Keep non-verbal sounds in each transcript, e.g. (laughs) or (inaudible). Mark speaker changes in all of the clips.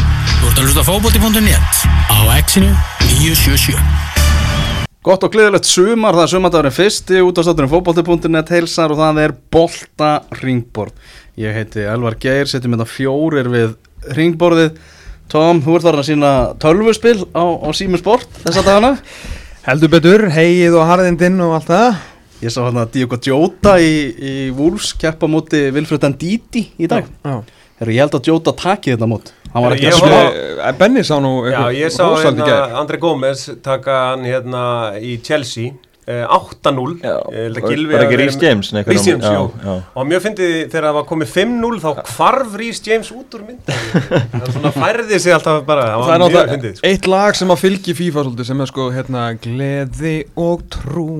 Speaker 1: að hlusta á fótbolti.net á X-inu 977
Speaker 2: Gott og gleðilegt sumar, það er sumardagurinn fyrst í útastátturinn fótbolti.net heilsar og það er Bolta Ringborð. Ég heiti Elvar Geir, setjum þetta fjórir við Ringborðið. Tom, þú ert farin að sína tölvuspil á, á Sími Sport þessa
Speaker 3: (laughs)
Speaker 2: dagana.
Speaker 3: Heldur betur, heið og harðindinn og allt það
Speaker 2: Ég sá hérna Diego Jota í, í Wolves keppa móti Vilfröðan Díti í dag.
Speaker 3: Já.
Speaker 2: Herru, ég held að Jota taki þetta mót. Hann var ekki
Speaker 4: Ég
Speaker 2: að
Speaker 4: var-
Speaker 2: spila.
Speaker 3: Eh, Benni sá nú
Speaker 4: Já,
Speaker 3: eitthvað
Speaker 4: ég sá
Speaker 3: rosalegt í gær.
Speaker 4: hérna André Gómez taka hann hérna í Chelsea eh, 8-0
Speaker 5: Já,
Speaker 4: Ég held að Gylfi
Speaker 5: var- var
Speaker 4: hafi
Speaker 5: ekki
Speaker 4: verið
Speaker 5: Reece
Speaker 4: með-
Speaker 5: James, nei,
Speaker 4: Reece
Speaker 5: hvernig-
Speaker 4: James,
Speaker 5: já,
Speaker 4: jú
Speaker 5: já.
Speaker 4: og mjög fyndi þegar það var komið 5-0 þá hvarf Rís James út úr mynd
Speaker 5: (laughs)
Speaker 4: hann svona færði sig alltaf bara það
Speaker 3: Það er
Speaker 4: var mjög
Speaker 3: náttúrulega
Speaker 4: fyndið sko.
Speaker 3: eitt lag sem að fylgi FIFA svolítið sem er sko hérna Gleði og trú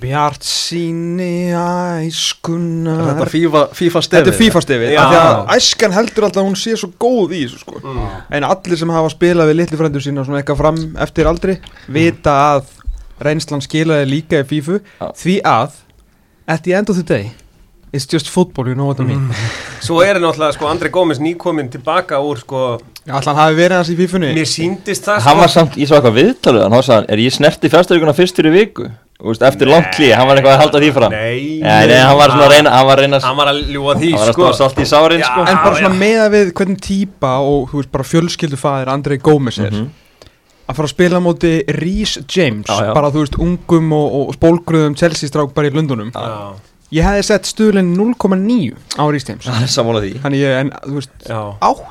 Speaker 3: Bjart síni æskunar
Speaker 2: Þetta er FIFA, FIFA stefið.
Speaker 3: Þetta er FIFA stefið,
Speaker 4: Já. Mm.
Speaker 3: af því að æskan heldur alltaf að hún sé svo góð í þessu sko En allir sem hafa spilað við litli frændum sína svona eitthvað fram eftir aldri Vita að reynslan skilaði líka í FIFA
Speaker 5: Já.
Speaker 3: Því að, at the end of the day, it's just football, you know what I mean
Speaker 4: Mm. svo er náttúrulega sko André Gómez nýkominn tilbaka úr sko
Speaker 3: Alltaf hann hafi verið hans í FIFA-unni
Speaker 4: mér síndist það
Speaker 5: Eh, Hann
Speaker 4: sko
Speaker 5: var samt, ég svo eitthvað viðtalið hann, hann sagði, er ég snerti fjárstæðuguna fyrst fyrir viku? Þú veist, eftir langt klí, hann var eitthvað að halda því fram
Speaker 4: Nei.
Speaker 5: Nei, nei, hann var svona að reyna, hann var að reyna
Speaker 4: hann var að ljúa því
Speaker 5: Hann var að
Speaker 4: sko
Speaker 5: stóða salt í sárin,
Speaker 4: Já.
Speaker 5: sko
Speaker 3: En bara svona meða við hvernig típa og þú veist bara fjölskyldufaðir Andrei Gómez er Að fara að spila á móti Rhys James
Speaker 5: Já, já.
Speaker 3: Bara þú veist ungum og, og spólgruðum Chelsea strák bara í Lundunum
Speaker 4: já,
Speaker 3: Ég hefði sett stuðlinn 0,9 á Rhys James
Speaker 5: Hann er sammála því
Speaker 3: Þannig ég, en þú veist,
Speaker 4: já,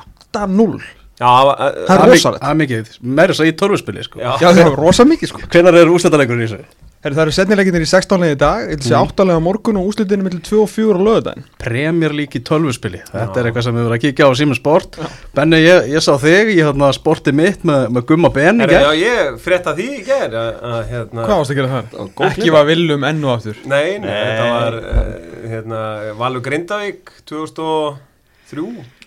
Speaker 3: 8-0
Speaker 4: já,
Speaker 3: Það
Speaker 4: já,
Speaker 3: er
Speaker 2: Það er
Speaker 3: rosalegt.
Speaker 2: mikið- það er mikið, meira þess að í tölvuspili sko.
Speaker 4: já,
Speaker 3: Já, það (laughs) er rosa mikið sko
Speaker 2: Hvenær er úrsletaleikurinn í þessu?
Speaker 3: Herri, Það eru setnileginnir í 16 leið í dag Ég ætla að sé 8 leið á morgun og úslitinu millir 2 og 4 á löðan
Speaker 2: Premier League í tölvuspili Þetta er eitthvað sem við vorum að kíkja á símum sport Benni, ég, ég sá þig, ég hérna sporti mitt með, með Gumma Ben í
Speaker 4: Herra, já
Speaker 2: gær.
Speaker 4: ég frétta því í ger hérna,
Speaker 3: Hvað varst að gera það?
Speaker 5: góð
Speaker 3: Ekki var viljum enn og aftur
Speaker 4: Nei, nei,
Speaker 5: Nei.
Speaker 4: þetta var uh, hérna, Valur Grindavík 2003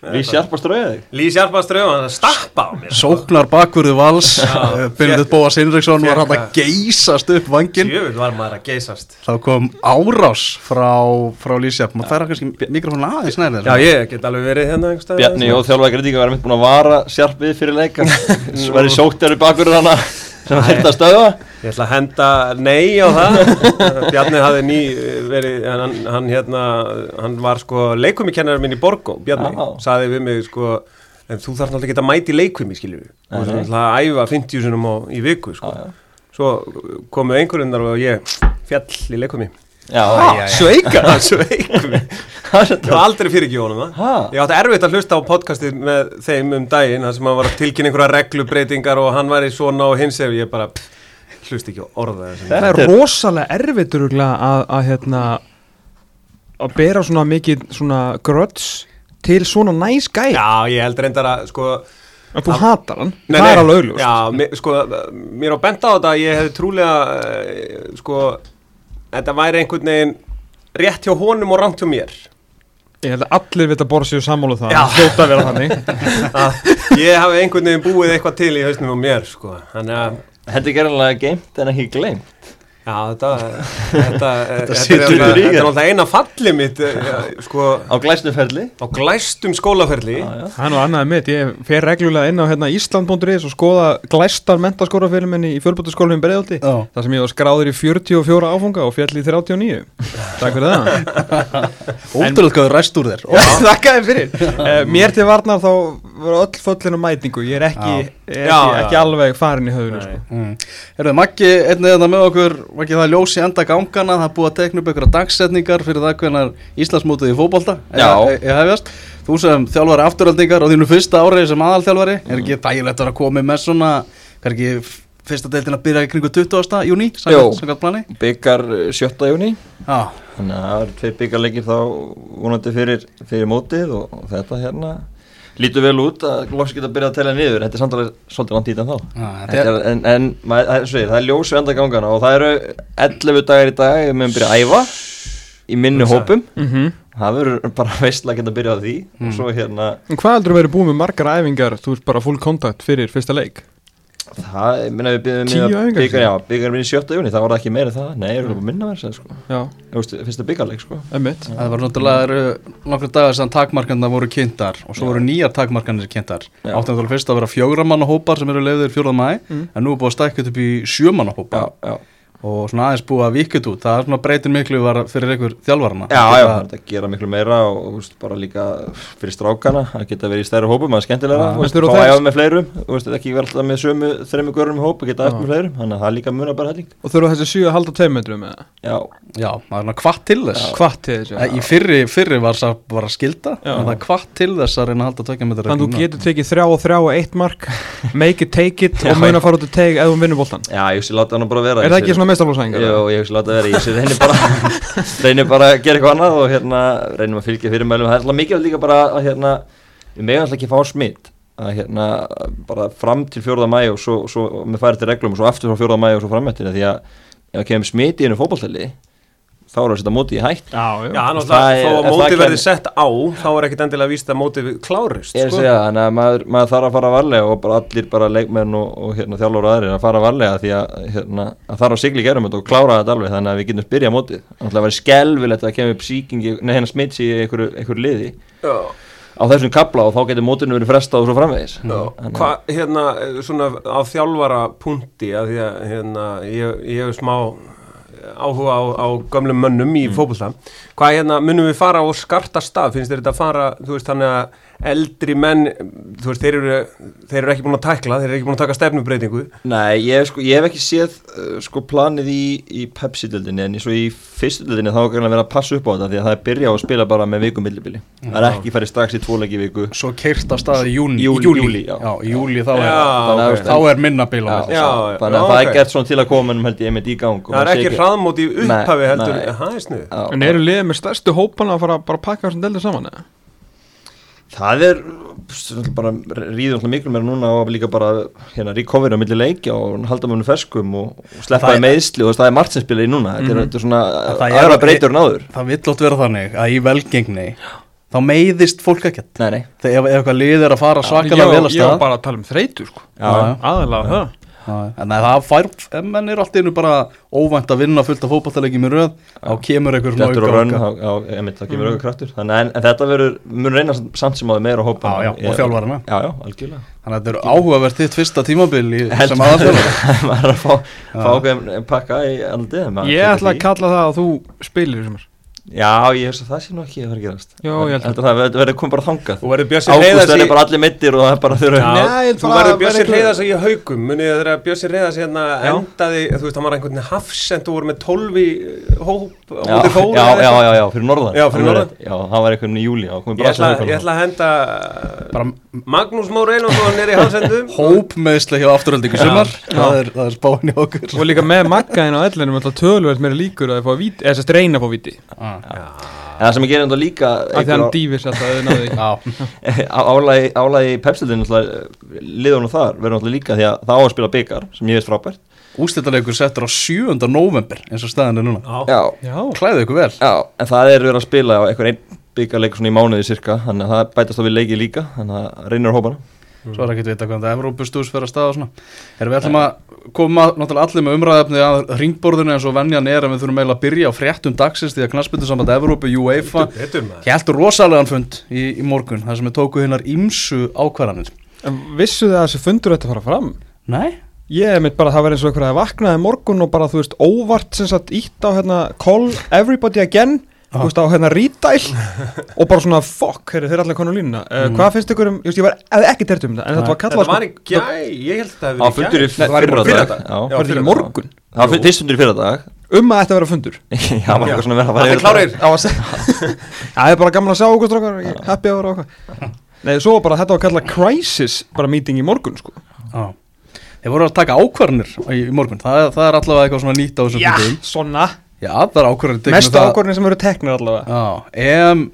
Speaker 4: eða
Speaker 5: Við
Speaker 4: eitthvað.
Speaker 5: sjarpast rauðið þig
Speaker 4: Lís Jarpaströð, hann stappa á mér
Speaker 2: Sóknar bakvörðu vals
Speaker 4: Já.
Speaker 2: Byrjuð
Speaker 4: Fékk-
Speaker 2: Bóas Hinriksson var
Speaker 4: fékk
Speaker 2: hann að
Speaker 4: að-
Speaker 2: geysast upp vangin
Speaker 4: Sjöfull var maður að geysast
Speaker 2: Þá kom árás frá, frá Lísjaf Má færa kannski mikrofón aðeins nærðir
Speaker 4: Já, ég get alveg verið hérna einhvers staðar.
Speaker 5: Bjarni og þjálfaði greitinga var mitt búin að vara sjarpið fyrir
Speaker 4: (laughs)
Speaker 5: leika Sværi sóktar í bakurinn hana sem hann þurfti að stöða
Speaker 4: Ég ætla að henda nei á það Bjarni hafði ný eh, verið hann, hann, hérna, hann var sko leikumikennarar minn í Borgó Bjarni,
Speaker 5: Já.
Speaker 4: saði við mig sko en þú þarf náttúrulega ekki að mæta í leikumi skiljum við og þú ætla að æfa 50 sinum á, í viku sko. svo komu einhverjundar og ég fjall í leikumi
Speaker 5: Já,
Speaker 4: sveika (laughs) sveika mig
Speaker 5: (laughs) það er
Speaker 4: Ég var aldrei fyrir ekki honum
Speaker 5: Ha?
Speaker 4: það Ég átti erfitt að hlusta á podcastið með þeim um daginn þar sem hann var að tilkynna einhverja reglubreitingar og hann var í svona og hins ef ég bara pff, hlusta ekki á orða þessum
Speaker 3: Það
Speaker 5: Þetta
Speaker 3: er rosalega erfitt öruglega að, að hérna að bera svona mikið svona gröts til svona næs nice gæ
Speaker 4: Já, ég held reyndar að sko
Speaker 3: að þú hatar hann,
Speaker 4: Nei,
Speaker 3: það er
Speaker 4: nei,
Speaker 3: alveg augljóst
Speaker 4: Já, mér, sko, mér á benda á þetta að ég hefði trúlega eh, sko, þetta væri einhvern veginn rétt hjá honum og rangt hjá mér
Speaker 3: Ég held að allir vita að borða sér sammála um það
Speaker 4: Já.
Speaker 3: Það hljóta að vera þannig
Speaker 4: (laughs) að ég hafi einhvern veginn búið eitthvað til í hausnum á mér sko, þannig að
Speaker 5: Þetta er gerðanlega geimt en ekki gleimt
Speaker 4: Já,
Speaker 5: (laughs)
Speaker 4: þetta, þetta, þetta,
Speaker 5: situr
Speaker 4: er alveg-
Speaker 5: í þér.
Speaker 4: þetta er náttúrulega eina fallið mitt eh, eh, sko,
Speaker 5: Á glæsnuferli
Speaker 4: á glæstum skólaferli
Speaker 3: Það er nú annaðið mitt, ég fer reglulega inn á hérna, Ísland.is og skoða glæstar mentaskórafilum minni í fjörbúttaskólanum Breiðaldi
Speaker 2: Já.
Speaker 3: þar sem ég var skráður í 44 áfunga og fjall í 39 Takk fyrir það
Speaker 2: Ótrúlega hvað þú ræst úr þér
Speaker 3: (laughs) Takk aðeins fyrir Eh, Mér til varnar þá voru öll föllin og mætingu ég er ekki, er ekki,
Speaker 4: Já, já.
Speaker 3: ekki alveg farin í höfðinu sko.
Speaker 2: Mm. Herðu, Maggi, einnig þetta með okkur Maggi, það er ljós í enda gangana Það er búið að tekna upp einhverja dagsetningar fyrir það hvenar Íslandsmótið í fótbolta er-
Speaker 5: Já.
Speaker 2: er- er hefjast. Þú sem þjálfari afturöldingar á þínu fyrsta ári sem aðalþjálfari
Speaker 5: Mm.
Speaker 2: er ekki þægilegt að vera komið með svona kannski f- fyrsta deildin að byrja í kringu 20. júni,
Speaker 5: Jó.
Speaker 2: samkvæmt plani
Speaker 5: Byggar eh, sjötta júni
Speaker 2: Já,
Speaker 5: Þannig að það eru tveir byggarleikir þá vonandi fyrir, fyrir mótið og, og þetta hérna lítur vel út að loks geta byrjað að telja niður þetta er samt alveg svolítið langt í þetta þá
Speaker 2: Já, þetta
Speaker 5: Þetta er, en, en maður, það, er, svo segir, það er ljós venda gangana og það eru 11 dagar í dag við mögum byrja að æfa í minni hópum
Speaker 3: Mhm.
Speaker 5: það verður bara (laughs) veistla að geta byrjað á því og svo hérna
Speaker 3: En Hvað heldur þú verið búið með margar æfingar, þú veist bara full contact fyrir fyrsta leik?
Speaker 5: Það, ég minna við byrjum
Speaker 3: Tíu æfingar,
Speaker 5: byggar, já, byggar minn í sjötta júni, það var ekki meira en það Nei, ég er alveg minna verið, sko
Speaker 3: Já,
Speaker 5: Ég veist, fyrsta byggarleik, sko
Speaker 3: emmitt
Speaker 2: Það var náttúrulega eru nokkru dagar sem takmarkarnar voru kynntar og svo voru nýjar takmarkarnir kynntar
Speaker 5: Já. Mm.
Speaker 2: áttu náttúrulega fyrst að vera fjögra manna hópar sem eru leiðir 4. mæ en nú er búið að stækja þetta upp í sjö manna hópa
Speaker 5: Já, já,
Speaker 2: og svona aðeins búið að vikja þetta út það er svona breytin miklu var fyrir ykkur þjálfarana
Speaker 5: já, já, það er hægt að gera miklu meira og, þú veist, bara líka fyrir strákana að geta verið í stærri hópum, það er skemmtilega þú veist,
Speaker 3: Veistu, og
Speaker 5: Fá
Speaker 3: það er-
Speaker 5: æfa með fleirum, þú veist, ekki vera alltaf með sömu þremmu görum í hóp og geta æft með fleirum Þannig að það er líka muna bara helling
Speaker 3: Og þurfa þessi sjö að halda tveim metrum eða?
Speaker 5: Já,
Speaker 2: já, það er svona kvart til þess
Speaker 3: Hvað til þessu?
Speaker 2: Eh, Í fyrri, fyrri var það bara skilda
Speaker 3: Já.
Speaker 2: en það er kvart til þess að reyna að halda tökja með þetta
Speaker 3: Þannig að þú getur tekið þrjá og þrjá og eitt (laughs) mark Make it, take it og mun að fara út að teg eða hún vinnur boltan
Speaker 5: já, ég veist, ég láta hana bara vera
Speaker 3: Er það
Speaker 5: ég
Speaker 3: ekki
Speaker 5: sé-
Speaker 3: svona mestarlósæðingar?
Speaker 5: Jó, ég hugsa láta vera, ég sé reynir bara
Speaker 3: (laughs)
Speaker 5: reynir bara að gera eitthvað annað og hérna reynir að fylgja fyrirmælum, það er alltaf mikilvægt líka bara að hérna, við megum alltaf ekki fá smitt að hérna, bara fram til 4. mæ og svo, svo með færi til reglum og svo aftur frá 4. mæ og svo framöttinu því að ef það kemur smitt í einu fótballtæli þá er það að setja móti í hætt
Speaker 3: Já,
Speaker 4: Já, hann
Speaker 5: Það
Speaker 4: alltaf,
Speaker 5: er-
Speaker 4: þó að
Speaker 5: það
Speaker 4: móti
Speaker 5: kæmi-
Speaker 4: verði sett á þá er ekkit endilega víst að móti klárist
Speaker 5: Ég er að
Speaker 4: sko.
Speaker 5: segja, þannig að maður, maður þarf að fara varlega og bara allir bara leikmenn og, og hérna, þjálfur og aðrir að fara varlega því að, hérna, að þarf að sigli gerum þetta og klára þetta alveg þannig að við getum byrjað mótið. Þannig að vera skelvilegt að kemur upp síkingi, nei hérna smitsi í einhverju, einhverju liði
Speaker 4: Já.
Speaker 5: á þessum kapla og þá getur mótinu verið frestað og svo framvegis. Þannig að-
Speaker 4: Hvað, hérna, svona á þjálfara punkti að því að hérna, ég, ég hef smá áhuga á, á gömlum mönnum í mm. hvað hérna, munum við fara á skarta stað, finnst þér þetta að fara þú veist, þannig að eldri menn þú veist, þeir eru, þeir eru ekki búin að tækla þeir eru ekki búin að taka stefnubreitingu
Speaker 5: Nei, ég, hef sko, ég hef ekki séð uh, sko planið í, í Pepsi-dildinni en svo í fyrstu-dildinni þá er gæmlega verið að passa upp á þetta því að það er byrjað að spila bara með vikum millibili. Það er ekki farið strax í tvoleiki viku.
Speaker 2: Svo keirt af staði í júni
Speaker 5: Júlí,
Speaker 2: júli,
Speaker 5: júlí, já.
Speaker 2: já. í júli þá,
Speaker 4: Já,
Speaker 5: Þannig að-
Speaker 2: er, þá er minna bíl á
Speaker 5: Já,
Speaker 2: þessu
Speaker 4: já,
Speaker 5: já,
Speaker 4: já,
Speaker 5: þannig
Speaker 4: já,
Speaker 5: að það
Speaker 4: ok.
Speaker 5: er gert svona til að koma en held ég einmitt í gang og
Speaker 4: það er
Speaker 5: maður sé
Speaker 4: ekki hraðmóti í
Speaker 5: Nei,
Speaker 4: upphafi heldur,
Speaker 5: nei.
Speaker 4: það er sniðu
Speaker 5: Já,
Speaker 3: En eru liðið með stærstu hópana að fara bara að pakka þessum deildið saman eða?
Speaker 5: það er pst, bara ríður alltaf miklu meira núna og líka bara hérna recovery á milli leikja og halda mönnum ferskum og, og sleppa
Speaker 2: Það
Speaker 5: í
Speaker 2: er- Mhm.
Speaker 5: meðsli og þú veist, það er margt sem spila í núna þetta er, þetta er svona
Speaker 2: Það er-
Speaker 5: aðra breytur en áður
Speaker 2: Það vill átt vera þannig að í velgengni þá meiðist fólk ekkert
Speaker 5: Nei, nei,
Speaker 2: Þegar ef ef eitthvað lið er að fara svakalega
Speaker 3: Ég-
Speaker 2: vel að
Speaker 3: Ég var
Speaker 2: stað
Speaker 3: bara að tala um þreytu sko
Speaker 2: Já,
Speaker 3: Aðalega það
Speaker 2: já. En það fær, ef menn er allt í einu bara óvænt að vinna fullt af fótballtalegjum í röð þá kemur einhver svona
Speaker 5: þetta er á raun
Speaker 2: aukavanka.
Speaker 5: á, á, einmitt, það
Speaker 2: Mhm.
Speaker 5: kemur auka kraftur þannig að en, en þetta verður, mun reyna samt- samt sem áður meira að hópa
Speaker 2: Já, já, og þjálfarana.
Speaker 5: Já, já, algjörlega
Speaker 2: Þannig að þetta eru áhugavert þitt fyrsta tímabil í,
Speaker 5: Heldur-
Speaker 2: sem
Speaker 5: (laughs)
Speaker 2: aðalþjálfari
Speaker 5: maður er að fá, fá okkur pakka í aldrei
Speaker 3: Ég ætla að kalla það að þú spilir þessum
Speaker 5: Já, ég veist að það sé nú ekki að fara að gerast
Speaker 3: Já, ég held að-
Speaker 5: að Það verður komið bara þangað
Speaker 4: Þú verður Bjössi
Speaker 5: Ágúst
Speaker 4: Hreiðars
Speaker 5: verður
Speaker 4: í-
Speaker 5: bara allir mittir og það er bara þurfa
Speaker 4: Já,
Speaker 3: Nei, ég
Speaker 4: þú
Speaker 3: bara-
Speaker 4: verður Bjössi
Speaker 3: verður ekki-
Speaker 4: reyðas í haugum munið þið þegar Bjössi reyðas hérna endaði, þú veist, hann var einhvern veginn hafsend og voru með 12 í eh, hóp á móti
Speaker 5: já,
Speaker 4: Þór eða
Speaker 5: já, já,
Speaker 4: eitthvað.
Speaker 5: já, já, fyrir norðan
Speaker 4: Já, fyrir
Speaker 5: Hann
Speaker 4: norðan.
Speaker 5: er- Já, hann var einhvern í júli Já, komið
Speaker 4: Ég
Speaker 5: bara
Speaker 4: ætla,
Speaker 5: sem
Speaker 4: ég ætla að henda uh,
Speaker 2: Bara-
Speaker 4: Magnús Már Einarsson er í hans (laughs) hendum
Speaker 2: Hóp meðslega hjá afturöldingu sumar það er, það er spáin í okkur
Speaker 3: (laughs) Og líka með maggaðin á ellinum alltaf tölvöld meira líkur að þið fá að víti, eða sérst reyna að fá víti
Speaker 5: En það sem ég gerir enda líka
Speaker 3: Af því að hann dýfis alltaf að þið náðu því.
Speaker 2: Já,
Speaker 5: (laughs) Álægi, álægi í pepsildinu Liðan og þar verður náttúrulega líka Því að það á að spila byggar Sem ég veist frábært
Speaker 2: úrstættaleikur settur á 7. november eins og staðan er núna
Speaker 4: Já,
Speaker 5: Já,
Speaker 3: Já,
Speaker 2: Klæðu ykkur vel
Speaker 5: já, en það er verið að spila á einhver einn byggarleik svona í mánuði cirka Þannig að það bætast á við leiki líka Þannig að reynir hópana
Speaker 2: Svo er ekki að vita hvernig það Evrópustús fer að staða og svona Erum við ætlum að koma náttúrulega allir með umræðefni að ringborðinu eins og venjan er að við þurfum eiginlega að byrja á fréttum dagsins því að knassbyttinsamband Evrópu, UEFA
Speaker 4: betur maður
Speaker 2: Hjæltu rosalegan fund í, í morgun þar sem við tóku hinnar ímsu ákvarðanir
Speaker 3: en vissu þið að þessi fundur þetta fara fram?
Speaker 2: Nei?
Speaker 3: Ég er mitt bara að það verði eins og einhverja að vaknaði morgun og bara þú veist óvart sem sagt ítt á hérna call everybody again þú veist á hérna retail (laughs) og bara svona fuck, heyrðu, þeir eru allir konar línuna uh, hvað finnst ykkur um, ég veist ég var eða ekki tert um þetta en þetta var kallað
Speaker 4: Þetta var í gæ, ég held að
Speaker 5: Á
Speaker 4: það
Speaker 5: fundur í
Speaker 4: fyrra
Speaker 5: fyrradag
Speaker 4: dag.
Speaker 5: Já.
Speaker 4: Já.
Speaker 3: var þetta
Speaker 4: fyrradag.
Speaker 3: í morgun
Speaker 5: Það var fyr- fyrst fundur í fyrradag
Speaker 3: um að þetta vera fundur
Speaker 5: Já, það var eitthvað svona verið að
Speaker 4: Allir
Speaker 5: fara
Speaker 4: klárir.
Speaker 5: á að segja
Speaker 3: (laughs) það er bara gaman að sjá okkur strókar, ég- happy hour og okkur nei, svo var bara þetta var kallað crisis bara meeting í morgun sko
Speaker 2: Já Þeir voru að taka ákvarðanir í, í morgun það, það er allavega eitthvað svona nýtt á þessum fundum
Speaker 3: svona,
Speaker 2: Já, það er ákvarðanir tekin
Speaker 3: mesta
Speaker 2: það-
Speaker 3: ákvörðin sem eru teknir allavega
Speaker 2: Já, EM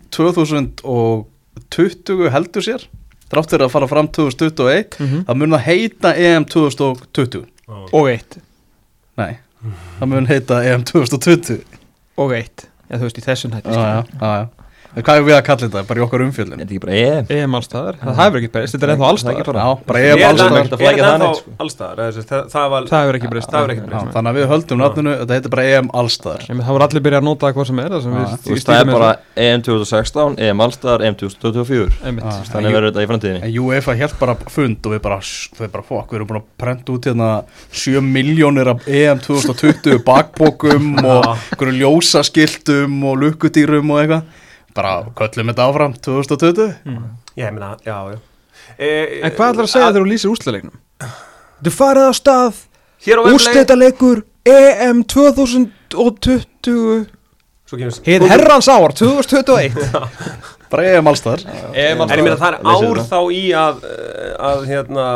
Speaker 2: 2020 heldur sér Drátt fyrir að fara fram 2021 Það mun það heita EM 2020
Speaker 3: og eitt,
Speaker 2: Nei, það mun heita EM 2020
Speaker 3: og eitt já þú veist í þessum sko. hætti
Speaker 2: Já, já, já, já En Hvað er við að kalla þetta? Bara í okkar umfjöldin
Speaker 5: Þetta er ekki bara EM
Speaker 3: EM allstaðar, það hefur ekki breyst, þetta er ennþá
Speaker 5: Það er
Speaker 3: allstaðar
Speaker 5: ekki bara-
Speaker 2: Já, bara
Speaker 5: Ég
Speaker 2: EM
Speaker 5: er
Speaker 2: alls
Speaker 5: ennþá-
Speaker 2: staðar.
Speaker 5: ekki að flækja það neitt, sko.
Speaker 4: allstaðar það, það var
Speaker 3: Það hefur ekki breyst
Speaker 4: Það hefur ekki
Speaker 2: Já, Þannig að við höldum nafninu, þetta heitir bara E EM allstaðar
Speaker 3: Nei, menn Það voru allir byrjað að nota hvað sem er það sem
Speaker 2: Já,
Speaker 3: við
Speaker 2: þú
Speaker 5: Þú
Speaker 3: við
Speaker 5: veist, það er
Speaker 3: stýrum
Speaker 5: bara
Speaker 3: þessu.
Speaker 5: EM 2016, EM Allstar, EM 2024
Speaker 4: Ah,
Speaker 3: Einmitt.
Speaker 2: Já.
Speaker 5: Þannig verður þetta í framtíðinni
Speaker 2: En UEFA held bara fund og við bara, þau bara fokk, við erum búin að prenta út hérna 7 miljónir af E EM 2020
Speaker 4: (laughs)
Speaker 2: bakbókum og einhverju ljósaskiltum og lukkudýrum og eitthvað bara köllum þetta áfram 2020
Speaker 4: Mm. Ég meina, já, já Eh,
Speaker 3: En hvað ætlar að
Speaker 4: Ah.
Speaker 3: segja þegar þú lýsir úsleiknum? Þú farið á stað,
Speaker 4: Hér á vefleik
Speaker 3: úrslitaleikur E EM 2020
Speaker 4: Svo kemur
Speaker 3: Hið herrans ár 2021
Speaker 2: bara E EM allstaðar
Speaker 3: EM
Speaker 4: En ég meina það er
Speaker 5: Leysir
Speaker 4: ár
Speaker 5: þetta.
Speaker 4: þá í að, eh, að hérna,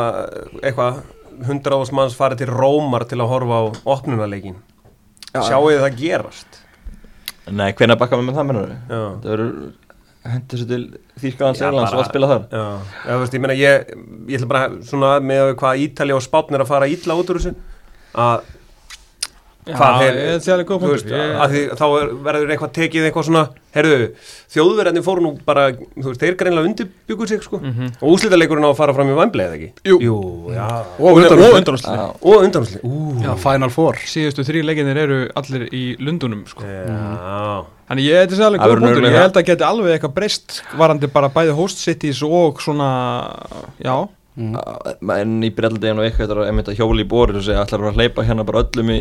Speaker 4: eitthvað, hundraðs manns fara til Rómar til að horfa á opnunaleikin. Sjáu þið það gerast.
Speaker 5: Nei, hvernig bakka við með það mennur við?
Speaker 4: Já,
Speaker 5: Það verður hendur svo til Þýrkalands,
Speaker 4: Já,
Speaker 5: Erlands og
Speaker 4: bara-
Speaker 5: að spila þar
Speaker 4: já. Ég, veist, ég meina, ég, ég ætla bara svona með að við hvað Ítali og Spátn er að fara ítla út úr þessu. Að, hvað þeir,
Speaker 3: Ég sé alveg góð
Speaker 4: þú veist,
Speaker 3: punktur ég-
Speaker 4: að því, þá er, verður eitthvað tekið eitthvað svona, herðu, þjóðverðinni fóru nú bara, þú veist, þeir greinlega undirbyggur sig, sko. Og úslítaleikurinn á að fara fram í vambleið, eða ekki?
Speaker 2: Jú.
Speaker 4: Jú, já.
Speaker 2: og undanúrslit.
Speaker 3: undanúrslit
Speaker 4: Og undanúslið. Ú,
Speaker 2: Já, Final Four
Speaker 3: (laughs) Síðustu þrý leikinir eru allir í Lundunum sko.
Speaker 4: já.
Speaker 3: Þannig ég, þetta er alveg
Speaker 5: Það
Speaker 3: góð
Speaker 5: verður
Speaker 3: punktur Ég
Speaker 5: nörgulega-
Speaker 3: held að geti alveg eitthvað breyst Varandi bara bæði host cities og svona Já,
Speaker 4: Mm.
Speaker 5: Ah, En í brelldeginu og eitthvað þetta er einmitt að hjóla í borið og segja ætlar að fara að hleypa hérna bara öllum í,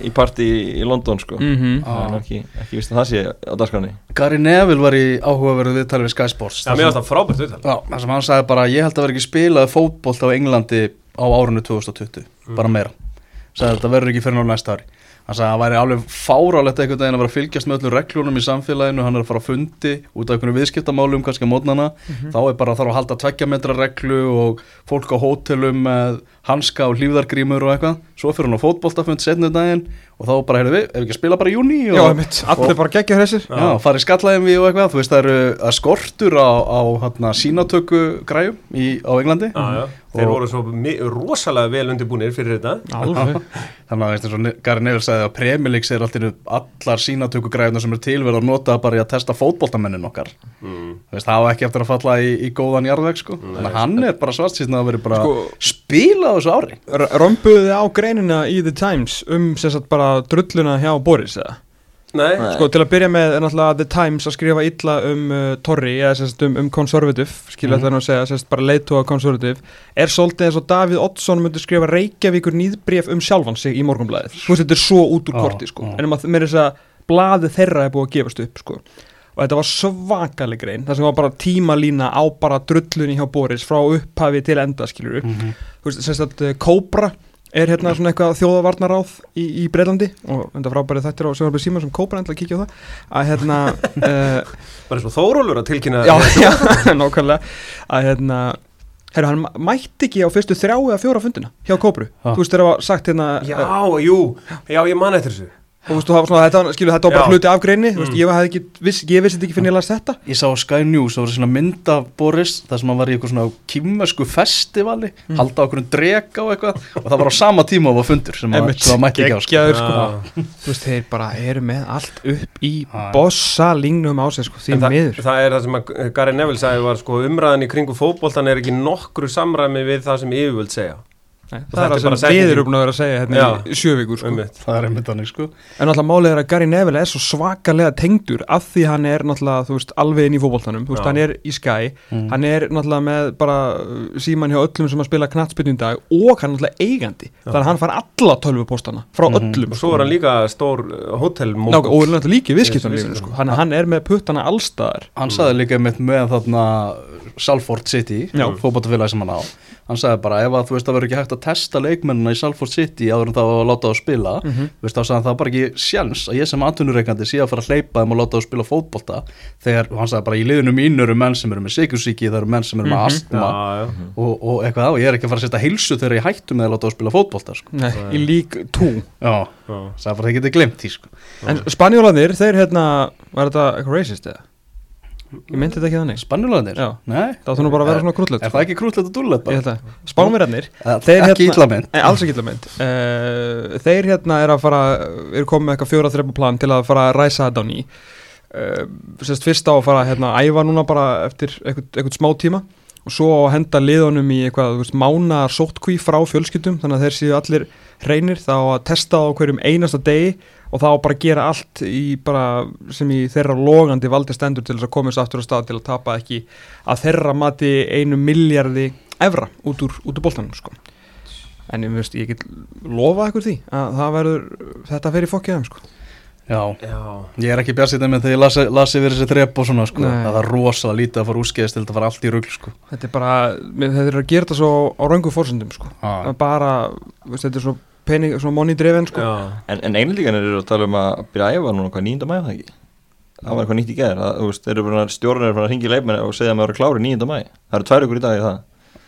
Speaker 5: í partí í London sko
Speaker 3: Mhm.
Speaker 5: Það er nú ekki, ekki vist að það sé á dagskránni
Speaker 2: Gary Neville var í áhugaverðu viðtalið við Sky Sports
Speaker 4: Já, mér finnst það frábært viðtal
Speaker 2: Já, það sem hann sagði bara ég held að vera ekki spilað fótbolt á Englandi á árunni 2020,
Speaker 3: Mm.
Speaker 2: bara meira sagði þetta verður ekki fyrir náðu næsta ári hann sagði að það væri alveg fárálegt einhvern veginn að vera að fylgjast með öllum reglunum í samfélaginu hann er að fara að fundi út af einhvern viðskiptamálum kannski á mótnana,
Speaker 3: Mhm.
Speaker 2: þá er bara að þarf að halda tveggja metra reglu og fólk á hótelum með hanska og hlýðargrímur og eitthvað, svo fyrir hann á fótboltafund setnum daginn og þá bara, heyrðu við, ef ekki að spila bara í júni
Speaker 3: já, einmitt Allir bara geggja þessir
Speaker 2: Já, farið skallaðum við og eitthvað, þú veist það eru það er skortur á, á hana, sínatöku græjum í, á Englandi
Speaker 4: Já, já. Þeir voru svo mi- rosalega vel undirbúinir fyrir þetta
Speaker 3: Alveg
Speaker 2: Þannig að veist eins og Ne- Gary Neville sagði að Premier League segir alltaf allar sínatöku græjuna sem eru tilverð að nota bara í að testa fótboltamennin okkar Þú veist, það var ekki eftir að falla í, í góðan jarðveg sko Þannig að hann er bara svart síðan að vera bara sko,
Speaker 3: Sko-
Speaker 2: spila á þessu ári
Speaker 3: R- (laughs) Römbuðu þið á greinina í The Times Um sem sagt bara drulluna hjá Boris eða?
Speaker 4: Nei,
Speaker 5: Nei.
Speaker 3: Sko til að byrja með er náttúrulega The Times að skrifa illa um uh, Tory eða sérst um, um conservative skilja þetta nú að segja, sérst bara leiðtóa conservative er svolítið eins og Davíð Oddsson myndi skrifa Reykjavíkur nýðbréf um sjálfan sig í morgunblæðið, þú veist þetta er svo út úr
Speaker 2: Já,
Speaker 3: korti sko,
Speaker 2: já.
Speaker 3: en um að með þess að blaði þeirra er búið að gefast upp sko og þetta var svakaleg grein, það sem var bara tímalína á bara drullunni hjá Boris frá upphafi til enda skiljur upp
Speaker 2: Mhm.
Speaker 3: þú veist, semst að Kóbra er hérna svona eitthvað þjóðavarnaráð í, í Breitlandi og þetta frábærið þetta er á Sjónarbyrð Síma sem Kóbra endla að kíkja á það að hérna
Speaker 2: (laughs)
Speaker 3: uh,
Speaker 4: sko, bara svo Þórólur að tilkynna
Speaker 3: já, (laughs) já, nákvæmlega að hérna Herru, hann mæ- mætti ekki á fyrstu þrjá eða fjóra fundina hjá Kóbru,
Speaker 2: Ha.
Speaker 3: þú veist þegar var sagt hérna
Speaker 4: já,
Speaker 3: eh,
Speaker 4: jú, já, ég man eftir þessu
Speaker 3: og þú veist, þú hafa svona, þetta, var- skilur, þetta var bara
Speaker 4: Já. Mm.
Speaker 3: hluti af greinni þú veist, ég hefði ekki, viss, ég vissi þetta ekki fyrir ég las þetta
Speaker 2: Ég sá á Sky News og voru svona mynd af Boris þar sem hann var í eitthvað svona kýmversku festivali
Speaker 4: Mm.
Speaker 2: halda okkur um drega og eitthvað og það var á sama tíma og var fundur sem að- sem að mætti ekki á sko.
Speaker 3: geggjaður sko
Speaker 4: Já.
Speaker 3: þú veist, þeir bara eru með allt upp í
Speaker 2: Já.
Speaker 3: bossa lingnum á sig sko, því
Speaker 4: En það,
Speaker 3: miður
Speaker 4: það er það sem að Gary Neville sagði var sko umræðan í kringu fótboltan er ekki nokkru samræmi við það sem yfirvöld segja
Speaker 3: Nei,
Speaker 4: þetta
Speaker 3: það er
Speaker 4: er
Speaker 3: það sem
Speaker 4: bara setning.
Speaker 3: við erum búin að vera að segja hérna í sjö vikur sko. En
Speaker 4: um mitt
Speaker 2: Það er einmitt þannig sko
Speaker 3: náttúrulega málið er að Gary Neville er svo svakalega tengdur af því hann er náttúrulega, þú veist, alveg inn í fótboltanum Þú veist,
Speaker 4: Já.
Speaker 3: hann er í Sky,
Speaker 2: Mm.
Speaker 3: hann er náttúrulega með bara uh, síman hjá öllum sem að spila knattspyrnum í dag og hann er náttúrulega eigandi Þannig að hann fær alla tölvupóstana frá
Speaker 2: Mhm.
Speaker 3: öllum sko.
Speaker 4: Og svo er hann líka stór uh, hótelmók
Speaker 3: Nákvæm, og er náttúrulega líki viðskiptanlífinu
Speaker 4: Viðskiptum.
Speaker 3: sko. Þannig að hann er með puttana allstaðar
Speaker 2: Hann sagði líka einmitt með þarna Salford City,
Speaker 3: Já.
Speaker 2: fótballtafélagi sem hann á Hann sagði bara ef að þú veist það verður ekki hægt að testa leikmennina í Salford City áður en það var að láta þá spila
Speaker 3: Mhm.
Speaker 2: þú veist þá sagði hann það er bara ekki sjans að ég sem atvinnureikandi sé að fara að hleypa þeim og láta þá spila fótbolta þegar hann sagði bara í liðinu mínu eru menn sem eru með sykursíki það eru menn sem eru með
Speaker 3: Mhm.
Speaker 2: astma
Speaker 4: Já, já,
Speaker 2: og, og eitthvað á, ég er ekki að fara að setja heilsu þegar ég hættu með að láta þá spila fótbolta sko.
Speaker 3: Nei, í lík 2
Speaker 2: Já,
Speaker 4: já
Speaker 2: sagði bara það getið glemt því sko.
Speaker 3: En spanjólanir, þeir hérna, var þetta eitthvað racist eða? Ég myndi þetta ekki þannig
Speaker 2: Spanjuleganir?
Speaker 3: Já.
Speaker 2: Nei,
Speaker 3: Það áttu nú bara að vera svona krúllögt
Speaker 2: Eh, er það ekki krútlegt að dúllet
Speaker 3: Ég
Speaker 2: bara?
Speaker 3: held að Spánverðarnir
Speaker 2: Það-
Speaker 3: þeir
Speaker 2: ekki
Speaker 3: hérna-
Speaker 2: illa meint.
Speaker 3: Nei, Alls ekki illa mynd Eh, Þeir hérna er að fara Eru komið með eitthvað fjóra þrepa plan Til að fara að ræsa þetta á ný uh, sérst fyrst á að fara hérna, að æfa núna bara eftir eitthvað, eitthvað smá tíma og svo á að henda liðunum í eitthvað þú veist, mánar sótkví frá fjölskyldum þannig að þeir séu allir reynir þá að testa á hverjum einasta degi og þá bara gera allt í bara, sem í þeirra logandi valdi stendur til þess að komast aftur á stað til að tapa ekki að þeirra mati einu miljardi evra út úr, út úr boltanum sko. en ég, veist, ég get lofað ykkur því að það verður þetta fer í fokkjaðum sko.
Speaker 2: Já,
Speaker 4: Já,
Speaker 2: ég er ekki bjarsið með þegar ég lasi, lasi fyrir þessi þrepp og svona sko.
Speaker 3: Nei.
Speaker 2: það er rosa lítið að fara úskeiðist til þetta fara allt í rugl sko.
Speaker 3: þetta er bara, mér- þetta er að gera þetta svo á röngu fórsendum sko.
Speaker 2: ah.
Speaker 3: Að bara, veist, þetta er svo pening, svona money driven sko.
Speaker 4: já,
Speaker 5: En, en einlíkanir eru að tala um að byrja að æfa núna hvað 9. mæ það ekki Það var eitthvað nýtt í gæðir, þú veist, þeir eru búin að stjórnir eru búin að ringi leifmenn og segja að maður eru klári 9. mæ Það eru tvær ykkur í dag í það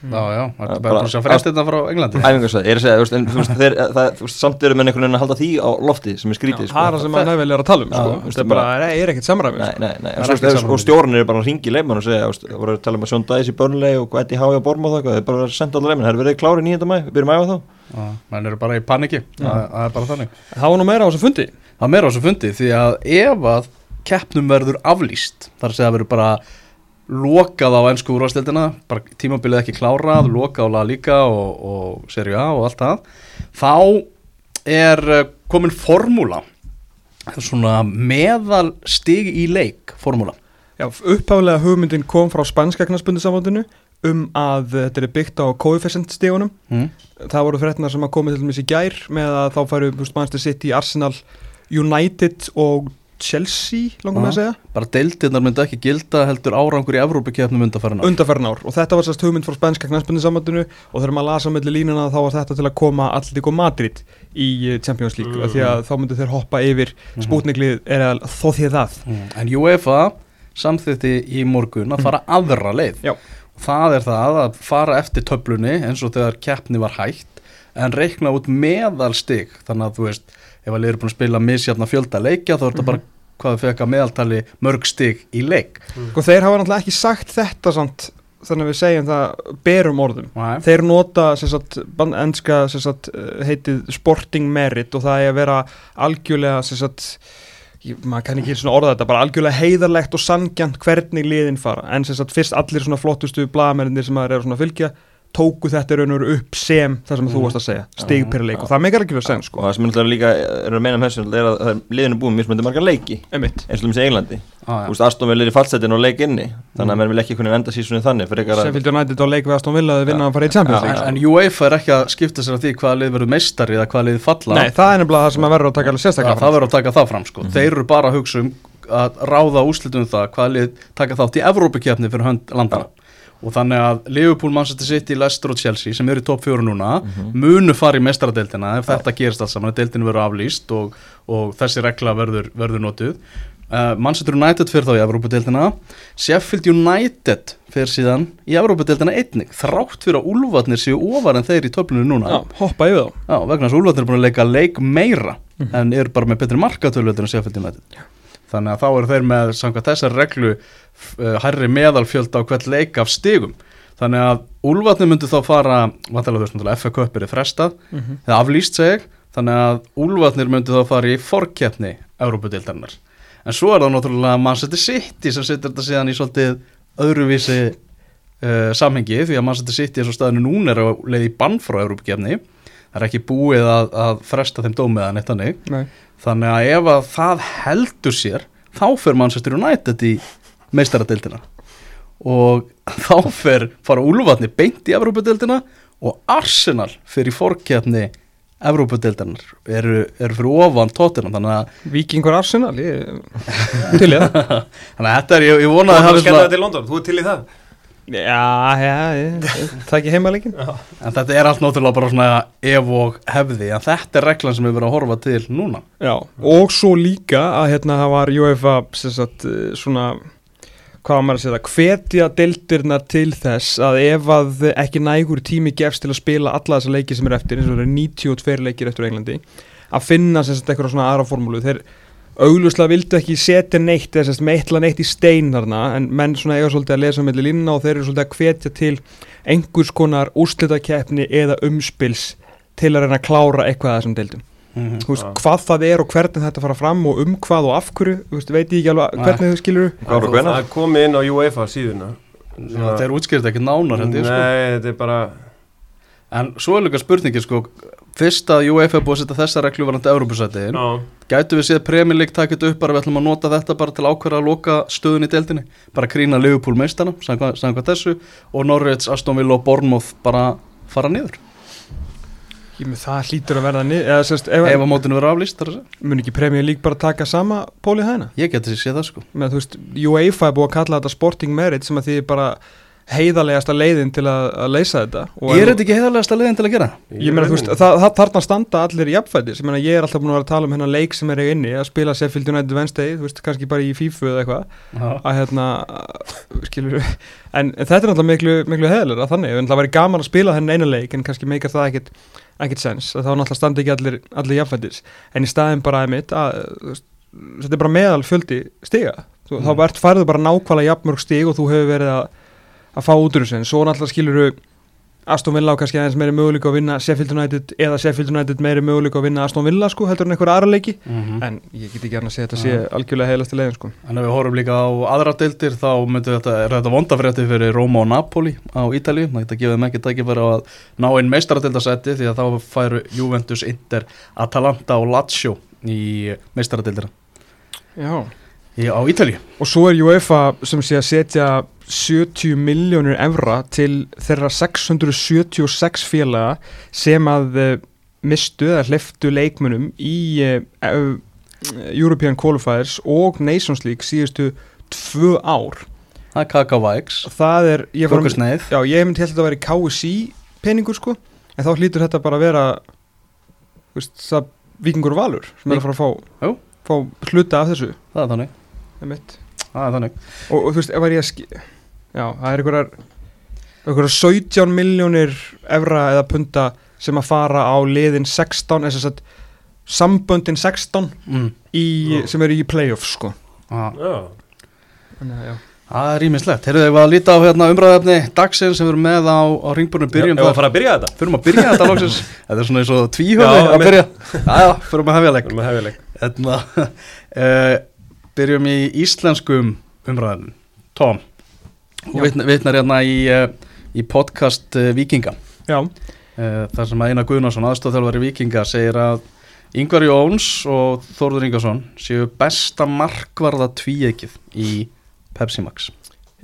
Speaker 2: Já, já, það
Speaker 5: Bara-
Speaker 2: er bara að sjá frest þetta frá Englandi
Speaker 5: Æfingarsvæði, ég er að segja, þú veist, en þú veist, þeir, það, þú veist, samt eru menn einhvern veginn að halda því á lofti sem er
Speaker 3: það
Speaker 5: skrítið
Speaker 3: er það sem að nævel er að tala um sko.
Speaker 5: Já,
Speaker 3: Þú veist, þetta er bara, nei, er ekkert samræmi
Speaker 5: Nei,
Speaker 3: sko.
Speaker 5: nei, nei,
Speaker 2: er
Speaker 5: og, svo,
Speaker 2: ekkert
Speaker 5: veist,
Speaker 2: samræmi.
Speaker 5: og stjórnir eru bara að ringi leifmenn og segja, þú veist, það voru að tala um að Sjón Dæs í Börnlei og Eddie Hái á Borma og það, þeir bara senda allar leifmenn, það er verið klári 9. mæ, við byrjum að æfa þá
Speaker 2: Já, menn eru bara í paniki, það það er bara þannig
Speaker 3: það var nú meira á þessu fundi
Speaker 2: Það er meira á þessu fundi því að ef að keppnum verður aflýst þar að segja að verður bara lokað á ennsku úrvarsleildina, bara tímabilið ekki klárað, lokað á laga líka og, og serið A og allt það þá er eh, komin formúla svona meðal stig í leik formúla
Speaker 3: Já, upphaflega hugmyndin kom frá spænska knarsbundisafandinu um að þetta er byggt á coefficient stígunum.
Speaker 2: mm.
Speaker 3: Það voru fréttinar sem að komið til dæmis í gær með að þá færu mannstu sitt í Arsenal, United og Chelsea, langum við að
Speaker 2: Já.
Speaker 3: segja,
Speaker 2: bara deildirnar myndu ekki gilda heldur árangur í Evrópukeppnum undarfærin ár
Speaker 3: undarfærin ár. Og þetta var sérst hugmynd frá spænska knarsbundisafandinu og þegar maður lasa mellir línuna þá var þetta til að koma Atletico Madrid í eh, Champions League mm. því að þá myndu þeir hoppa yfir mm. spútniklið er að þó því það.
Speaker 2: mm. en UEFA samþýtti í morgun að fara aðra leið
Speaker 3: Hmm. Já.
Speaker 2: það er það að fara eftir töflunni eins og þegar keppni var hægt en reikna út meðalstig þannig að þú veist, ef að liður búin að spila misjafna fjölda leikja þá er
Speaker 3: Hmm.
Speaker 2: þetta bara hvað þau fekk að meðaltali mörg stig í leik
Speaker 3: Og þeir hafa náttúrulega ekki sagt þetta samt þannig að við segjum það berum orðum.
Speaker 2: Nei.
Speaker 3: Þeir nota sem sagt, ban- enska sem sagt, eh, heitið sporting merit og það er að vera algjörlega sem sagt, ég, maður kann ekki einu sinni orða þetta, bara algjörlega heiðarlegt og sangjant hvernig liðin fara en sem sagt, fyrst allir svona flottustu blagamennir sem maður eru svona að fylgja tóku þetta raunur upp sem það sem þú varst að segja, stig per leik og það meikar ekki verið sen
Speaker 5: og
Speaker 3: sko,
Speaker 5: það sem er líka er að meina um þessu er að það er liðinu búið mjög smöndi margar leiki
Speaker 3: emitt
Speaker 5: eins og um þessi Englandi
Speaker 2: Ah,
Speaker 5: Þú
Speaker 2: ja.
Speaker 5: veist, Aston Villa er í fallsetin og leik inni þannig að menn vil ekki kunni enda sísunni þannig fyrir ykkar
Speaker 3: sem
Speaker 5: að
Speaker 3: fylgja nættið á leik við Aston Villa að vinna að fara í Champions League
Speaker 2: en, en UEFA er ekki að skipta sér að því hvaða lið verður meistari eða hvaða lið falla
Speaker 3: Nei, það er nefnilega það sem maður verður að taka alveg sérstaklega
Speaker 2: að það verður að taka það fram sko. þeir eru bara að hugsa um að ráða úslitum það hvaða lið taka þátt í Evrópukefni fyrir hönd landana og þannig að Liverpool, Manchester City, Leicester og Chelsea sem eru í topp fjóru núna munu fara í mestradeldina ef þetta gerist allt saman að deildin verður aflýst og, og þessi regla verður, verður notuð uh, Manchester United fyrir þá í Evrópudeldina Sheffield United fyrir síðan í Evrópudeldina einnig þrátt fyrir að úlfarnir séu ofar en þeir í töflunum núna
Speaker 3: Já, hoppa yfir þá
Speaker 2: Já, vegna þess að Úlfarnir er búin að leika leik meira en eru bara með betri markatölu en Sheffield United. Þannig að þá eru þeir með samkvæmt þessar reglu uh, hærri meðalfjöld á hvert leik af stigum. Þannig að Úlfarnir myndu þá fara, vantarlega þú veist, FA Cup er frestað, eða aflýst segja, þannig að Úlfarnir myndu þá fara í forkeppni Európa-dildarnar. En svo er það náttúrulega Manchester City sem setur þetta síðan í svolítið öðruvísi uh, samhengi því að Manchester City eins og staðinu núna er á leið í bann frá Európa-kefni það er ekki búið að, að fresta þeim dómiðan eitt hannig,
Speaker 3: Nei.
Speaker 2: þannig að ef að það heldur sér, þá fer Manchester United í meistaradeildina og (laughs) þá fer fara Úlfarni beint í Evrópadeildina og Arsenal fer í fórkjafni Evrópadeildinar eru, eru fyrir ofan tóttina þannig að, (laughs)
Speaker 3: Víkingur Arsenal, ég til ég það
Speaker 2: þannig að þetta er, ég, ég
Speaker 4: þú
Speaker 2: vona að
Speaker 4: ætlar
Speaker 2: það
Speaker 4: að
Speaker 2: er
Speaker 4: skella
Speaker 2: svona,
Speaker 4: þetta í London, þú er til í það
Speaker 3: Já, já, ég- ég- það ekki heima leikin
Speaker 2: en þetta er allt náttúrulega bara svona ef og hefði, en þetta er reglan sem við verðum að horfa til núna
Speaker 3: Já, og svo líka að hérna það var UEFA sem sagt, eh, svona hvað á maður að segja það, hvetja deildirna til þess að ef að ekki nægur tími gefst til að spila alla þessa leiki sem er eftir, eins og það eru 92 leikir eftir á Englandi, að finna sem sagt eitthvað svona aðra formúlu, þeir augljóslega vildu ekki setja neitt eða sem sagt meitla neitt í stein þarna, en menn svona eiga svolítið að lesa mellir línna og þeir eru svolítið að hvetja til einhvers konar úrslitakeppni eða umspils til að reyna að klára eitthvað að þessum deildum
Speaker 2: Mhm.
Speaker 3: þú veist, hvað það er og hvernig þetta fara fram og um hvað og af hverju, þú veist, veit ég ekki alveg
Speaker 2: Nei.
Speaker 3: hvernig þau skilur
Speaker 5: Hvað og hvenær?
Speaker 4: Það er komið inn á UEFA síðuna
Speaker 2: Svona, þetta er útskýrt ekki nánar held
Speaker 4: Nei,
Speaker 2: ég sko.
Speaker 4: þetta er bara
Speaker 2: En svo er líka spurningin sko Fyrst að UEFA er búið að setja þessa reglu varandi Európusætiðin,
Speaker 4: Já,
Speaker 2: gætu við séð Premier League taka þetta upp bara við ætlum að nota þetta bara til ákverða að loka stöðun í deildinni bara krýna Liverpool meistana, samkvæmt samkvæmt þessu og Norwich, Aston Villa og Bournemouth bara fara niður
Speaker 3: Ég með það hlýtur að verða niður eða sérst, ef,
Speaker 2: ef að mótinu verður aflýst þar að segja.
Speaker 3: mun ekki Premier League bara taka sama pólið hæna
Speaker 2: ég geti séð það sko
Speaker 3: með þú veist, UEFA er búið að kalla þetta sporting merit sem að því er bara heiðarlegasta leiðin til að, að leysa þetta Og
Speaker 2: Ég er
Speaker 3: ef-
Speaker 2: þetta ekki heiðarlegasta leiðin til að gera það?
Speaker 3: Ég meina, þú veist, það, það þarna standa allir jafnfætis, ég meina, ég er alltaf búin að vera að tala um hennar leik sem er ég inni, að spila Sheffield United Wednesday, þú veist, kannski bara í FIFA eða eitthvað, að hérna, að- skilur, en þetta er náttúrulega miklu, miklu heðalega þannig, en það væri gaman að spila hennar eina leik, en kannski meikar það ekkit, ekkit sens, að þá náttúrulega standa ekki allir, allir jafnfætis, en í staðin bara einmitt, að, þú veist, þetta er bara meðal fjöldi stiga, þú,
Speaker 2: Mm.
Speaker 3: þá ert færðu bara nákvæmlega jafnmörg stig og þú hefur verið að, að fá út úr þessu, en svo náttúrulega skilur Aston Villa á kannski aðeins meiri möguleika að vinna Sheffield United eða Sheffield United meiri möguleika að vinna Aston Villa sko heldur en einhverja aðra leiki
Speaker 2: Mhm. Mm.
Speaker 3: en ég get ekki annað að segja þetta sé algjörlega heilast í leiðin sko
Speaker 2: En ef við horfum líka á aðra deildir þá myndi þetta, er þetta vondafrétti fyrir Róma og Napoli á Ítalíu, það geta gefið þeim ekki tækifæri á að ná inn meistaradeildarsæti því að þá færu Juventus, Inter, Atalanta og Lazio í meistaradeildina
Speaker 3: Já.
Speaker 2: í, á Ítalíu.
Speaker 3: og svo er UEFA sem sé að setja 70 miljónir evra til þeirra 676 félaga sem að eh, mistu eða hliftu leikmunum í eh, ev- European Qualifiers og Nations League síðustu tvö ár
Speaker 2: Það er Kakavæks,
Speaker 3: það er ég fór að-
Speaker 2: Kókusneið,
Speaker 3: Já, ég myndi held að þetta væri KSI peningur sko, en þá hlýtur þetta bara að vera þú veist, það vikingur og valur sem er að fara
Speaker 2: Jú.
Speaker 3: að fá, fá hluta af þessu
Speaker 2: það er þannig,
Speaker 3: einmitt.
Speaker 2: það er þannig.
Speaker 3: og, og þú veist, ef var ég að ski Já, það er einhverjar einhverjar 17 miljónir evra eða punta sem að fara á liðin 16, eða sem sagt samböndin 16
Speaker 2: Mm.
Speaker 3: í,
Speaker 4: Já.
Speaker 3: sem eru í playoff sko
Speaker 2: Ah.
Speaker 4: Já,
Speaker 3: Þannig að já
Speaker 2: Það er ímislegt. Heyrðu þau að líta á hérna, umræðefni dagsins sem við erum með á, á ringbúrnu byrjum.
Speaker 5: Ef að
Speaker 2: þar.
Speaker 5: fara að byrja þetta
Speaker 2: Förum að byrja þetta lóksins. (laughs) Þetta er svona eins og
Speaker 4: Já,
Speaker 2: tvíhjóði að
Speaker 4: einmitt.
Speaker 2: byrja. Já, já, förum að hefja leik.
Speaker 4: við erum að hefja leik
Speaker 2: Hérna, (laughs) uh, byrjum í íslenskum umræðin. Tom, þú
Speaker 3: Já.
Speaker 2: vitna- vitnar hérna í, uh, í podcast uh, Vikinga,
Speaker 3: Já,
Speaker 2: uh, þar sem að Einar Guðnarsson, aðstofþjálfari Vikinga, segir að Yngvar Jóns og Þórður Ingarsson séu besta markvarða tvíegið í Pepsi Max.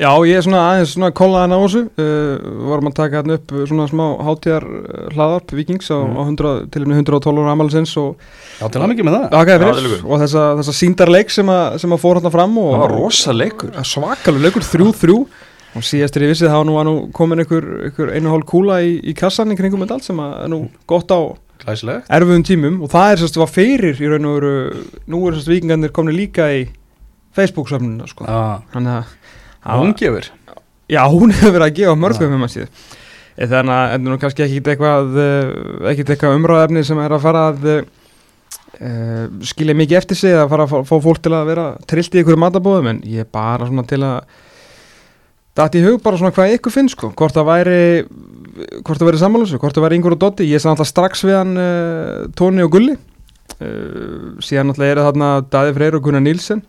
Speaker 3: Já, ég er svona aðeins svona kollaðan á þessu uh, Varum að taka hann upp uh, svona smá hátíðar uh, hlaðarp vikings á,
Speaker 2: Mm.
Speaker 3: á 100, tilumni 112 ára amalisins og
Speaker 2: Já, til hann með það.
Speaker 3: þakkaði
Speaker 5: Já, til
Speaker 3: fyrir
Speaker 5: lukku.
Speaker 3: og þessa, þessa síndarleik sem, a, sem að fór hann fram og
Speaker 5: Það var rosa leikur
Speaker 3: svakalur leikur, 3-3 og síðast er ég vissið þá nú var nú komin einhver, einhver einu hálf kúla í, í kassan í kringum þetta allt sem að er nú gott á
Speaker 2: Glæsilegt.
Speaker 3: erfiðum tímum og það er sérst var fyrir í raun og veru, nú er sérst vikingarnir komin líka í Facebook-söfnuna sko.
Speaker 2: Já,
Speaker 3: Þannig að
Speaker 2: ah, hún gefur.
Speaker 3: Já, hún (laughs) hefur verið að gefa mörgum um að síð Þannig að þetta er nú kannski ekkit eitthvað, eh, ekkit eitthvað umræðefni sem er að fara að uh, skilja mikið eftir sig eða fara að fá- fá fólk til að vera trillt í ykkur matabóðum en ég er bara svona til að datt í hug bara svona hvað ykkur finnst sko hvort það væri hvort það væri sammálusu, hvort það væri yngur og dotti ég sagði alltaf strax við hann uh, Tóni og Gulli uh, síðan alltaf eru þarna Daði Freyr og Gunnar Nílsen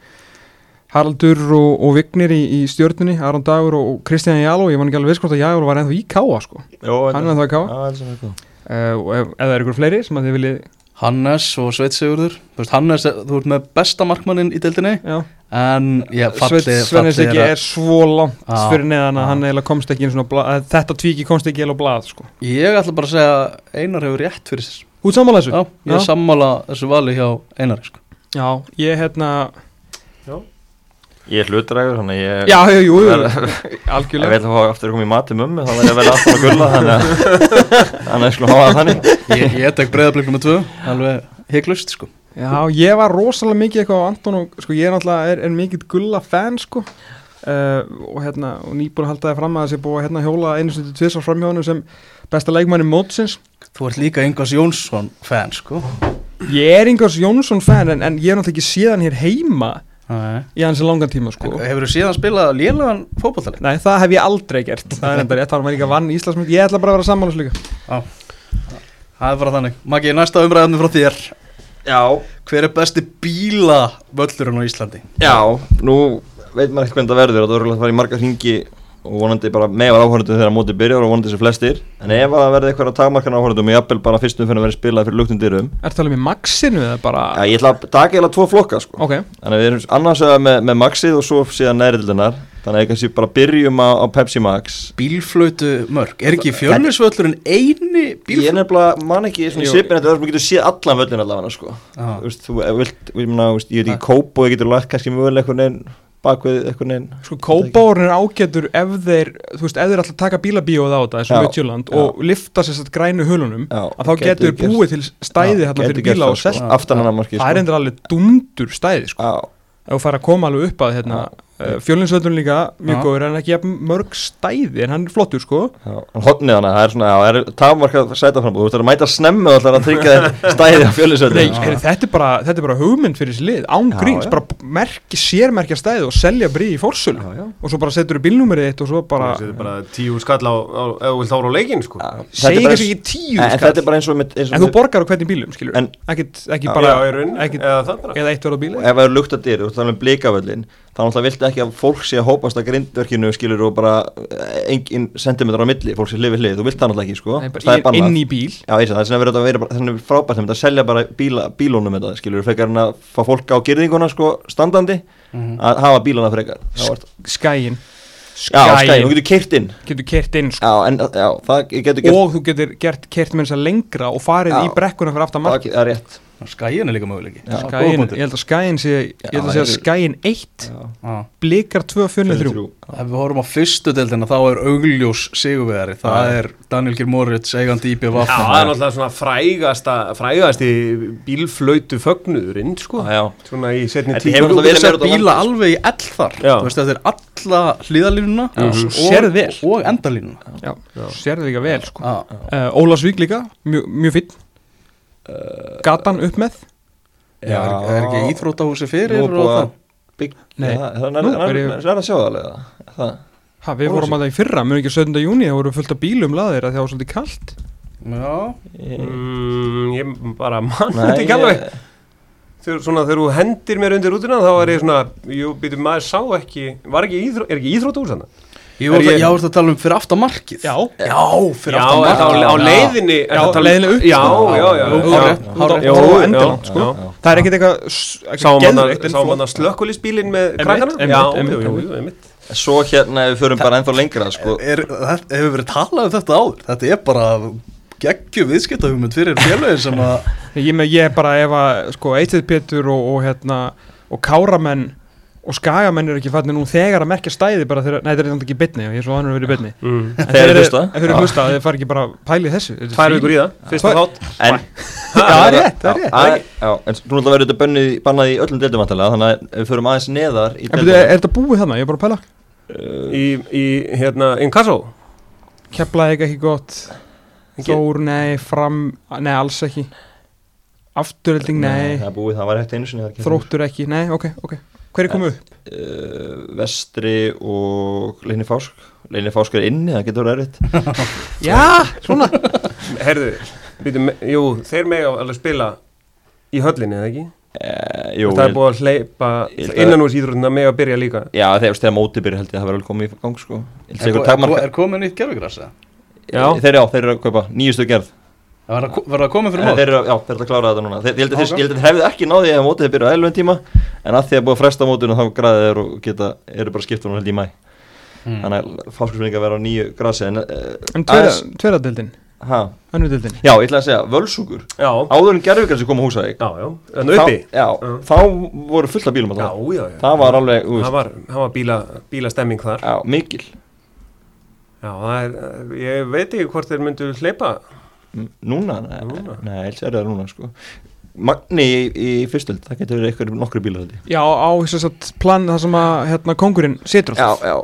Speaker 3: Haraldur og, og Vignir í, í stjórnunni Aron Dagur og, og Kristján Jáló ég man ekki alveg veist hvort að Jáló var ennþá í káa sko. hann er ennþá í káa uh, og ef, ef það eru ykkur fleiri sem að þið viljið
Speaker 2: Hannes og Sveit Sigurður. Þú veist, Hannes, er- þú ert með besta markmannin í deildinni.
Speaker 3: já.
Speaker 2: En, já, falli,
Speaker 3: Sveinn Svennes ekki er svo langt
Speaker 2: Já,
Speaker 3: fyrir neðan
Speaker 2: já.
Speaker 3: að hann eiginlega komst ekki einu sinni á blað, að þetta tvíki komst ekki eða blað sko.
Speaker 2: Ég ætla bara að segja að Einar hefur rétt fyrir sér
Speaker 3: út sammála þessu
Speaker 2: Já, ég er sammála þessu vali hjá Einar sko.
Speaker 3: já, ég hérna
Speaker 5: Ég er hlutdrægur, þannig að ég
Speaker 3: já, jú, jú, jú,
Speaker 5: Verð- Ég
Speaker 3: algjörlega
Speaker 5: veit að fá aftur að koma í mati mömmu Þannig að ég verði aftur að gulla Þannig að (laughs) Þannig að ég skulum hafa það þannig
Speaker 2: Ég, ég tek breyðablikum með tvö Alveg heiklust sko.
Speaker 3: Já, ég var rosalega mikið eitthvað á Anton og sko ég er náttúrulega er, er mikið gulla fan sko uh, og hérna og nýbúin að halda það fram að þessi búið að hérna hjóla einu stundu tvisar framhjóðinu sem besta leikmanni mótsins.
Speaker 2: Þú ert líka Ingvars Jónsson fan sko.
Speaker 3: Ég er Ingars Jónsson fan en, en ég er náttúrulega ekki síðan hér heima
Speaker 2: Nei.
Speaker 3: í hans langan tíma sko.
Speaker 5: eh,
Speaker 2: Hefur þú síðan spilað lélagan fótballtali?
Speaker 3: Nei, það hef ég aldrei gert. Það er enda rétt, það var maður líka vann Íslandsmynd. Ég ætla bara að vera sammála slíka.
Speaker 2: Það er bara þannig Maggi, næsta umræðan frá þér
Speaker 5: Já,
Speaker 2: Hver er besti bílavöllurinn á Íslandi?
Speaker 5: Já, nú veit maður ekkert hvernig það verður að það verður að fara í marga hringi og vonandi bara megar áhörðum þegar mótið byrjar og vonandi sem flestir en ef að það verður eitthvað að takmarkan áhörðum og jafnvel bara fyrstum fyrir að verður spilað fyrir luktum dyrum
Speaker 3: Ertu talað um í maxinu eða bara
Speaker 5: Já, ég ætla að taka eiginlega tvo flokka sko
Speaker 3: Ok,
Speaker 5: Þannig að við erum annars vegar með, með Maxið og svo síðan nærildunar Þannig að kannski bara byrjum á, á Pepsi Max
Speaker 2: Bílflötu mörg Er ekki fjölnisvöllurinn eini
Speaker 5: Ég er
Speaker 2: bílflötu?
Speaker 5: nefnilega man ekki svona í
Speaker 3: Jú. Ah.
Speaker 5: svipin þetta verður sem getur séð allan völlin allavega sko
Speaker 2: Já.
Speaker 5: Þú veist, þú ef vilt, ég meina, þú veist, ég veit ekki kóp og ég getur lagt kannski mögulega eitthvað neinn bakvið eitthvað neinn
Speaker 3: sko kópáurinn er ágætur ef þeir, þú veist, ef þeir alltaf taka bílabíóð á þetta, eins
Speaker 5: Já,
Speaker 3: og Midtjöland
Speaker 5: já.
Speaker 3: og lifta sér satt grænu hulunum
Speaker 5: Já,
Speaker 3: að þá
Speaker 5: gætu
Speaker 3: getur
Speaker 5: gert-
Speaker 3: búið til stæði
Speaker 5: Já,
Speaker 3: hérna
Speaker 5: gætu
Speaker 3: fyrir
Speaker 5: gert
Speaker 3: bíla
Speaker 5: það,
Speaker 3: og selt
Speaker 5: sko. aftan hann að marki
Speaker 3: Það er endur alveg dundur stæði, sko
Speaker 5: Já,
Speaker 3: ef þú fara að koma alveg upp að hérna fjölinsvöldun líka mjög
Speaker 2: Já.
Speaker 3: góður en ekki jafn mörg stæði en hann er flottur sko
Speaker 5: já, hann hotnið hana, það er svona, já, það er tafmarkað sætaframbúð, þú veist það er að mæta snemmu alltaf að tryggja
Speaker 3: (laughs)
Speaker 5: þér stæði á
Speaker 3: Nei,
Speaker 5: fjölusöldin
Speaker 3: er, þetta, er bara, þetta er bara hugmynd fyrir þessi lið án
Speaker 5: Já,
Speaker 3: gríns,
Speaker 5: já.
Speaker 3: bara merki, sérmerkja stæði og selja brí í fórsölu
Speaker 5: Já, já.
Speaker 3: og svo bara setur þú bílnúmerið þitt og svo bara
Speaker 4: Það er bara tíu skall á, á ef þú vilt ára á leikin sko.
Speaker 3: segir kannski ekki tíu
Speaker 5: En
Speaker 3: skall
Speaker 5: þetta er bara eins og með, eins
Speaker 3: en þú
Speaker 5: og með
Speaker 3: borgar á hvernig bílum skilur
Speaker 5: En-
Speaker 3: ekkit, ekki
Speaker 5: Já,
Speaker 3: bara
Speaker 4: Já, í rauninni,
Speaker 3: ekkit,
Speaker 4: eða það bara
Speaker 3: eða eitt verður á bíli
Speaker 5: ef það eru lukta dyr, þú veist þannig blikavöllin um þá náttúrulega viltu ekki að fólk sé að hópast að grindverkinu skilur og bara eh, engin sentimetrar á milli, fólk sé hlifið hlið, þú vilt það náttúrulega ekki sko,
Speaker 3: Nei, bara
Speaker 5: það er
Speaker 3: í-
Speaker 5: bannað
Speaker 3: inn í bíl
Speaker 5: Já, ég sé, það er svona verið að vera bara, þannig er frábært einmitt að selja bara bíla, bílónum þetta, skilur, frekar en að fá fólk á gerðinguna, sko, standandi,
Speaker 3: Mhm.
Speaker 5: að hafa bílana frekar. Já, var-
Speaker 3: skæin
Speaker 5: Já, skæði, þú getur keirt inn.
Speaker 3: getur kert inn sko.
Speaker 5: Já, en, já, það getur gert,
Speaker 3: og þú getur gert kert með þess að lengra og farið
Speaker 5: Já.
Speaker 3: í brekkuna fyrir aftan mark
Speaker 5: það það er rétt.
Speaker 2: Skæin er líka möguleiki
Speaker 5: Já.
Speaker 2: Góða
Speaker 3: skæin,
Speaker 2: punktur.
Speaker 3: ég held að skæin sé ég held að
Speaker 5: Já,
Speaker 3: segja skæin 1
Speaker 5: Já,
Speaker 2: Já.
Speaker 3: blikar 2 fjölnið 3
Speaker 5: þrjú.
Speaker 2: Ef við horfum á fyrstu deildina þá er augljós sigurvegari Það er Daniel Geir Moritz, eigandi IPV
Speaker 4: Já, það er náttúrulega svona frægasta, frægasti bílflautu fögnuðurinn sko.
Speaker 5: Já, já.
Speaker 4: Svona í setni
Speaker 5: Þetta
Speaker 4: tíu
Speaker 5: hefur
Speaker 2: Þú
Speaker 5: náttúrulega
Speaker 2: veist
Speaker 5: verið
Speaker 2: að
Speaker 5: meira út á
Speaker 2: bíla
Speaker 5: landi,
Speaker 2: alveg í ell þar
Speaker 4: Já. Mhm.
Speaker 2: Þú veist, Þetta er alla hliðalínuna
Speaker 3: svo
Speaker 2: og,
Speaker 3: sérð vel.
Speaker 2: og, og endalínuna
Speaker 3: já, sér það líka vel sko.
Speaker 2: Já.
Speaker 3: uh, Ólasvík líka, mjög mjö finn gatan upp með
Speaker 2: Já, er, er ekki íþrótahúsi fyrir
Speaker 5: Nú er
Speaker 2: og
Speaker 5: búið að
Speaker 2: það
Speaker 5: byggja,
Speaker 3: Nei.
Speaker 5: það það er
Speaker 3: Nú
Speaker 5: nær-
Speaker 3: er ég-
Speaker 5: nær- nær að sjá það alveg, það. það.
Speaker 3: ha, við vorum að það í fyrra, mjög ekki 17. júni það voru fullt af bílum laðir að það var svolítið kalt
Speaker 2: Já,
Speaker 4: Mm, ég bara mann
Speaker 5: Nei,
Speaker 4: þetta ekki alveg þegar, svona, þegar þú hendir mér undir rútuna þá er ég svona, jú, býtum maður sá ekki var ekki íþró, er ekki íþrótt úr þannig
Speaker 2: ég voru
Speaker 4: Er ég-
Speaker 2: ég... að tala um fyrir aftamarkið já
Speaker 4: já,
Speaker 2: fyrir aftamarkið
Speaker 4: er það á, á leiðinni er
Speaker 3: Já,
Speaker 4: þetta tal-
Speaker 3: leiðinni upp. sko.
Speaker 4: já, já, já,
Speaker 2: Jú,
Speaker 4: já,
Speaker 2: hárrétt, hárrétt.
Speaker 4: já,
Speaker 3: Jú,
Speaker 4: já,
Speaker 3: endilangt,
Speaker 4: já,
Speaker 3: sko. um
Speaker 4: já.
Speaker 3: það er ekkert eitthvað s-
Speaker 4: sáum
Speaker 3: eitthvað
Speaker 4: hann
Speaker 3: geðveikt,
Speaker 4: að-
Speaker 3: en
Speaker 4: sáum
Speaker 3: flott.
Speaker 4: hann að slökkulisbílinn með
Speaker 3: Einmitt,
Speaker 4: krakkana
Speaker 3: einmitt,
Speaker 4: já,
Speaker 3: einmitt,
Speaker 4: jú, jú,
Speaker 3: einmitt.
Speaker 4: jú, einmitt
Speaker 5: Svo hérna, ef við förum bara ennþá lengra, sko,
Speaker 2: er, þetta, Hefur verið talað um þetta áður Þetta er bara geggjum viðskiptahugmynd fyrir félögin sem að
Speaker 3: ég, með, ég bara ef að sko, Eitið Pétur og, og, hérna, og Káramenn og skagamenn eru ekki fannir nú þegar að merkja stæði bara þegar, nei þetta er þetta ekki bytni ég er svo annar að vera í bytni
Speaker 4: Mm.
Speaker 3: En
Speaker 5: Þeir eru
Speaker 3: eru-
Speaker 5: hlusta.
Speaker 3: en þeir eru hlusta, þeir fara ekki bara að pæli þessu Þetta er
Speaker 4: tvær
Speaker 3: fín-
Speaker 4: vikur í það, fyrsta
Speaker 3: Tvær-
Speaker 4: þátt
Speaker 5: En (laughs)
Speaker 3: það er rétt, það er rétt.
Speaker 5: Já, já, en s- nú ætla að vera þetta bönnið, bannað í öllum deildum vantilega Þannig að ef við förum aðeins neðar í
Speaker 3: En
Speaker 5: deildum
Speaker 3: byrju, er þetta búið þarna, ég er bara að pæla
Speaker 4: í, í hérna, inkasso
Speaker 3: Keflaði ekki ekki gott
Speaker 4: Ekki-
Speaker 3: Þór, nei, fram, nei alls ekki Afturölding, nei
Speaker 5: Það er búið, það var hægt einu sinni það er ekki-
Speaker 3: Þróttur ekki, nei, ok, ok Hver er komið upp?
Speaker 5: Eh, Vestri og Leini Fásk Leini Fásk er inni, það getur verið erfitt
Speaker 3: (laughs) Já, svona
Speaker 4: herðu, býtum, jú, þeir mega alveg spila í höllinni, eða ekki?
Speaker 5: Eh, Jú,
Speaker 4: það er
Speaker 5: ég-
Speaker 4: búið að hleypa
Speaker 5: Ég held að-
Speaker 4: innan úr íþróttina mega að byrja líka
Speaker 5: Já, þegar þegar mótið byrja held ég að það verður alveg komið í gang sko Ég held að
Speaker 2: Er,
Speaker 5: ykkur
Speaker 2: er,
Speaker 5: takmarka
Speaker 2: er komið nýtt gerfugrasa
Speaker 4: Já.
Speaker 5: Þeir já, þeir eru að kaupa nýjustu gerð
Speaker 2: Var það verður það komið
Speaker 5: Eh,
Speaker 2: fyrir mót?
Speaker 5: Þeir eru að- já, þeir eru að klára þetta núna Þeir- Ég held að þeir-
Speaker 2: Ok.
Speaker 5: ég held að þeir hefðu ekki náði ef mótið byrja á 11 tíma En að því að búið að fresta mótinu þá græði þeir og geta, eru bara skipt held ég í mæ
Speaker 4: Hmm.
Speaker 2: Mm.
Speaker 5: Þannig að fáskursvinninga vera á nýju grasi En,
Speaker 3: En
Speaker 5: aðeins-
Speaker 3: tveradöldin,
Speaker 5: ha,
Speaker 3: önnudöldin
Speaker 5: Já, ég ætla að segja, völsungur
Speaker 4: Já,
Speaker 5: Áður en gerðugrasi kom á húsæk
Speaker 4: já, já, en uppi
Speaker 5: Já,
Speaker 4: Mm.
Speaker 5: þá voru fullt af bílum að
Speaker 4: Já,
Speaker 5: það
Speaker 4: já, já
Speaker 5: Það var alveg, þú
Speaker 4: Það
Speaker 5: veist,
Speaker 4: var, það var bíla, bílastemming þar
Speaker 5: já, mikil
Speaker 4: Já, það er, ég veit ekki hvort þeir myndu hleypa
Speaker 5: M- Núna, nei,
Speaker 4: Núna?
Speaker 5: nei, helst er það núna, sko Magni í, í fyrstöld, það getur verið eitthvað nokkru bílar held ég
Speaker 3: Já, á þess að plan það sem að hérna, kongurinn situr á
Speaker 5: Já, já,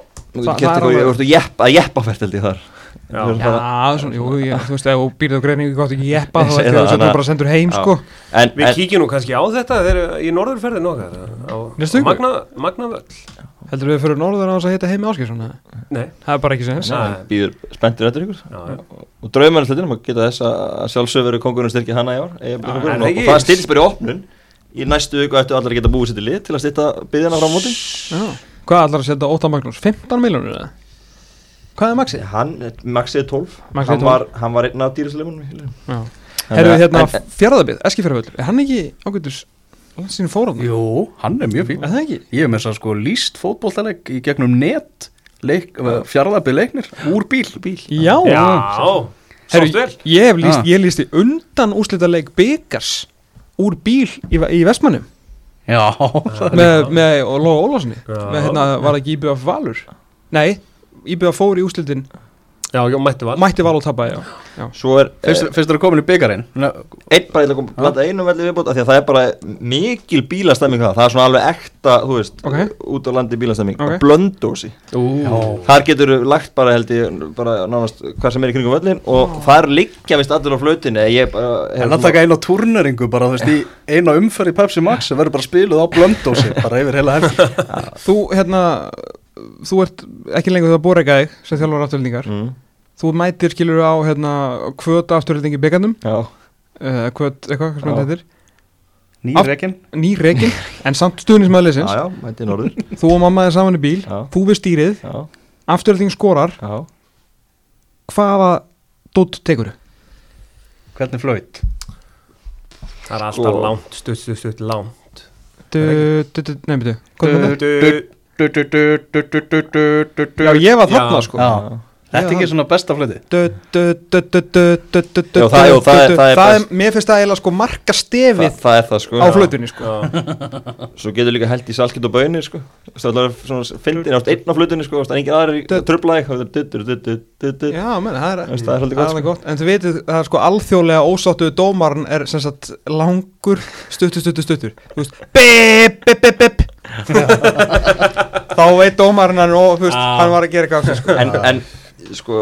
Speaker 3: Það-
Speaker 5: þú getur
Speaker 3: það er
Speaker 5: eitthvað,
Speaker 3: alveg-
Speaker 5: þú veist, að jeppa, að jeppa fært held ég þar Við
Speaker 4: Já.
Speaker 5: erum
Speaker 3: Já,
Speaker 5: bara-
Speaker 3: svona, jú, ég, þú veist, ef þú býrð á greiningu gott ekki jeppa
Speaker 5: Ég
Speaker 3: þá
Speaker 5: segi
Speaker 3: er
Speaker 5: það,
Speaker 3: það
Speaker 5: þannig að-
Speaker 3: bara sendur heim,
Speaker 5: Já.
Speaker 3: sko
Speaker 5: En,
Speaker 4: Við
Speaker 5: en
Speaker 4: kíkjum nú kannski á þetta þegar í norðurferðin okkar á
Speaker 3: Næstu viku?
Speaker 4: Magna, Magnavöll
Speaker 3: Heldur við fyrir norður á þess að hitta heimi áskil svona
Speaker 4: Nei,
Speaker 3: Það er bara ekki sem þess
Speaker 4: Nei.
Speaker 5: hann býður spenntur eftir ykkur
Speaker 4: já, já.
Speaker 5: og draumarinn að geta þess að sjálfsögur verið kongurinn styrkja hana í ár Eyjafjörður
Speaker 4: Já,
Speaker 5: kóngurinn,
Speaker 4: er það
Speaker 5: og,
Speaker 4: ekki?
Speaker 5: og það styrst bara í opnun í næstu viku ættu allar að geta búið sér til lið til að styrta byðina frá móti
Speaker 3: Hvað ætlar að setja Óta Magnús? 15 miljónir eða? Hvað er maxið?
Speaker 5: hann, Maxið 12,
Speaker 3: Maxi er
Speaker 5: hann, var, hann var einn af dýrisleimunum
Speaker 3: Já. Herru, hérna, fjaraðabíð, Eskifjaraðabíð Er hann ekki ágættur landsinu fóran?
Speaker 2: Jú, hann er mjög fín
Speaker 3: Er það ekki?
Speaker 2: Ég hef með þess að sko líst fótboltaleg í gegnum net leik, fjarlæpið leiknir úr bíl, bíl.
Speaker 3: Já,
Speaker 4: já.
Speaker 3: Herru,
Speaker 4: sátt vel
Speaker 3: ég hef líst,
Speaker 2: Ah.
Speaker 3: ég lísti undan úslita leik Bygars úr bíl í, í Vestmannum
Speaker 2: Já,
Speaker 3: með, með Lóa Ólafssoni
Speaker 4: Já.
Speaker 3: með hérna var ekki IBF Valur nei, IBF fór í úslitin
Speaker 4: Já, já, mættu val
Speaker 3: mætti Valur tappa já.
Speaker 5: svo er eh,
Speaker 2: fyrst, fyrst er að komin í byggarinn
Speaker 5: einn bara ég ætla að koma blanda einum velli viðbót af því að það er bara mikil bílastemming það það er svona alveg ekta, þú veist
Speaker 3: Ok.
Speaker 5: út á landi bílastemming,
Speaker 3: Ok.
Speaker 5: okay. blöndósi
Speaker 2: Ú,
Speaker 5: þar getur lagt bara held ég bara nánast hvað sem er í kringum völlin og þar liggja vist allir á flötinni ég, uh,
Speaker 2: En að taka eina turneringu bara, þú veist, í eina umferð í Pepsi Max sem verður bara spiluð á blöndósi, bara yfir heila helgi.
Speaker 3: þú hérna þú ert ekki lengur það að bóra ekki þig sem þjálfur afturlendingar
Speaker 5: mm,
Speaker 3: þú mætir skilur á hérna kvöta afturlendingi byggandum
Speaker 5: já,
Speaker 3: uh, kvöt eitthvað, hvað sem þetta
Speaker 5: Já.
Speaker 3: heitir
Speaker 2: Nýrekin?
Speaker 3: ný rekin, en samt stuðnismæður
Speaker 5: já,
Speaker 3: leysins
Speaker 5: já, mætti norður
Speaker 3: (laughs) þú og mamma er saman í bíl,
Speaker 5: Já.
Speaker 3: þú við stýrið
Speaker 5: já,
Speaker 3: afturlending skorar,
Speaker 5: já
Speaker 3: hvaða dótt tekur
Speaker 2: Hvernig flöyt?
Speaker 4: Það er alltaf
Speaker 5: Sko.
Speaker 4: langt, stutt, stutt, stutt, langt
Speaker 3: Nei, betur, hvað
Speaker 2: Du-
Speaker 3: er þetta?
Speaker 2: du- du- du- du- du- du- du- du- du- du-
Speaker 3: Já, ég var
Speaker 4: Já.
Speaker 3: þarna sko
Speaker 2: Já.
Speaker 5: Já.
Speaker 2: Þetta er
Speaker 3: Já,
Speaker 2: ekki svona besta flöti?
Speaker 3: Du- du- du- du- du- du- du- du-
Speaker 5: Já, það- já, það
Speaker 3: du-
Speaker 5: er-
Speaker 3: du-
Speaker 5: það er
Speaker 3: það
Speaker 5: best.
Speaker 3: er mér finnst það eiginlega sko marka
Speaker 5: Þa,
Speaker 3: stefið
Speaker 5: það er það sko
Speaker 3: á flutunni sko
Speaker 4: Já,
Speaker 5: svo getur líka held í salkit og bönir sko það er svona fyndin ást einn á flutunni sko en engin aðri
Speaker 3: Dutt.
Speaker 5: trubla eitthvað
Speaker 3: já, menn, það er
Speaker 5: Veist, það er svolítið gott,
Speaker 3: alveg
Speaker 5: sko.
Speaker 3: gott en þið veitir, það er sko alþjóðlega ósáttuðu dómarn er sem sagt langur stuttur, stuttur, stuttur þú veist, bip, bip, bip, bip þá veit dómarn hann og þú veist,
Speaker 5: Ah.
Speaker 4: Já.
Speaker 3: hann var að gera eitthvað af sér, sko
Speaker 5: en, en sko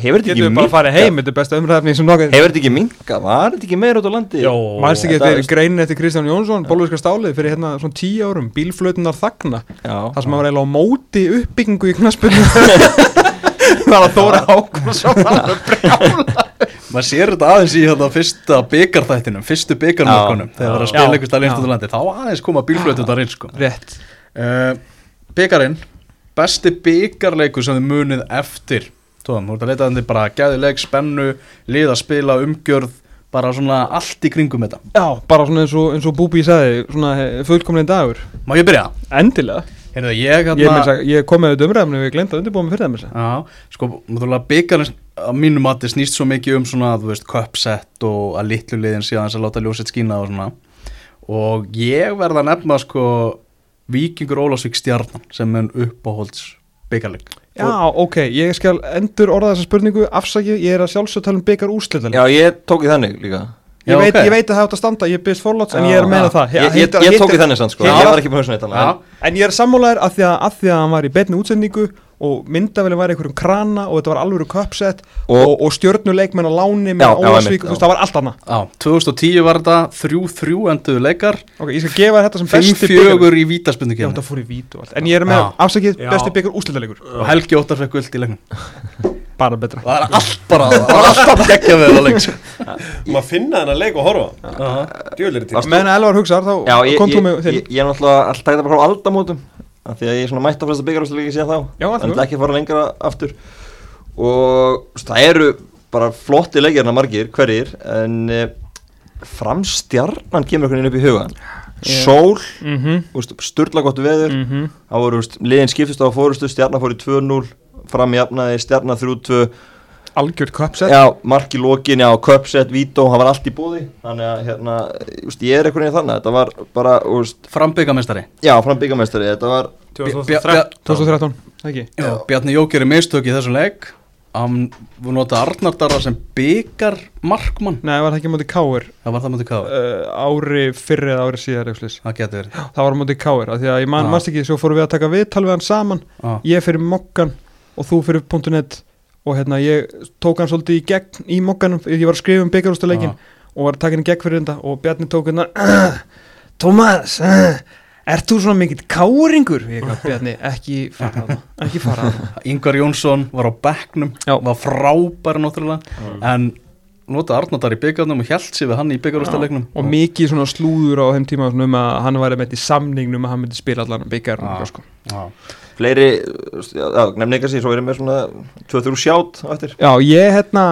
Speaker 5: hefur þetta ekki
Speaker 3: getum við bara að fara heim, þetta er besta umræðafni sem nokkað
Speaker 5: hefur þetta ekki minka, var þetta ekki meira út á landi
Speaker 4: Jó.
Speaker 3: Mæst ekki
Speaker 5: Þetta
Speaker 3: eftir
Speaker 5: er-
Speaker 3: greinin eftir Kristján Jónsson, Bólvíska stálið fyrir hérna svona tíu árum, bílflötunar þagna
Speaker 5: Já.
Speaker 3: Það sem að var eiginlega á móti uppbyggingu í knaspunni Það (laughs) var að Þóra Hákonsson
Speaker 2: Maður sér þetta aðeins í þetta fyrsta byggarþættinum, fyrstu byggarmörkunum,
Speaker 5: Já.
Speaker 2: þegar það er að spila
Speaker 3: Já.
Speaker 2: einhver stað lengst út
Speaker 3: Já.
Speaker 2: á landi, þá aðeins koma bílflötundar inn, sko.
Speaker 3: Rétt
Speaker 2: Uh, byggarinn, besti byggarleikur sem þið munið eftir. Tóðan, þú ert að leita þannig bara gæðileg, spennu, lið að spila, umgjörð, bara svona allt í kringum þetta.
Speaker 3: Já, bara svona eins og, eins og Búbi sagði, svona fullkomlega dagur
Speaker 2: Má ég byrja?
Speaker 3: Endilega
Speaker 2: Heyrðu, ég,
Speaker 3: Ég,
Speaker 2: hérna,
Speaker 3: meira að segja- ég kom með auðvitað umræðum en við glemt að undirbúa mig fyrir það með þess
Speaker 2: Já, sko, náttúrulega byggarinn að mínum að þið snýst svo mikið um svona, þú veist, köpsett og að litlu liðin síðan þess að láta ljósið skína og svona og ég verða að nefna sko Víkingur Ólásvík stjarnan sem er uppáhalds byggarleik
Speaker 3: Já, ok, ég skal endur orða þessa spurningu afsakið, ég er að sjálfsög tala um byggar úrslitaleik
Speaker 5: já, ég tók í þannig líka
Speaker 3: ég,
Speaker 2: Já,
Speaker 3: veit,
Speaker 2: ok.
Speaker 3: ég veit að það átt að standa, ég byrst forláts en
Speaker 5: Já.
Speaker 3: ég er að meina
Speaker 5: Já.
Speaker 3: það
Speaker 5: ég, ég,
Speaker 3: Hittir-
Speaker 5: ég tók í
Speaker 3: hittir-
Speaker 5: þannig sann sko,
Speaker 3: Já.
Speaker 5: ég var ekki með húsnætt
Speaker 2: Já,
Speaker 5: annað
Speaker 3: En ég er sammálaður að því að, að því að hann var í betni útsendingu og myndavili var í einhverjum krana og þetta var alvöru köpsett og, og, og stjörnuleikmenn á láni
Speaker 5: Já, já,
Speaker 3: með Ólasvík,
Speaker 5: einmitt,
Speaker 3: þú veist,
Speaker 5: já.
Speaker 3: það var allt annað
Speaker 2: já 2010 var þetta 3-3 enduðu leikar
Speaker 3: Ok, ég skal gefa þér þetta sem besti byggar
Speaker 2: 5-4 í
Speaker 3: Já,
Speaker 2: vítaspundukefni
Speaker 3: þetta fór í vít og allt En ég er með
Speaker 2: Já.
Speaker 3: afsakið
Speaker 4: Já.
Speaker 3: besti byggar úslitaleikur
Speaker 2: og Helgi Óttar fekk guld í leiknum
Speaker 3: Bara betra
Speaker 2: Það er allt bara, það var alltaf geggja við það leik sko.
Speaker 4: maður finna þennan leik og horfa Djölir til
Speaker 3: Meðan að Elvar hugsaðar
Speaker 5: já,
Speaker 3: þá
Speaker 5: ég,
Speaker 3: Sko, kom
Speaker 5: ég,
Speaker 3: þú með
Speaker 5: ég,
Speaker 3: þinn
Speaker 5: ég, er náttúrulega alltaf ekki að bara frá aldamótum af því að ég er svona mætt á flesta byggarhúsleiki síðan þá
Speaker 3: Já, allt
Speaker 5: en
Speaker 3: góð.
Speaker 5: ætla ekki að fara lengra aftur og þú veist, það eru bara flotti leikirna margir, hverjir en eh, framstjarnan kemur einhvern veginn upp í hugan sól,
Speaker 3: Mhm,
Speaker 5: úst, sturla gott veður
Speaker 3: mhm.
Speaker 5: Það voru veist, liðin skiptist á að fórustu, stjarnar fór í 2-0, fram jafnaði, stjarnar 3-2,
Speaker 3: Algjört köpsett
Speaker 5: já, mark í lokin, já, köpsett, vító, það var allt í bóði, þannig að, hérna, veist, ég er einhvern veginn þannig, þetta var bara, veist,
Speaker 2: Frambyggamestari
Speaker 5: já, fram byggamestari, þetta var,
Speaker 4: 2013
Speaker 3: 2013, ekki
Speaker 2: Já, Bjarni Jó gerir mistök í þessum leik hann voru nota Arnar Darra sem byggar markmann
Speaker 3: Nei, var það ekki á móti Káir
Speaker 2: það var það mútið káða,
Speaker 3: uh, ári fyrir eða ári síðar eitthvað slis
Speaker 2: það getur verið
Speaker 3: það var á móti Káir, af því að ég man,
Speaker 2: Já.
Speaker 3: manst ekki svo fórum við að taka viðtal við hann saman
Speaker 2: Já.
Speaker 3: ég fyrir Mokkan og þú fyrir .net og hérna ég tók hann svolítið í gegn í mokkanum, ég var að skrifa um byggarústuleikin og var að taka hann í gegn fyrir þetta og Bjarni tók hérna (clears throat) Tómas, (clears throat) ert þú svona mikill káringur? Ég gaf Bjarni, ekki fara það, ekki fara
Speaker 2: (laughs)
Speaker 3: það
Speaker 2: Yngvar Jónsson var á bekknum
Speaker 3: Já. Mm.
Speaker 2: var frábær náttúrulega en notaði Arnóttar í byggarnum og hjælt sér við hann í byggarústalegnum
Speaker 3: og mikið svona slúður á þeim tíma svona um að hann væri með í samningnum að hann myndi spila allan um byggar
Speaker 2: Já.
Speaker 3: sko.
Speaker 5: Fleiri, uh, já, já, nefnir ekki að sé, svo erum við svona 2-3 sjátt á eftir
Speaker 3: Já, ég hérna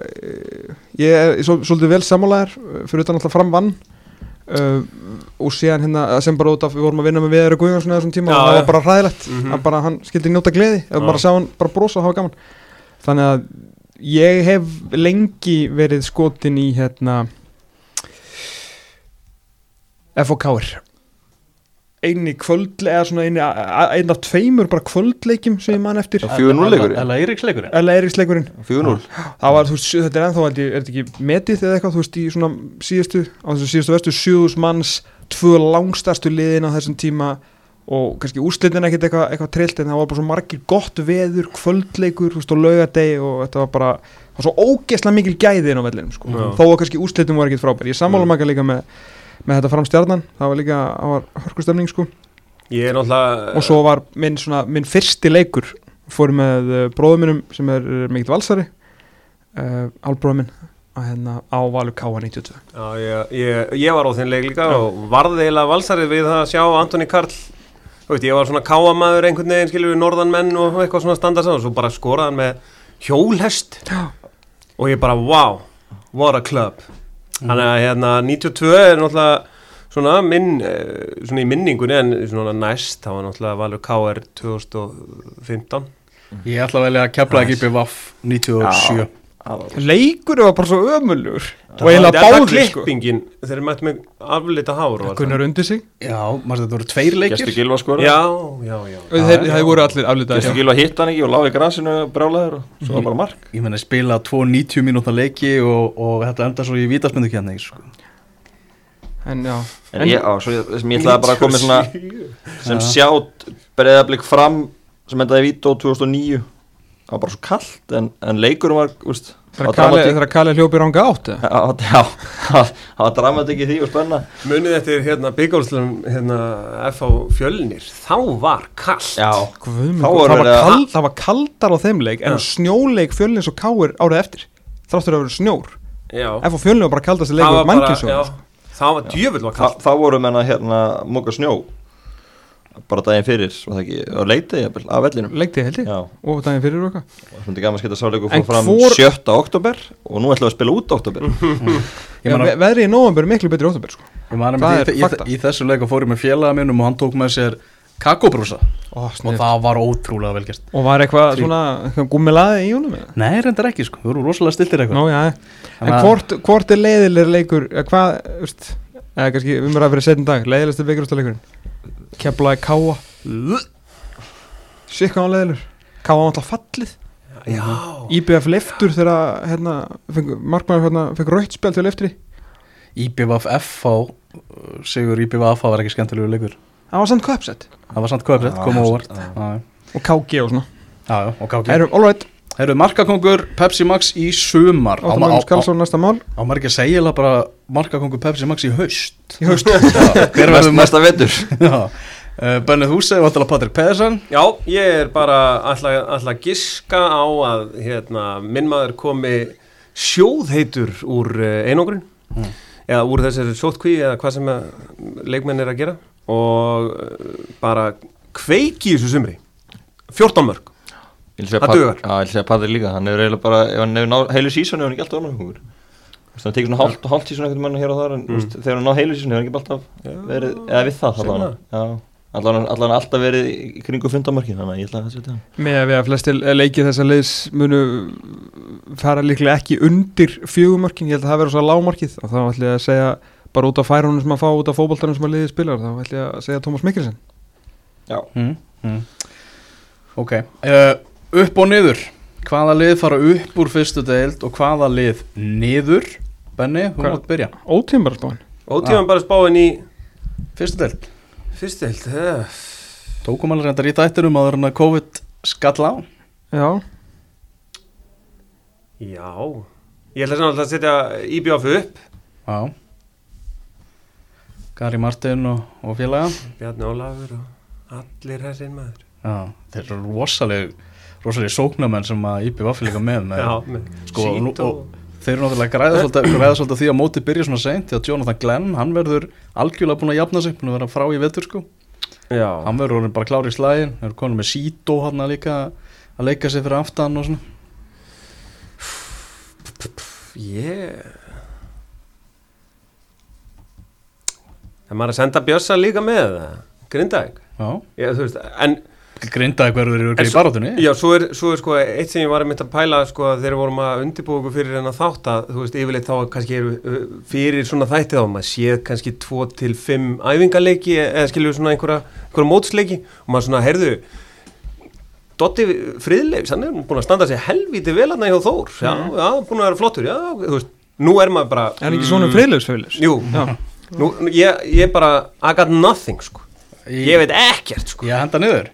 Speaker 3: eh, ég er svol- svolítið vel sammálaðar eh, fyrir utan alltaf framvann uh, og síðan hérna eh, sem bara út af við vorum að vinna með Veðar og Guðjónsson þessum tíma
Speaker 4: Já,
Speaker 3: og það
Speaker 4: já.
Speaker 3: var bara hræðilegt mm
Speaker 4: Mhm.
Speaker 3: bara hann skildi njóta gleði og
Speaker 4: Já.
Speaker 3: bara sá hann bara brosa og hafa gaman þannig að ég hef lengi verið skotin í hérna FOK-ir einni kvöldle eða svona einni einn af tveimur bara kvöldleikjum sem ég man eftir
Speaker 5: Já. 4-0 leikurinn.
Speaker 2: Ella Eiríks leikurinn
Speaker 3: eða Eiríksleikurinn
Speaker 5: 4-0
Speaker 3: það var, þú veist, sjö- þetta er ennþá held ég, er þetta ekki metið eða eitthvað, þú veist, í svona síðustu, á þessum síðustu vestu, sjöðus manns tvö langstærstu liðin á þessum tíma og kannski úrslitin ekkert eitthvað, eitthvað trillt en það var bara svo margir gott veður, kvöldleikur, þú veist, og laugadegi og þetta var bara, það var svo ógeðslega mikil gæði inn á vellinum, sko,
Speaker 4: Já.
Speaker 3: þó að kannski úrslitin var ekkert frábær, ég sammála maka líka með með þetta framstjarnan, það var líka það var hörkustemning sko,
Speaker 4: Ég er náttúrulega
Speaker 3: og svo var minn, svona, minn fyrsti leikur fór með uh, bróðuminum sem er eh, mikill valsari uh, albróðumin að hérna á Valur K92
Speaker 4: já, ég, ég, ég var á þeim leik líka og varði eiginlega valsarið við það að sjá Antoni Karl Þú veit, ég var svona káamaður einhvern veginn skilur við norðanmenn og eitthvað svona standa sá og svo bara skoraði hann með hjólhest
Speaker 3: Já.
Speaker 4: og ég bara, wow, what a club Þannig að hérna 92 er náttúrulega svona, minn, eh, svona í minningunni en svona næst, það var náttúrulega Valur KR 2015
Speaker 2: Ég ætla að velja að kepla ekki BVF 97
Speaker 5: Það var-
Speaker 3: leikur var bara svo ömulur og
Speaker 4: Það
Speaker 3: eiginlega
Speaker 4: er það
Speaker 3: báði sko
Speaker 4: klippingin þegar þeir mættu mig aflita hár var það?
Speaker 3: Gunnar undir sig
Speaker 2: Já, maður þetta voru tveir leikir
Speaker 5: Gestur Gilva skora
Speaker 4: Já, já, já
Speaker 3: og þeir, þeir voru allir
Speaker 5: Gestur
Speaker 3: aflitaðir já.
Speaker 5: Gilva hitt hann ekki og láði grasinu brálaður og svo var bara mark
Speaker 2: Ég meina spila tvo 90 mínúta leiki og, og þetta enda svo í vítarsmyndu kemni sko.
Speaker 3: en já
Speaker 5: En ég, á, svo ég, sem ég ætlaði bara að koma með svona sem sjátt breyðablík fram sem endaði Vító 2009 það var bara svo kallt en, en leikurum var úst, það var dramatík
Speaker 3: þegar Kali hljópi ranga átt eða?
Speaker 5: það var- (laughs) já, það var dramatík í því og spenna
Speaker 4: Munið eftir hérna byggálslum hérna F.A. Fjölnir þá var kallt
Speaker 5: já,
Speaker 3: Guð minn
Speaker 5: Þá
Speaker 3: góður,
Speaker 5: voru
Speaker 3: það, var
Speaker 5: þeir að-
Speaker 3: kald, það var kaldar á þeim leik en
Speaker 4: Já.
Speaker 3: snjóleik fjölnins og káir árið eftir þráttur að vera snjór
Speaker 4: já.
Speaker 3: ef og fjölnins var bara kaldast að
Speaker 4: Það
Speaker 3: leika
Speaker 4: var bara, já,
Speaker 3: mannkísjóð
Speaker 4: það var djöfull var
Speaker 5: þá,
Speaker 4: kallt
Speaker 5: þá voru menna hérna móka snjó bara daginn fyrir var það ekki, og leitaði jafnvel af vellinum
Speaker 3: leiktið held ég
Speaker 5: já,
Speaker 3: og daginn fyrir og eitthvað
Speaker 5: og það myndi gaman að skita sáleiku
Speaker 3: En
Speaker 5: fór fram
Speaker 3: hvor-
Speaker 5: 7. oktober og nú ætlum við að spila út oktober
Speaker 2: Ég
Speaker 3: Já,
Speaker 2: meina-
Speaker 3: ve- Veðrið í nóvambur er miklu betri óttabur sko.
Speaker 2: Ég man
Speaker 3: Það
Speaker 2: einmitt
Speaker 3: er
Speaker 2: í, í,
Speaker 3: fakta.
Speaker 2: í þessu leik og fór ég með félaga minnum og hann tók með sér kakobrúsa
Speaker 3: Ó,
Speaker 2: og
Speaker 3: og,
Speaker 2: það var ótrúlega velgjast
Speaker 3: var eitthvað svona eitthvað gúmilaði í honum eða?
Speaker 2: Nei, reyndar ekki sko, þú eru rosalega stiltir eitthvað
Speaker 3: Nó, já, já. En
Speaker 2: Þannig að-
Speaker 3: hvort, hvort er leiðilegur leikur eða hvað, veist eða kannski umræða fyrir setjum dag, leiðilegstur byggjurústaleikurinn Keflaði Káa Sikk hvað hann leiðilegur Káa var alltaf fallið
Speaker 4: Já,
Speaker 3: IBF leftur þegar hérna, fengu- markmaður hérna, fengur rautt spjald til leftri
Speaker 2: IBVF FH, uh, sigur IBVF var ekki skemmtilegu leikur
Speaker 3: Það var samt kvöpsett
Speaker 2: Það var samt köprætt,
Speaker 5: Já,
Speaker 2: kom á óvart
Speaker 5: já.
Speaker 2: Já, já.
Speaker 3: Og KG og svona
Speaker 2: Já, já, og káki
Speaker 3: Erum, all right,
Speaker 2: Herru, markakongur Pepsi Max í sumar Á
Speaker 3: áttum
Speaker 2: ma-
Speaker 3: við
Speaker 2: á-
Speaker 3: um
Speaker 2: á-
Speaker 3: skalsón næsta mál
Speaker 2: á maður ekki að segja eiginlega bara markakongur Pepsi Max í haust
Speaker 3: Í haust
Speaker 2: Hver verður Eh,
Speaker 5: Mest,
Speaker 2: mest
Speaker 5: mesta vetur
Speaker 2: að Bennið Húsei og alltaf Patrik Pedersen
Speaker 4: já, ég er bara ætla, ætla að giska á að hérna, minn maður komi sjóðheitur úr eh, einangrun eða úr þessari sótkví eða hvað sem að leikmenn er að gera og eh, bara kveiki í þessu sumri 14 mörg
Speaker 5: (laughs) Ég vil segja
Speaker 4: Það
Speaker 5: Pat-
Speaker 4: dugar.
Speaker 5: Já, ég vil segja Patrik líka, hann hefur eiginlega bara, ef hann hefur náð heilu sísónu, hefur hann ekki alltaf annað hungur Þannig að hann tekið svona hálft hálf sísónu ekkert mann hér og þar, en mm. veist, þegar hann náð heilu sísónu hefur hann ekki alltaf verið, eða við það
Speaker 4: segðu
Speaker 5: allan Já, allan hann alltaf verið í kringu fundamörkin, þannig að ég ætla að setja hann
Speaker 3: Með að við að flestir leikið þessa leiðs munu fara líklega ekki undir fjögumörkin, ég held að það verður svo lágmarkið og þá ætlum ég að segja bara út af færunum sem að fá út af fótboltanum sem að liðið spilar þá ætlum ég að segja Tómas Mikkelsen
Speaker 2: mm. Ok uh, Upp og niður Hvaða lið fara upp úr fyrstu deild og hvaða lið niður Benni, þú
Speaker 3: Hvað?
Speaker 2: mátt byrja
Speaker 3: Ótímbar spáin
Speaker 4: Ótíman bara spáin í
Speaker 2: Fyrstu deild
Speaker 4: fyrstu held eh,
Speaker 2: Tókum alveg reyndar í þættinum áður en að COVID skall á
Speaker 3: Já,
Speaker 4: Já, ég ætla samt að setja IBF upp
Speaker 2: Já Gary Martin og, og félaga
Speaker 4: Bjarni Ólafur og allir hessinn maður
Speaker 2: Já, þeir eru rosaleg rosaleg sóknamenn sem að Íbjö var líka með, með
Speaker 4: Já, með
Speaker 2: sko, og, nú-
Speaker 4: Sít og
Speaker 2: og þeir eru náttúrulega græða svolítið, græða svolítið á því að móti byrja svona seint því að Jonathan Glenn, hann verður algjörlega búin að jafna sig, búin að vera frá í vetur sko
Speaker 4: Já,
Speaker 2: hann verður orðinn bara klár í slægin þeir eru konum með Sító hann líka að leika sig fyrir aftan og svona
Speaker 4: ég Það maður að senda Björsa líka með það Grindag
Speaker 2: Já,
Speaker 4: Já, þú veist, en
Speaker 2: grindaði hverður eru
Speaker 4: En
Speaker 2: í barátunni
Speaker 4: Já, svo er, svo er sko eitt sem ég var að mynda að pæla sko að þeir vorum að undirbúa okkur fyrir hennar þátt að þú veist, yfirleitt þá kannski eru uh, fyrir svona þætti þá, maður séð kannski 2 til 5 æfingaleiki e, eða skilur svona einhverja, einhverja mótsleiki og maður svona, heyrðu Dotti Friðleifs, hann er nú búin að standa sér helvítið vel hann hjá Þór já, já, búin að vera flottur, já, þú veist nú er maður bara
Speaker 3: Mm. Er hann ekki svona um friðlöfsfjölis?
Speaker 4: Jú, nú, nú- ég, ég bara I got nothing, sko Ég veit ekkert, sko
Speaker 2: Ég henda niður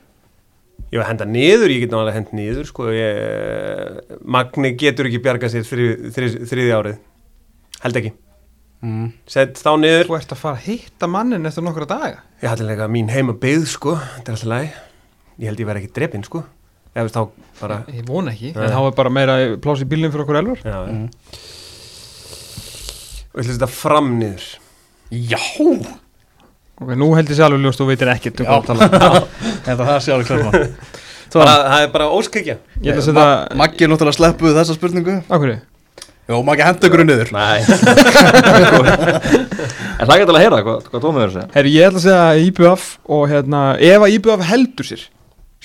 Speaker 4: Ég var henda niður, ég get náttúrulega hend niður sko, ég, Magni getur ekki bjarga sér þri, þri, þriði árið held ekki
Speaker 2: mm.
Speaker 4: sett þá niður,
Speaker 3: Þú ert að fara að hitta mannin eftir nokkra daga
Speaker 4: ég hætti leika mín heima byggð sko, þetta er alltaf læg ég held ég verði ekki drepinn sko eða veist þá bara
Speaker 3: Ég vona ekki
Speaker 4: Nei.
Speaker 3: En þá er bara meira pláss í bílinn fyrir okkur elvar
Speaker 4: já, mm.
Speaker 2: Mm.
Speaker 4: og ég ætla að setja fram niður
Speaker 2: Já,
Speaker 3: Ok, nú held ég sér alveg ljóst og veitir ekkert um
Speaker 2: já.
Speaker 3: hvað þú talar. (laughs)
Speaker 2: þetta það sé alveg klart mál. Tom,
Speaker 4: bara, það er bara óskikja
Speaker 3: Ég held að setja
Speaker 2: Maggi er náttúrulega sleppuð þessa spurningu
Speaker 3: Akkur er
Speaker 2: Jó, Maggi henda ykkur niður
Speaker 5: Nei En hlækja til að heyra hvað, hvað tómið er að segja
Speaker 3: ég ætla að segja IBF og hérna Ef að IBF heldur sér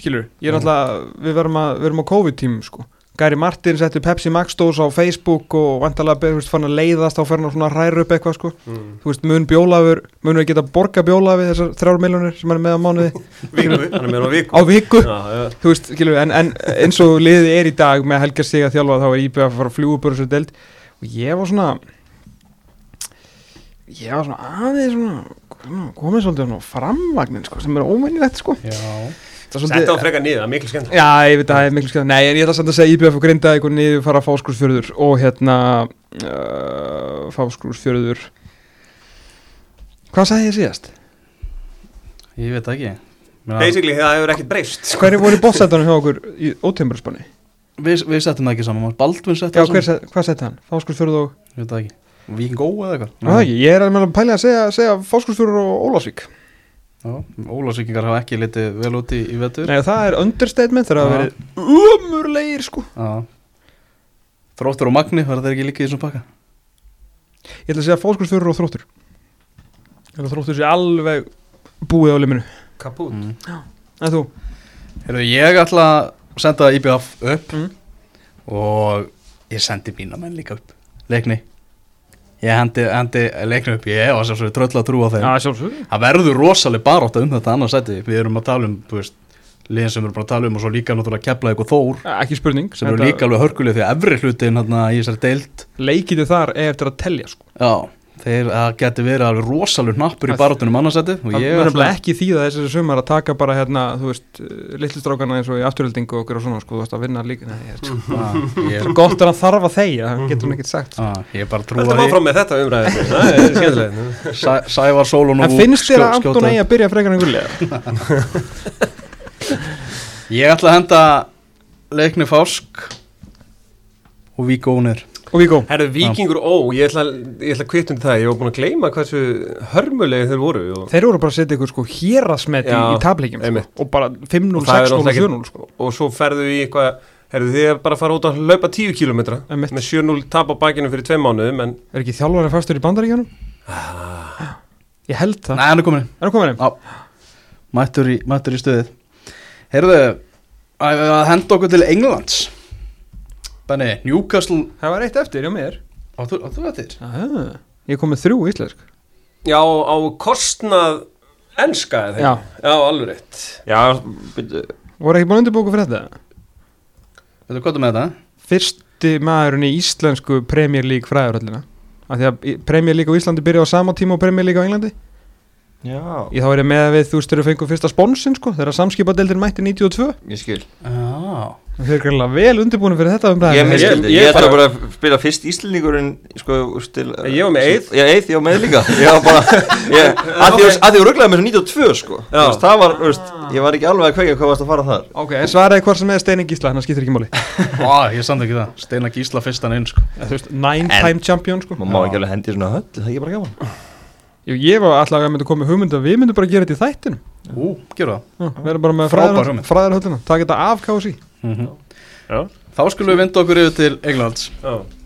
Speaker 3: Skilur, ég er náttúrulega Við verum að, við erum á COVID-tímum sko Gary Martin setti Pepsi Max dós á Facebook og vantarlega beður, þú veist, fann að leiðast á færna svona ræru upp eitthvað sko Þú veist, mun bjólafur, munum við geta borga bjólafi þessar þrjár miljonir sem hann er með á mánuði
Speaker 4: viku, hann er með á
Speaker 3: á
Speaker 4: viku
Speaker 3: viku
Speaker 4: já, já,
Speaker 3: þú veist, skilur, en, en eins og liðið er í dag með Helga Sig að þjálfa þá er IBF að fara að fljúa bara svo deild og ég var svona ég var svona aðeins svona, svona komið svolítið svona á framvagnin sko, sem er ómennilegt sko
Speaker 2: Já,
Speaker 3: Það er
Speaker 4: sett þá
Speaker 3: svolítið,
Speaker 4: freka niður, það er miklu skemmt
Speaker 3: já, ég veit að það er miklu skemmt nei, en ég ætla samt að segja IBF og grinda eitthvað niður fara að fáskursfjörður og hérna uh, fáskursfjörður hvað sagði ég síðast?
Speaker 2: ég veit það ekki Meina,
Speaker 4: basically það hefur ekkert breyst sko.
Speaker 3: hverju voru bóttsættanum hjá okkur í óteimbrurspanni?
Speaker 2: við, við settum það ekki saman Baldvin settum
Speaker 3: Já,
Speaker 2: það
Speaker 3: hver,
Speaker 2: saman
Speaker 3: se- hvað sætti hann? Fáskursfjörður og
Speaker 2: Ég veit það ekki Víking Ó eða
Speaker 3: Já, það
Speaker 2: eitthvað
Speaker 3: ekki, ég er alveg að pæla að segja, segja fáskursfjörur og Ólafsvík
Speaker 2: Ólasvíkingar Mm, hafa ekki litið vel út í, í vetur
Speaker 3: Nei, það er understatement þegar það
Speaker 2: Já.
Speaker 3: verið umurlegir sko
Speaker 2: Já. Þróttur og Magni, verða þeir ekki líka í þessum pakka?
Speaker 3: Ég ætla að segja fáskursfjörur og þróttur Ég ætla að þróttur sé alveg búið á liminu
Speaker 4: kaput
Speaker 2: Mm.
Speaker 3: En þú?
Speaker 2: Heyrðu, ég ætla að senda IBF upp
Speaker 3: Mm.
Speaker 2: og ég sendi mína menn líka upp leikni ég hendi, hendi leikni upp, ég var sér svo tröll að trúa þeim
Speaker 3: sjálfsög
Speaker 2: það verður rosaleg barátt um þetta annarsæti við erum að tala um, þú veist liðin sem við erum bara að tala um og svo líka náttúrulega kepla ykkur þór
Speaker 3: Ekki spurning
Speaker 2: sem eru líka alveg hörkuleg því að efri hlutin hérna, í þessari deild
Speaker 3: Leikinu þar er eftir að telja sko
Speaker 2: já, þeir, það getur verið alveg rosaleg hnappur í
Speaker 3: Það-
Speaker 2: baráttunum annarsæti og
Speaker 3: Það
Speaker 2: ég
Speaker 3: verður
Speaker 2: ætla-
Speaker 3: bara ekki því að þessari sumar að taka bara hérna, þú veist, litlistrákana eins og í afturöldingu og okkur og svona sko, þú veist að vinna líka Nei, ég er
Speaker 2: (laughs)
Speaker 3: sko
Speaker 2: Já, Ah, ég,
Speaker 3: (laughs) Svo gott er að þarfa þeir, það getur hún ekkert sagt
Speaker 2: á, ég bara trúa
Speaker 4: Þetta
Speaker 2: því
Speaker 4: var frá með þetta umræðið, það er skemmtilegt
Speaker 2: Sæ, Sævar Sólun og
Speaker 3: En
Speaker 2: Vuk
Speaker 3: finnst þér að
Speaker 2: skjó-
Speaker 3: Anton
Speaker 2: skjóta-
Speaker 3: eigi að byrja frekar en gullega?
Speaker 2: Ég ætla að henda leikni fásk og víkónir
Speaker 3: Og Víkó
Speaker 4: Herru, Víkingur Ó, ég ætla, ég ætla að kvita undir það, ég var búin að gleyma hversu hörmulegi þeir voru og,
Speaker 3: Þeir voru bara að setja ykkur sko hérasmet í,
Speaker 4: Já,
Speaker 3: í tableikjum sko.
Speaker 4: einmitt.
Speaker 3: og bara 5-0,
Speaker 4: Og það
Speaker 3: 6-0
Speaker 4: er
Speaker 3: og
Speaker 4: náttúrulega
Speaker 3: 7-0 sko.
Speaker 4: og svo ferðu í eitthvað, herru þið er bara að fara út að laupa 10 km
Speaker 3: Einmitt.
Speaker 4: með 7-0 tap á bakinu fyrir 2 mánuðum en
Speaker 3: Er ekki þjálfarið fastur í bandaríkjunum?
Speaker 4: Ah.
Speaker 3: Ég held
Speaker 2: Nei,
Speaker 3: það
Speaker 2: hann er komin inn.
Speaker 3: Er það komin einn?
Speaker 2: mættur í, mættur í stöðið Heyrðu, að að henda okkur til Englands Benni, Newcastle
Speaker 3: Það var eitt eftir, já mér
Speaker 2: Áttu áttu þetta þér?
Speaker 3: Aha. Ég kom með þrjú íslensk
Speaker 4: já, á kostnað enska eða
Speaker 3: Já.
Speaker 4: þeim, já, alveg rétt
Speaker 5: Já, byrju,
Speaker 3: Voru ekki búin að undirbúku fyrir þetta?
Speaker 2: Veitu hvað er með þetta?
Speaker 3: Fyrsti maðurinn í íslensku Premier League fræðuröllina Af því að í- Premier League á Íslandi byrja á sama tíma og Premier League á Englandi
Speaker 5: já,
Speaker 3: Ég þá er ég með að við þú styrir fengu fyrsta sponsin sko Þegar samskipadeildin mætti 92
Speaker 5: ég skil
Speaker 2: Já
Speaker 3: Við erum greinlega vel undirbúinu fyrir þetta umræðum
Speaker 5: Ég miskildi,
Speaker 4: ég-
Speaker 5: ég ætla
Speaker 4: bara-
Speaker 5: bara að spila fyrst Íslendingurinn sko, til,
Speaker 4: Ég var með Eið.
Speaker 5: Já, Eið, ég var með líka Ég var
Speaker 4: (laughs)
Speaker 5: bara, ég, að því að þú rugglaði með þessu 92 sko Þú veist, Það var, þú veist, ég var ekki alveg að kveika hvað varst að fara þar
Speaker 3: Ok, en svaraði hvort sem er Steini Gísla, hann skiptir ekki máli
Speaker 2: Vá, ég samt ekki það Steina Gísla fyrstan inn sko
Speaker 3: Þú veist, nine time champion sko
Speaker 5: Má má ekki alveg hendi í svona höll, það er ekki bara gaman
Speaker 3: Jú, Ég var alltaf að mynda að koma með hugmynd að við myndum bara að gera þetta í þættinum
Speaker 2: Ú, gerðu það
Speaker 3: Já, Við erum bara með
Speaker 2: Frábær
Speaker 3: fræðarhöll-
Speaker 2: hugmynd.
Speaker 3: fræðarhöllina Takk þetta af kási
Speaker 2: Þá skulum við vinda okkur yfir til Englands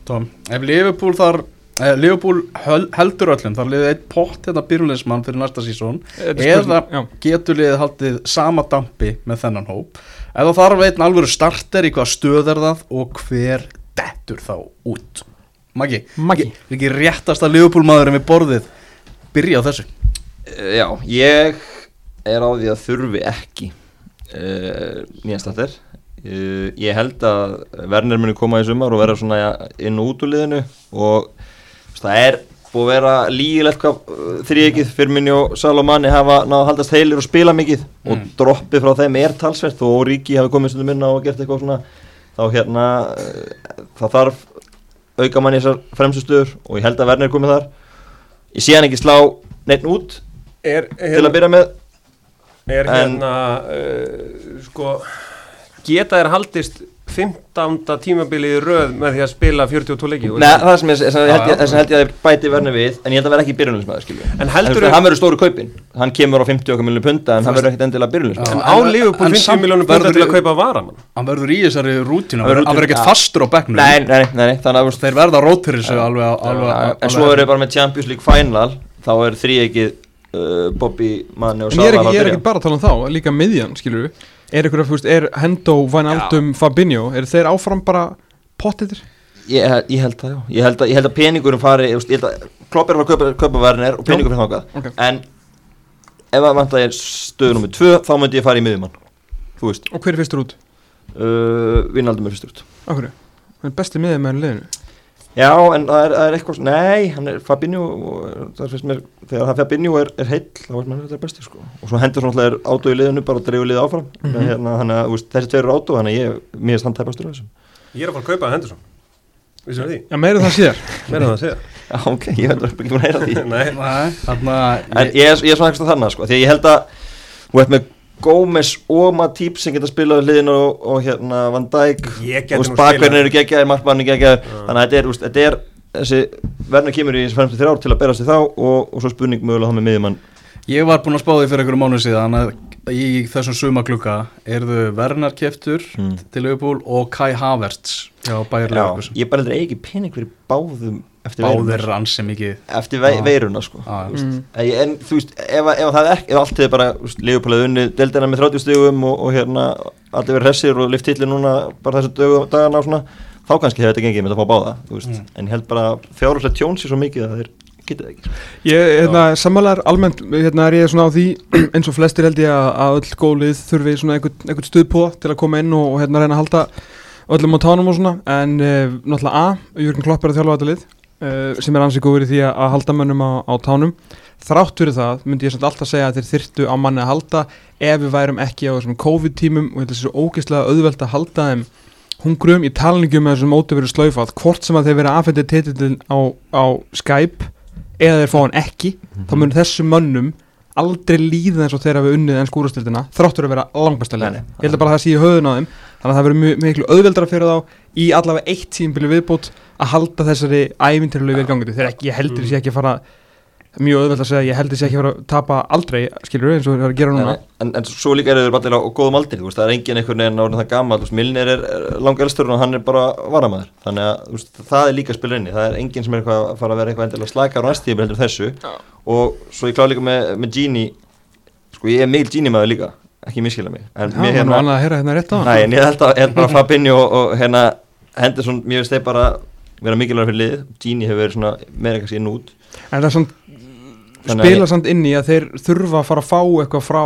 Speaker 2: Tom Ef Liverpool þar eh, Liverpool höl, heldur öllum Þar liðið eitt pott hérna byrjulegismann fyrir næsta sísón
Speaker 5: Eh,
Speaker 2: Eða getur liðið haldið sama dampi með þennan hóp Eða þarf einn alvöru starter í hvað stöð er það Og hver dettur þá út Maggi
Speaker 3: Maggi.
Speaker 2: Ekki- Ekki réttasta Liverpool maðurinn við borðið Byrja á þessu
Speaker 5: Eh, Já, ég er á því að þurfi ekki uh, nýjastættir uh, Ég held að Werner muni koma í sumar og vera svona ja, inn og út úr liðinu og þú veist, það er búið að vera lígilegt hvað uh, þrýekið Firmini og Salomani hafa náð að haldast heilir og spila mikið og droppið frá þeim er talsvert og Ríki hafi komið stundum inn á og gert eitthvað svona þá hérna uh, það þarf auka mann í þessar fremstu stöður og ég held að Werner komið þar Ég sé hann ekki slá neitt út
Speaker 4: er,
Speaker 5: til
Speaker 4: hérna,
Speaker 5: að byrja með
Speaker 4: er
Speaker 5: en-
Speaker 4: hérna uh, sko geta þér haldist 15. tímabili í röð með því að spila 42 leiki og-
Speaker 5: Nei, það sem ég, sem ég held, ég, sem held ég að bæti verna við En ég held að vera ekki byrjunlinsmaður, skilju
Speaker 4: En heldur
Speaker 5: Hann verður stóru kaupin Hann kemur á 50 okkar miljonum punda En hann verður ekkit endilega byrjunlinsmaður
Speaker 4: en á
Speaker 2: En-
Speaker 4: Liverpool
Speaker 2: en
Speaker 4: 50
Speaker 2: samt
Speaker 4: miljónum pundar til
Speaker 2: verður-
Speaker 4: að kaupa varamann
Speaker 2: Hann verður í þessari rútínu Hann
Speaker 5: verður
Speaker 2: verður- hann verður
Speaker 5: rútínu,
Speaker 2: ekkert
Speaker 5: ja.
Speaker 2: fastur á bekknum
Speaker 5: Nei, nei, nei, nei, þannig að þú veist,
Speaker 2: Þeir verða rótir þessu alveg, alveg, alveg
Speaker 5: En svo eru við bara með Champions League Final Þá er þrý ekki Bobby, Manni og
Speaker 3: En ég er
Speaker 5: Sala
Speaker 3: ekki, ég er
Speaker 5: að
Speaker 3: ekki bara að tala um þá, líka miðjan, skilur við Er ykkur að, þú veist, er Hendo, Wijnaldum, Fabinho Er þeir áfram bara pottitir?
Speaker 5: Ég, ég held það, já. Ég held að, ég held að peningurinn fari, ég veist, ég held að Klopp er að fara að kaupa, kaupa verðinir og peningur fyrir þákað.
Speaker 3: ok.
Speaker 5: En ef það vant að ég stöðu nummið tvö, þá myndi ég fara í miðjumann. Þú veist,
Speaker 3: Og hver er fyrstur út?
Speaker 5: uh, vinnaldum er fyrst út.
Speaker 3: Akkur, hann er besti miðið með hann liðinu
Speaker 5: Já, en það er, það er eitthvað, svona- nei, hann er Fabinho, og það finnst mér, þegar það Fabinho er, er heill, þá veist maður að þetta er besti, sko. Og svo hendur svona er átó í liðinu bara og dreifu liðið áfram. Mm -hmm. hérna, þannig að, þú veist, þessi tveir eru átó, þannig að ég, mér er standtæpastur á þessum.
Speaker 4: ég er að fara að kaupa hendur svo vissum við því,
Speaker 3: Já, meira um það síðar
Speaker 4: meira það að segja (laughs)
Speaker 5: Já, ok, ég heldur ekki búin að heyra (laughs) því.
Speaker 4: Nei,
Speaker 2: Þannig
Speaker 5: En
Speaker 2: að
Speaker 5: ég er, ég er svona eitthvað þannig sko, því að ég held að þú ert með Gómez og Matip sem geta spilað við hliðin og, og hérna Van Dijk
Speaker 4: Ég gæti nú
Speaker 5: bakverðin
Speaker 4: spilað.
Speaker 5: eru geggjaðir, markmannin geggjaðir þannig að þetta er, úst, þetta er þessi verðin kemur í þessi fremstu þrjár til að bera sig þá og, og svo spurning mögulega þá með miðjumann
Speaker 2: ég var búinn að spá því fyrir einhverju mánu síðan að í þessum sumaglugga erðu Werner keftur til Liverpool og Kai Havertz hjá Bayer
Speaker 5: Já,
Speaker 2: Leverkusen
Speaker 5: ég bara heldur að ég ekki pening fyrir báðum eftir
Speaker 2: Báðir
Speaker 5: veiruna,
Speaker 2: rann sem ekki
Speaker 5: eftir vei,
Speaker 2: Já.
Speaker 5: veiruna sko.
Speaker 2: Já, já.
Speaker 3: mm.
Speaker 5: Æ, En þú veist, ef, ef það er ekki, ef allt hefur bara, þú veist, Leopold hefur unnið deildina með 30 stugum og, og hérna, allir verið hressir og lift hitli núna bara þessum dögum, dagana og svona, þá kannski hefur þetta gengið með að fá báða, þú
Speaker 2: Mm.
Speaker 5: veist, en ég held bara að fjárhúslega tjón sér svo mikið að þeir geta það ekki.
Speaker 3: Ég, hérna, sammálar almennt, hérna er ég svona á því (clears throat) eins og flestir held ég að, að öll gólið þurfi svona einhvern, einhvern stuðpóða til að koma inn og, og hérna reyna að halda öllum á tánum og svona en e, náttúrulega A, Jörgen Klopp er að þjálfa þetta lið e, sem er ansið góður í því að, að halda mönnum á, á tánum þrátt fyrir það myndi ég samt alltaf segja að þeir þyrtu á manni að halda ef við værum ekki á þessum COVID-tímum og ég held þessi ógeðslega auðvelt að halda þeim hungrum, ég tala nú ekki um að þessum móti verið slaufað, hvort sem að þeir verið aðfendið titillin á, á Skype eða þeir fá hann ekki, þá
Speaker 5: Mhm.
Speaker 3: mun þessum mönnum aldrei líða eins og þeir hafi unnið enn skúrastildina, þráttur að vera langbæstilega,
Speaker 5: Nei, nei.
Speaker 3: ég held að bara það sé í höfðun á þeim þannig að það verið mjög miklu auðveldara fyrir þá í allavega eitt tímbili viðbútt að halda þessari ævintirlega viðgangandi þegar ekki, ég
Speaker 5: Mm.
Speaker 3: heldur þessi ekki að fara mjög auðveld að segja, ég heldur þessi ekki að fara að tapa aldrei, skilur eins og þeir eru að gera
Speaker 5: En,
Speaker 3: núna
Speaker 5: en, en svo líka eru þeir allir á góðum aldri, þú veist, það er engin einhvern veginn orðin það gammal, þú veist, Milner er, er langelstur og hann er bara varamæður, þannig að þú veist, það er líka spilurinni, það er engin sem er eitthvað að fara að vera eitthvað endilega slakar og næstíð heldur en þessu og svo ég kláði líka með, með Gini, sko ég er meil Gini maður líka, ekki miskila mig, en
Speaker 3: Já, mér er annað að heyra hérna rétt á
Speaker 5: Nei, en ég held að, held
Speaker 3: (laughs)
Speaker 5: bara að Fabinho og, og hérna Henderson, mér veist þeir bara vera mikilvægur fyrir liðið, Gini hefur verið svona meira kannski inn og út
Speaker 3: En það er samt,
Speaker 5: Þannig að
Speaker 3: spila
Speaker 5: ég-
Speaker 3: samt inn í að þeir þurfa að fara að fá eitthvað frá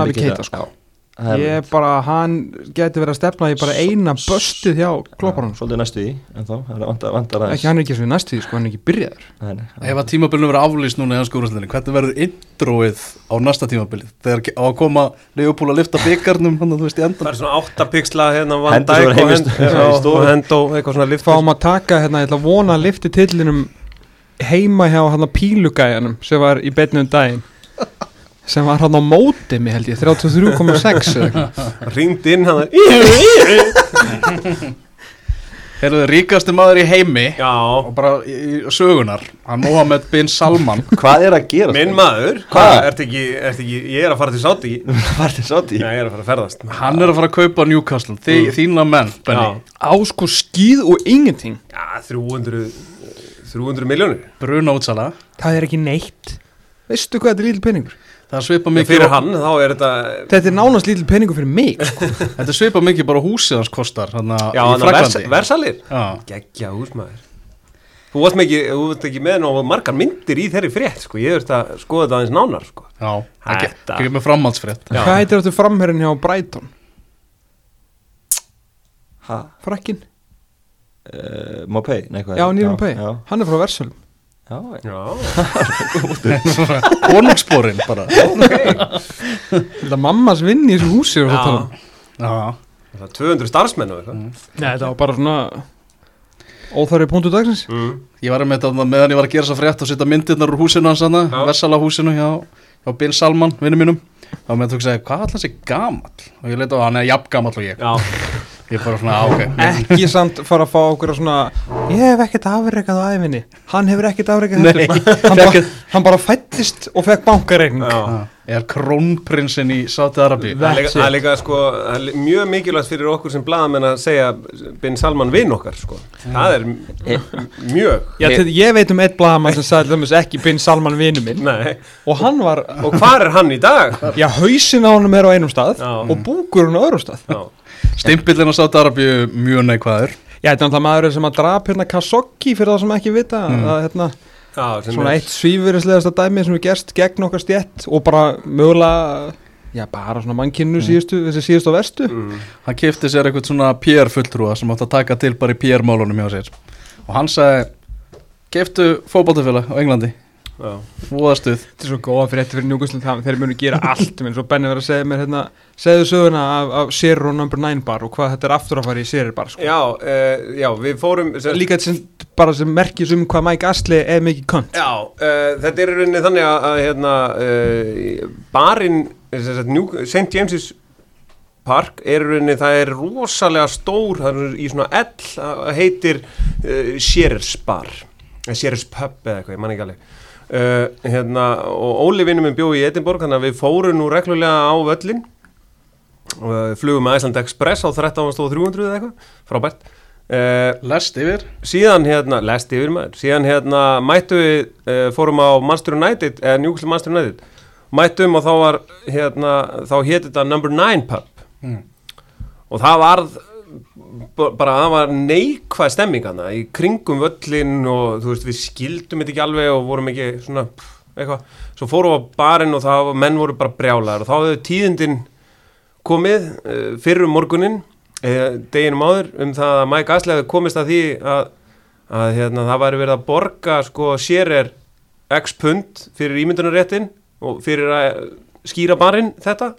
Speaker 3: Navi Keita sko.
Speaker 5: Já. Það er-
Speaker 3: Ég bara, hann geti verið að stefna í bara eina böstið hjá klopparum sko.
Speaker 5: Svolítið næstu í, en þá, það vantar, vantar aðeins
Speaker 3: Ekki hann er ekki svo í næstu því, sko, hann er ekki byrjaður
Speaker 5: Nei, nei, það-
Speaker 2: Ef að tímabilinu verður aflýst núna í hans skúraslinni Hvernig verður introið á næsta tímabilið Þegar ke- á að koma Leopold að lifta byggarnum Þannig að þú veist í
Speaker 4: Það
Speaker 2: endan
Speaker 4: er svona áttapiksla hérna Van
Speaker 5: Hendur svo
Speaker 4: Dijk
Speaker 5: verið
Speaker 4: og
Speaker 5: heimist-
Speaker 4: Hend-
Speaker 5: í
Speaker 4: já,
Speaker 5: stofu.
Speaker 4: og Hendo eitthvað svona lift
Speaker 3: Fáum að taka, hérna, ég ætla að vona að lifti tillinum heima hjá hann að pílugæjanum sem var í beinni um daginn sem var hann á móti mig held ég 33,6 eða eitthvað.
Speaker 4: Ringd inn hann
Speaker 2: Heyrðu, ríkastu maður í heimi
Speaker 4: Já,
Speaker 2: Og bara í, í sögunar Hann Mohamed bin Salman
Speaker 5: Hvað er að gera?
Speaker 4: minn maður
Speaker 5: Hvað?
Speaker 4: Hvað? Ertu ekki, ertu ekki, ég er að fara til Sáti Já,
Speaker 5: (laughs) Hvað er sátt í?
Speaker 4: ég er að fara að ferðast
Speaker 2: Hann er að fara að kaupa Newcastle Þi, Þína menn, Benny
Speaker 3: á sko skýð og ingenting
Speaker 4: Já, 300 300 miljónir
Speaker 2: Bruna útsala
Speaker 3: það er ekki neitt veistu hvað þetta er lítil peningur
Speaker 2: Það svipa mikið
Speaker 4: Fyrir hann, þá er þetta
Speaker 3: þetta er nánast lítil peningur fyrir mig sko.
Speaker 2: Þetta svipa mikið bara húsið hans kostar Þannig í
Speaker 4: Já, hann er vers,
Speaker 2: Fraklandi
Speaker 4: versalir
Speaker 2: Já.
Speaker 4: Geggja húsmaður Þú varst ekki, þú varst ekki með nóg margar myndir í þeirri frétt sko. Ég þurft að skoða þetta aðeins nánar sko.
Speaker 2: Já, ekki,
Speaker 4: Þetta.
Speaker 2: ekki með framhaldsfrétt
Speaker 4: Já.
Speaker 3: hvað heitir þetta framherrin hjá Brighton
Speaker 5: Ha?
Speaker 3: frakkin,
Speaker 5: Uh, Mopay? Nei, hvað er
Speaker 3: já
Speaker 5: það?
Speaker 3: Nýrum Pei
Speaker 5: Já,
Speaker 3: hann er frá Versölum
Speaker 5: já, já.
Speaker 4: Já,
Speaker 2: Konungsporin bara
Speaker 3: þetta mammas vinn í þessu húsi og
Speaker 4: Já.
Speaker 3: þetta um.
Speaker 2: Já,
Speaker 4: Það er 200 starfsmenn og eitthvað
Speaker 3: Nei, þetta var bara svona óþarri punktu dagsins
Speaker 4: mm.
Speaker 2: Ég var með þetta meðan ég var að gera þess að frétt og setja myndirnar úr húsinu hans hana,
Speaker 4: Já.
Speaker 2: Vessala húsinu hjá, hjá Bill Salman, vinnu mínum þá með þú segja, hvað ætla þessi gamall og ég leita á hann, hann er jafn gamall og ég
Speaker 4: Já,
Speaker 3: (laughs)
Speaker 2: ég bara svona, á,
Speaker 4: (laughs)
Speaker 2: ok,
Speaker 3: ekki samt fara að fá okkur að svona ég hef ekkert afreikað á æfinni hann hefur ekkert afreikað
Speaker 2: Nei,
Speaker 3: heldur hann, bara, hann bara fættist og fekk bankareikning
Speaker 4: já
Speaker 2: Já. ég er krónprinsinn í Sáti Arabi
Speaker 3: Ve-
Speaker 4: Það er líka-
Speaker 3: That's
Speaker 4: það er
Speaker 3: it.
Speaker 4: líka sko, það er li- mjög mikilvægt fyrir okkur sem blaðamenn að segja Bin Salman vinn okkar sko. Það er m- mjög
Speaker 3: Mm. Já, til, ég veit um eitt blagamann sem sagði lömmus ekki Bin Salman vinu minn
Speaker 4: Nei.
Speaker 3: og hann var,
Speaker 4: Og hvar er hann í
Speaker 3: (laughs)
Speaker 4: dag?
Speaker 3: já hausin á honum er á einum stað
Speaker 4: Já.
Speaker 3: og búkur hann á öðrum stað
Speaker 4: Já,
Speaker 2: stimpillin á Sáti Arabi mjög neikvæður
Speaker 3: Já, þetta er náttúrulega maður sem að drap hérna Kasokki fyrir það sem ekki vita
Speaker 4: Mm.
Speaker 3: að, hérna,
Speaker 4: já sem
Speaker 3: svona
Speaker 4: er-
Speaker 3: eitt svífurislegasta dæmi sem við gerst gegn okkar stjett og bara mögulega já, bara svona
Speaker 4: Mm.
Speaker 3: mannkinnu síðustu þessi síðustu og verstu
Speaker 2: hann kifti sér eitthvað svona PR fulltrúa sem átti að taka til bara í PR málunum hjá sér og hann sagði kiftu fótballtafélag á Englandi
Speaker 4: Já.
Speaker 2: voðastuð
Speaker 3: Þetta er svo góða fyrir þetta fyrir njúkustlund það þeir munu gera allt menn svo Benni verið að segja mér hérna segðu söguna af, af Zero Number 9 bar og hvað þetta er aftur að fara í Zero bar sko.
Speaker 4: Já, eh, já, við fórum sem,
Speaker 3: líka þetta sem, bara sem merkis um hvað Mike Astley er mikið kont
Speaker 4: Já, uh, þetta er í rauninni þannig að, að hérna, uh, barinn sem sagt, New- St. James's Park er í rauninni, það er rosalega stór, það er í svona L það heitir uh, Shearers Bar eða Shearers Pub eða eitthvað, ég man ekki alveg uh, hérna, og Óli vinnum minn bjóði í Edinborg þannig að við fórum nú reglulega á völlin uh, flugum með Iceland Express á 13.300 eða eitthvað, frábært uh,
Speaker 2: lest yfir
Speaker 4: síðan hérna, lest yfir maður síðan hérna mættu við uh, fórum á Manchester United, eða Newcastle Manchester United mættum og þá var hérna, þá héti þetta Number 9 Pub og það varð b- bara það var neikvæð stemming hana í kringum völlin og þú veist við skildum þetta ekki alveg og vorum ekki svona pff, eitthvað, svo fórum við á barinn og það var, menn voru bara brjálar og þá hefðu tíðindin komið uh, fyrir um morgunin uh, deginum áður um það að Mike Ashley hefði komist að því að, að hérna, það væri verið að borga sko sér er x pund fyrir ímyndunaréttin og fyrir að skýra barinn þetta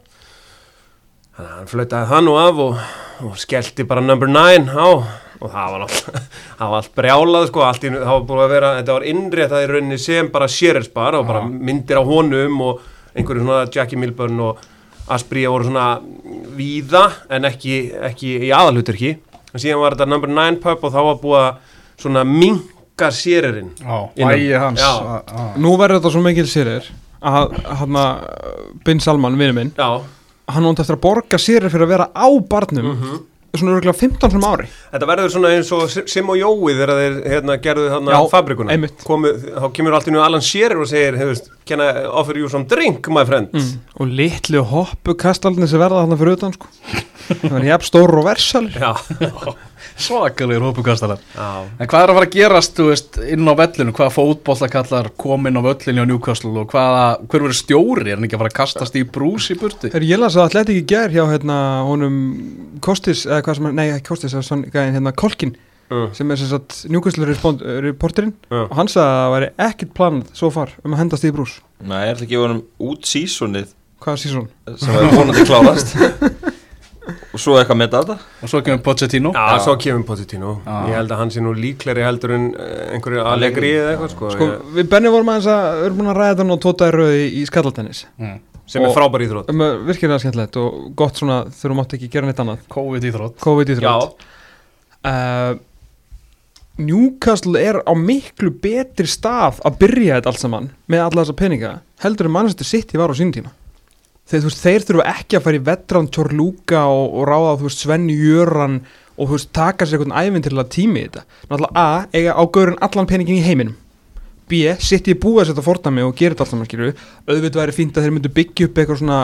Speaker 4: þannig að hann flautaði það nú af og, og skellti bara number 9 á og það var alltaf, (laughs) það var allt brjálað sko, allt í, einu- það var búið að vera, þetta var innréttað í rauninni sem bara sérilspar og bara myndir á honum og einhverju svona Jackie Milburn og Asprey voru svona víða en ekki, ekki í aðalhuturki og síðan var þetta number 9 pub og þá var búið að svona minka séririnn
Speaker 2: á,
Speaker 4: Innan.
Speaker 2: vægi hans
Speaker 4: Já.
Speaker 2: á- á.
Speaker 3: nú verður þetta svo mikil Zero að hann að Bin Salman, vinnu minn
Speaker 4: Já,
Speaker 3: hann ándi eftir að borga Zero fyrir að vera á barnum
Speaker 4: Mhm.
Speaker 3: svona örgulega 15 sem ári
Speaker 4: Þetta verður svona eins og Sim- Sim og Jói þegar þeir hérna, gerðu þarna
Speaker 3: Já,
Speaker 4: fabrikuna
Speaker 3: einmitt.
Speaker 4: Komu, Þá kemur allt í nú Alan Shearer og segir hefust, Can I offer you some drink my friend
Speaker 3: og litlu
Speaker 5: (laughs)
Speaker 3: hoppu kastalni sem verða hann fyrir utan sko. það var jafn stóru og versalir
Speaker 4: Já,
Speaker 2: svakalegir hópukastalar
Speaker 4: Já.
Speaker 2: En hvað er að fara að gerast, þú veist, inn á vellinu hvaða fótbollakallar kom inn á vellinu á Newcastle og hvaða, hver verður stjóri er hann ekki að fara að kastast í brús í burtu
Speaker 3: Þegar ég las að Atletik í gær hjá hérna honum Kostis, eða hvað sem hann, nei ekki Kostis, eða svona gæðin hérna Kolkin
Speaker 4: Mm.
Speaker 3: sem er sem sagt njúkvæslu-reporterinn
Speaker 4: Já.
Speaker 3: og hann sagði að það væri ekkit planað svo far um að henda Steve Bruce,
Speaker 5: Nei, ég ætla að gefa honum út sísonið
Speaker 3: hvað er sísón?
Speaker 5: sem er vonandi (laughs) klárast og svo eitthvað með þetta
Speaker 2: og svo kemur Pochettino
Speaker 4: Já, svo kemur Pochettino
Speaker 2: Já.
Speaker 4: Ég held að hann sé nú líkleri heldur en eh, einhverju allegri eða eitthvað sko,
Speaker 3: Sko, við Benni vorum aðeins að við erum búin að ræða þetta og tóta í rauði í skallaltennis
Speaker 2: mm.
Speaker 4: ég- sem er
Speaker 3: og-
Speaker 4: frábær íþrótt
Speaker 3: um, uh, virkilega skemmtilegt og gott svona þegar þú mátt ekki gera neitt annað
Speaker 2: COVID í þrótt
Speaker 3: COVID í
Speaker 4: Já,
Speaker 3: þrjótt uh, Newcastle er á miklu betri stað að byrja þetta allt saman með alla þessa peninga heldur en mannstættir sitt í var á sínum tíma þeir, þú veist, þeir þurfa ekki að fara í vetran Tjórlúka og, og ráða þú veist, Svenni Jöran og þú veist, taka sér einhvern æfinn til að tími í þetta náttúrulega A, eiga á gaurin allan peningin í heiminum B, sitt ég búið að setja fordæmi og gera þetta allt saman, skilur auðvitað væri fínt að þeir myndu byggja upp eitthvað svona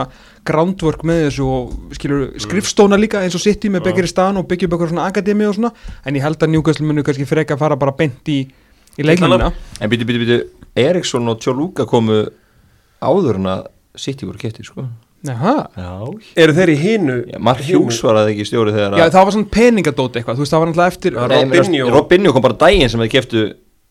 Speaker 3: groundwork með þessu og skilur skrifstóna líka eins og sitt í með byggir í staðan og byggja upp eitthvað svona akademi og svona en ég held að Newcastle munu kannski freka að fara bara beint í, í leikningina
Speaker 5: En býtu, býtu, býtu, Eriksson og Tjólúka komu áður en að City voru kefti, sko
Speaker 3: Jaha.
Speaker 5: Já,
Speaker 4: eru þeir í hinu
Speaker 5: Já Mark Hughes var að ekki stjóri þegar
Speaker 3: Já, það var svona peningadót eitthvað, þú veist, það var náttúrulega eftir
Speaker 4: Já, Robinho.
Speaker 5: Robinho Robinho kom bara daginn sem þeir keftu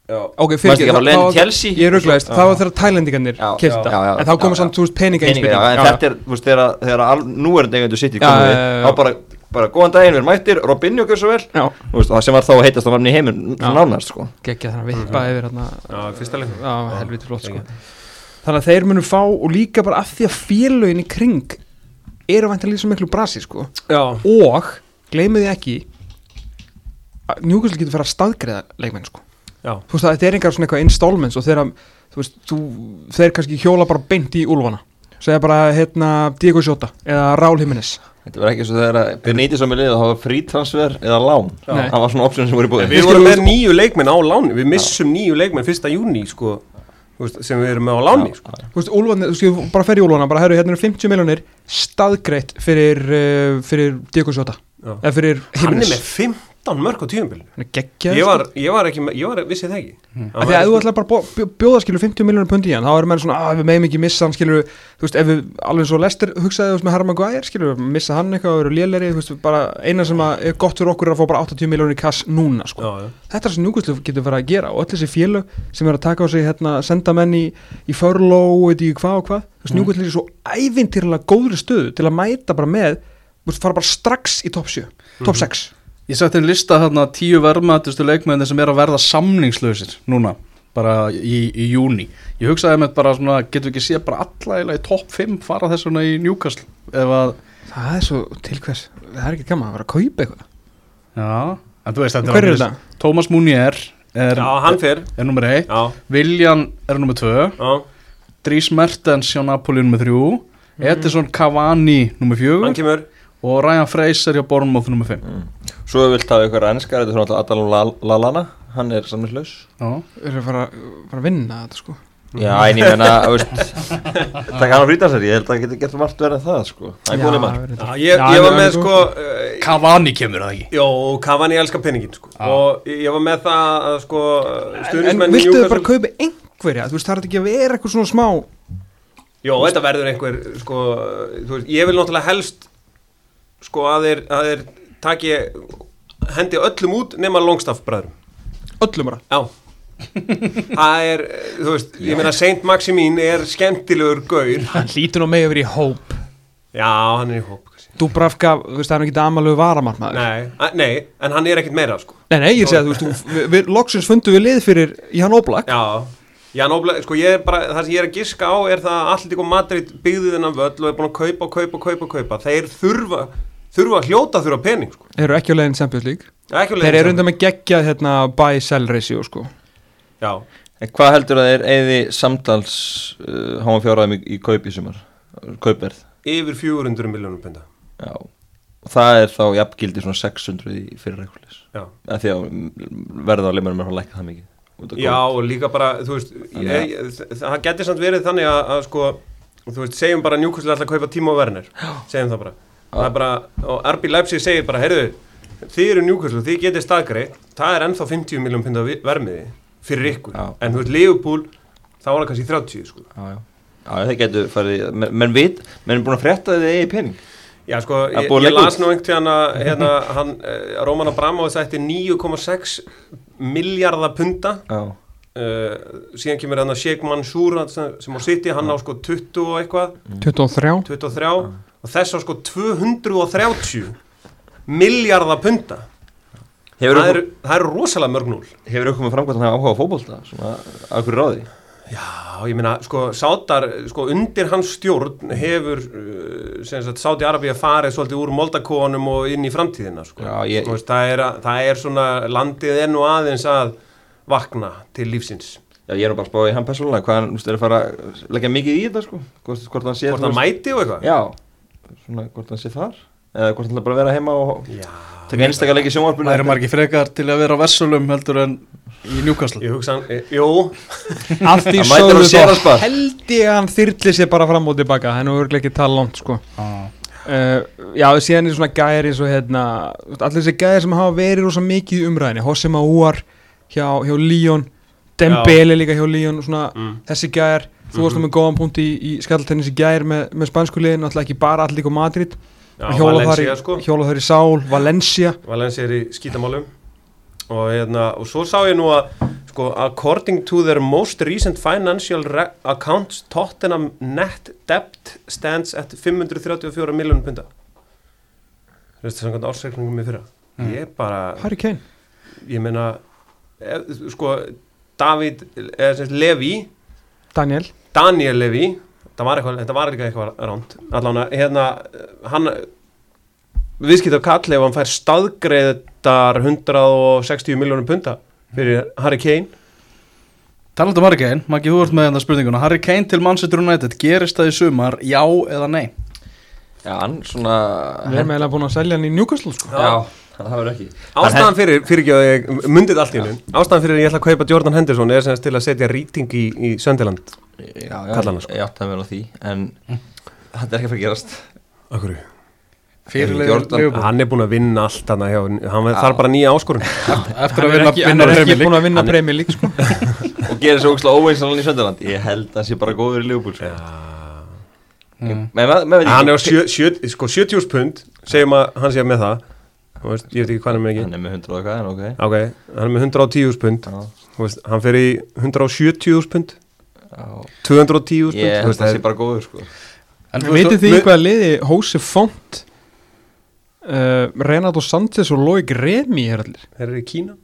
Speaker 3: Ok,
Speaker 5: Varstu
Speaker 3: fyrirgefðu,
Speaker 5: ekki að fara
Speaker 3: það-
Speaker 5: leiðin
Speaker 3: það var-
Speaker 5: til Chelsea?
Speaker 3: Ég rugglaðist, það var þegar tælendingarnir
Speaker 5: Já,
Speaker 3: kefti
Speaker 5: já,
Speaker 3: þetta
Speaker 5: já, já,
Speaker 3: En þá
Speaker 5: já,
Speaker 3: komið svona,
Speaker 5: já.
Speaker 3: þú veist, peninga
Speaker 5: peninga En þetta er, þú veist, þegar, þegar al, núverandi eigendur City
Speaker 3: Já,
Speaker 5: komu
Speaker 3: já,
Speaker 5: við
Speaker 3: já, já.
Speaker 5: þá bara, bara góðan daginn við erum mættir Robinho gjör svo vel
Speaker 3: Já,
Speaker 5: Þú veist, það sem var þá heitast að varna í heiminn
Speaker 3: Já.
Speaker 5: nánast, sko
Speaker 3: geggja þannig að vippa yfir hérna
Speaker 4: Já, í fyrsta leiknum
Speaker 3: Já, helviti flott, sko Þannig að þeir munu fá og líka bara af því að félögin í kring eru vænt að lýsa miklu brasi, sko
Speaker 4: Já,
Speaker 3: Og, gleymið þið ekki Njúkvæsli getur fara að staðgreða leikmenn, sko
Speaker 4: já,
Speaker 3: Þú veist, að þetta er einhver svona eitthvað installments og þeir, að, þú veist, þú, þeir kannski hjóla bara beint í úlfana Segja bara, hérna, Diego Sjóta eða Rál Jimenez
Speaker 5: Þetta var ekki eins og þegar Benítez var með liðið að hafa frítransfer eða lán
Speaker 3: Nei.
Speaker 5: Það var svona option sem voru í búið
Speaker 4: Við vorum með nýju leikmenn á láni Við missum nýju leikmenn fyrsta júni sko, þú veist, sem við erum með á láni sko.
Speaker 3: Þú veist, Úlfarnir, þú skilur bara fer í Úlfarna bara, herru, hérna eru 50 miljonir staðgreitt fyrir, uh, fyrir Diego Sjóta
Speaker 4: Já.
Speaker 3: eða fyrir
Speaker 4: Hann er
Speaker 3: Himnes
Speaker 4: með 15 mörg á tíumbil
Speaker 3: Hann er geggjað
Speaker 4: Ég
Speaker 3: sko.
Speaker 4: var, ég var ekki, með- ég var, vissi það sko- ekki Hann
Speaker 3: Hmm. Af
Speaker 4: var
Speaker 3: Því að
Speaker 4: ekki-
Speaker 3: ef þú ætlar bara að bó- bjóða skilur 50 miljonir pundi í hann þá eru menn svona, að við meðum ekki missa hann skilur þú veist, ef við alveg svo lestir hugsaði þú veist með Harma Guær skilur, missa hann eitthvað og eru lélæri, þú veist, bara eina sem að er gott fyrir okkur er að fá bara 80 miljonir kass núna sko.
Speaker 4: Já, já.
Speaker 3: þetta er sem njúkvæslu getur verið að gera og öll þessi félög sem eru að taka á sig hérna, senda menn í, í förló og veit ég hvað og hvað
Speaker 4: Mhm.
Speaker 3: þessi njúkvæslu er í svo ævintýrlega góðri stöðu til að mæta bara með þú veist, fara bara strax í top 7
Speaker 4: Mhm.
Speaker 3: top 6
Speaker 2: Ég setti einn lista hérna tíu verðmættustu leikmennir sem er að verða samningslausir núna, bara í, í júni. Ég hugsaði með bara svona, getur við ekki séð bara alla eiginlega í topp 5 fara þess vegna í Newcastle, ef að,
Speaker 3: það er svo til hvers það er ekki gaman að vera að kaupa eitthvað
Speaker 2: já, en þú veist þetta
Speaker 3: hver er þetta?
Speaker 2: Thomas Munier er,
Speaker 4: Já, hann fer
Speaker 2: er nummer 1,
Speaker 4: Já,
Speaker 2: Viljan er nummer 2,
Speaker 4: já,
Speaker 2: Dries Mertens hjá Napoli nummer 3, Edison Cavani nummer 4
Speaker 4: Mhm. hann kemur Mm.
Speaker 2: og Ryan Fraser hjá Bournemouth nummer 5.
Speaker 5: Svo ef við vilt hafa ykkur ennskar, þetta er svona alltaf Adalum Lalana, hann er samlislaus
Speaker 2: Já,
Speaker 3: eru að fara, fara að vinna þetta sko
Speaker 5: Mm. Já, en ég menna, þú veist (laughs) Takk hann á frítansar, ég held að hann getur gert margt verið það, sko Það er góðlega
Speaker 3: Já,
Speaker 5: maður
Speaker 3: verið
Speaker 4: Já,
Speaker 3: þetta.
Speaker 4: ég,
Speaker 3: Já,
Speaker 4: ég var
Speaker 3: hann
Speaker 4: með
Speaker 3: er
Speaker 4: sko
Speaker 3: góð.
Speaker 4: eh,
Speaker 2: Cavani kemur það ekki.
Speaker 4: Jó, og Cavani elskar penningin sko. og ég var með það að sko
Speaker 3: en
Speaker 4: stuðnismenn
Speaker 3: viltu þau bara kaupa einhverja þú veist það er ekki að vera eitthvað svona smá
Speaker 4: Jó, þetta verður einhver sko, þú veist, ég vil náttúrulega helst sko að þeir, að þeir taki hendi öllum út nema longstaff bræðrum
Speaker 3: öllum bara (laughs)
Speaker 4: Já Það er, eh, þú veist, ég meina Saint Maximin er skemmtilegur gaur
Speaker 3: hann hlýtur nú með yfir í hóp
Speaker 4: Já, hann er í hóp kannski.
Speaker 3: Dúbrafka, þú veist, það er nú ekki amalegu varamartmaður
Speaker 4: Nei, a- nei, en hann er ekkert meira sko
Speaker 3: Nei, nei, ég segi að þú veist, þú- við, við loksins fundum við lið fyrir Jan Oblak
Speaker 4: Já, já, náttúrulega, sko ég er bara, það sem ég er að giska á er það að Atletico Madrid byggði þennan völl og er búin að kaupa, kaupa, kaupa, kaupa Þeir þurfa, þurfa að hljóta þurfa pening, sko
Speaker 3: Þeir eru ekki á leiðin Champions League
Speaker 4: Ekki
Speaker 3: Þeir eru undan með geggjað hérna buy-sell ratio sko
Speaker 4: Já,
Speaker 5: En hvað heldur að þeir eigði samtals uh, háma fjáraðum í, í kaup í sumar Kaupverð,
Speaker 4: yfir 400 miljónum penda
Speaker 5: já Og það er þá jafngildi svona 600 í fyrir reikulis
Speaker 4: Já,
Speaker 5: Af því að verða á leimunum er að lækka það mikið Út af
Speaker 4: já
Speaker 5: Covid.
Speaker 4: og líka bara, þú veist,
Speaker 5: Þannig
Speaker 4: ég, ég, þa- það getur samt verið þannig að, að sko Þú veist, segjum bara njúkvæslega að kaupa tíma og verner Segjum það bara Það er bara, og Arbi Leipzig segir bara, heyrðu þið eru njúkvæslu, þið getið staðgrei það er ennþá 50 miljón pinda vi- vermiði fyrir ykkur,
Speaker 5: Já.
Speaker 4: en þú veist Leopold þá var það kannski 30 sko.
Speaker 5: Já, já. Já, það getur farið, menn, menn veit, menn er búin að frétta að þið eigi pening.
Speaker 4: Já, sko,
Speaker 5: Það er
Speaker 4: ég,
Speaker 5: búið að
Speaker 4: ég
Speaker 5: leggja
Speaker 4: las
Speaker 5: út.
Speaker 4: nú einhvern tíðan að hérna, hann, eh, Róman Abramovið sætti 9,6 miljardar punda
Speaker 5: Já.
Speaker 4: uh, síðan kemur hann að Sheik Mansour hann sem, sem á City, hann á sko 20 og eitthvað
Speaker 3: Mm. 23
Speaker 4: 23 og þess á sko 230 miljardar punda
Speaker 5: Hefur
Speaker 4: það
Speaker 5: þú,
Speaker 4: eru það eru rosalega mörg núl
Speaker 5: hefur þú komið framkvæmt að hafa áhuga á fótbolta, svona, að hverju ráði?
Speaker 4: Já, ég meina, sko, Sátar, sko, undir hans stjórn hefur, uh, sem sagt, Sáti Arabíu farið svolítið úr moldakóanum og inn í framtíðina, sko.
Speaker 5: Já, ég-
Speaker 4: Þú veist, það, er, að- það er svona, landið er nú aðeins að vakna til lífsins.
Speaker 5: Já, ég er nú bara að spá í hann persónulega, hvað hann, þú veist, er að fara að leggja mikið í þetta, sko, hvort, hvort hann sé
Speaker 4: Hvort
Speaker 5: þú
Speaker 4: það
Speaker 5: veist-
Speaker 4: mæti og eitthvað?
Speaker 5: Já, svona, hvort hann sé þar, eða hvort hann ætlar bara að vera heima og
Speaker 4: Já.
Speaker 5: taka einstakar leik í
Speaker 2: Það
Speaker 5: sjónvarpunni.
Speaker 2: eru margir frekar til að vera á Vessulum heldur en í Newcastle
Speaker 4: Ég hugsa, hann- eh, jú,
Speaker 3: Allt í
Speaker 5: Hann
Speaker 3: sögðu
Speaker 5: mætir á
Speaker 3: þá Sko,
Speaker 5: Sérarspar.
Speaker 3: held ég að hann þyrli sér bara fram og tilbaka Það er nú örglega ekki tala langt sko
Speaker 2: ah.
Speaker 3: uh, Já, síðan er svona gæri eins og hérna Allir þessi gæri sem hafa verið rosa mikið í umræðinni Hosse Mauar hjá, hjá Líón Dembele líka hjá Líón svona,
Speaker 4: Mm.
Speaker 3: Þessi gæri, þú varst nú með góðan punkt í, í skalltennis í gæri með, með spansku liðin Náttúrulega ekki bara allir líka Madrid
Speaker 4: já,
Speaker 3: Hjóla þar í-
Speaker 4: Valencia, sko.
Speaker 3: hjóla þar í Sál, Valencia
Speaker 4: Valencia er í skítamálum og, hérna, og svo sá ég nú að sko, according to their most recent financial re- accounts Tottenham net debt stands at 534 miljónum punda þú veist samkvæmt ársreikningum í fyrra ég bara,
Speaker 3: Harry Kane
Speaker 4: ég meina ef, sko, David eða sem sagt Levi,
Speaker 3: Daniel
Speaker 4: Daniel Levi það var eitthvað, þetta var líka eitthvað ránt allan að hérna, hann viðskipta kall ef hann fær staðgreðar 160 miljónum punta fyrir Harry Kane
Speaker 2: Talandi um Harry Kane, Maggi þú ert með þetta spurninguna Harry Kane til Manchester United, gerist það í sumar já eða nei?
Speaker 5: Já, hann svona,
Speaker 3: Við erum eiginlega búin að selja hann í Newcastle sko
Speaker 5: já, það verður ekki.
Speaker 4: ástæðan fyrir, fyrir ekki að ég myndið allt í hennu ástæðan fyrir að ég ætla að kaupa Jordan Henderson er sem sagt til að setja rýting í, í Söndiland
Speaker 5: Já, já,
Speaker 4: Kalla hana, sko. Mm.
Speaker 5: ég átti að vera á því, en þetta er ekki að fara að gerast.
Speaker 4: Akkurru.
Speaker 2: Fyrirlega
Speaker 5: Jordan-
Speaker 2: Liverpool.
Speaker 4: hann er búin að vinna allt hann, hjá, hann (laughs) þarf bara nýja áskorun
Speaker 2: eftir
Speaker 3: Hann
Speaker 2: að
Speaker 3: er
Speaker 2: vinna
Speaker 3: ekki, hann
Speaker 2: vinna
Speaker 3: er ekki
Speaker 2: Premier League.
Speaker 3: búin að vinna Premier League sko
Speaker 5: og gerir svo ógslag óveinsanlega í Söndaland ég held að hann sé bara góður í Liverpool sko. Ég- menn maður- maður veit
Speaker 4: hann er á
Speaker 5: ekki-
Speaker 4: sjö, sjö, sko, 70 pund segjum að hann sé með það Þú veist, ég veit ekki hvað hann er með ekki
Speaker 5: hann er með 100 og eitthvað en ok
Speaker 4: ok, hann er með 110 pund
Speaker 5: Já.
Speaker 4: Þú veist, hann fer í 170 pund
Speaker 5: Já.
Speaker 4: 210 pund Þú
Speaker 5: ég held að
Speaker 4: veist,
Speaker 5: hann
Speaker 4: það
Speaker 5: sé
Speaker 4: er-
Speaker 5: bara góður sko.
Speaker 2: En þú
Speaker 3: Vitið
Speaker 2: veist,
Speaker 3: þið í hvaða liði Hose Font uh, Renato Sanchez og Loic Remi er allir?
Speaker 4: þeir eru í Kína,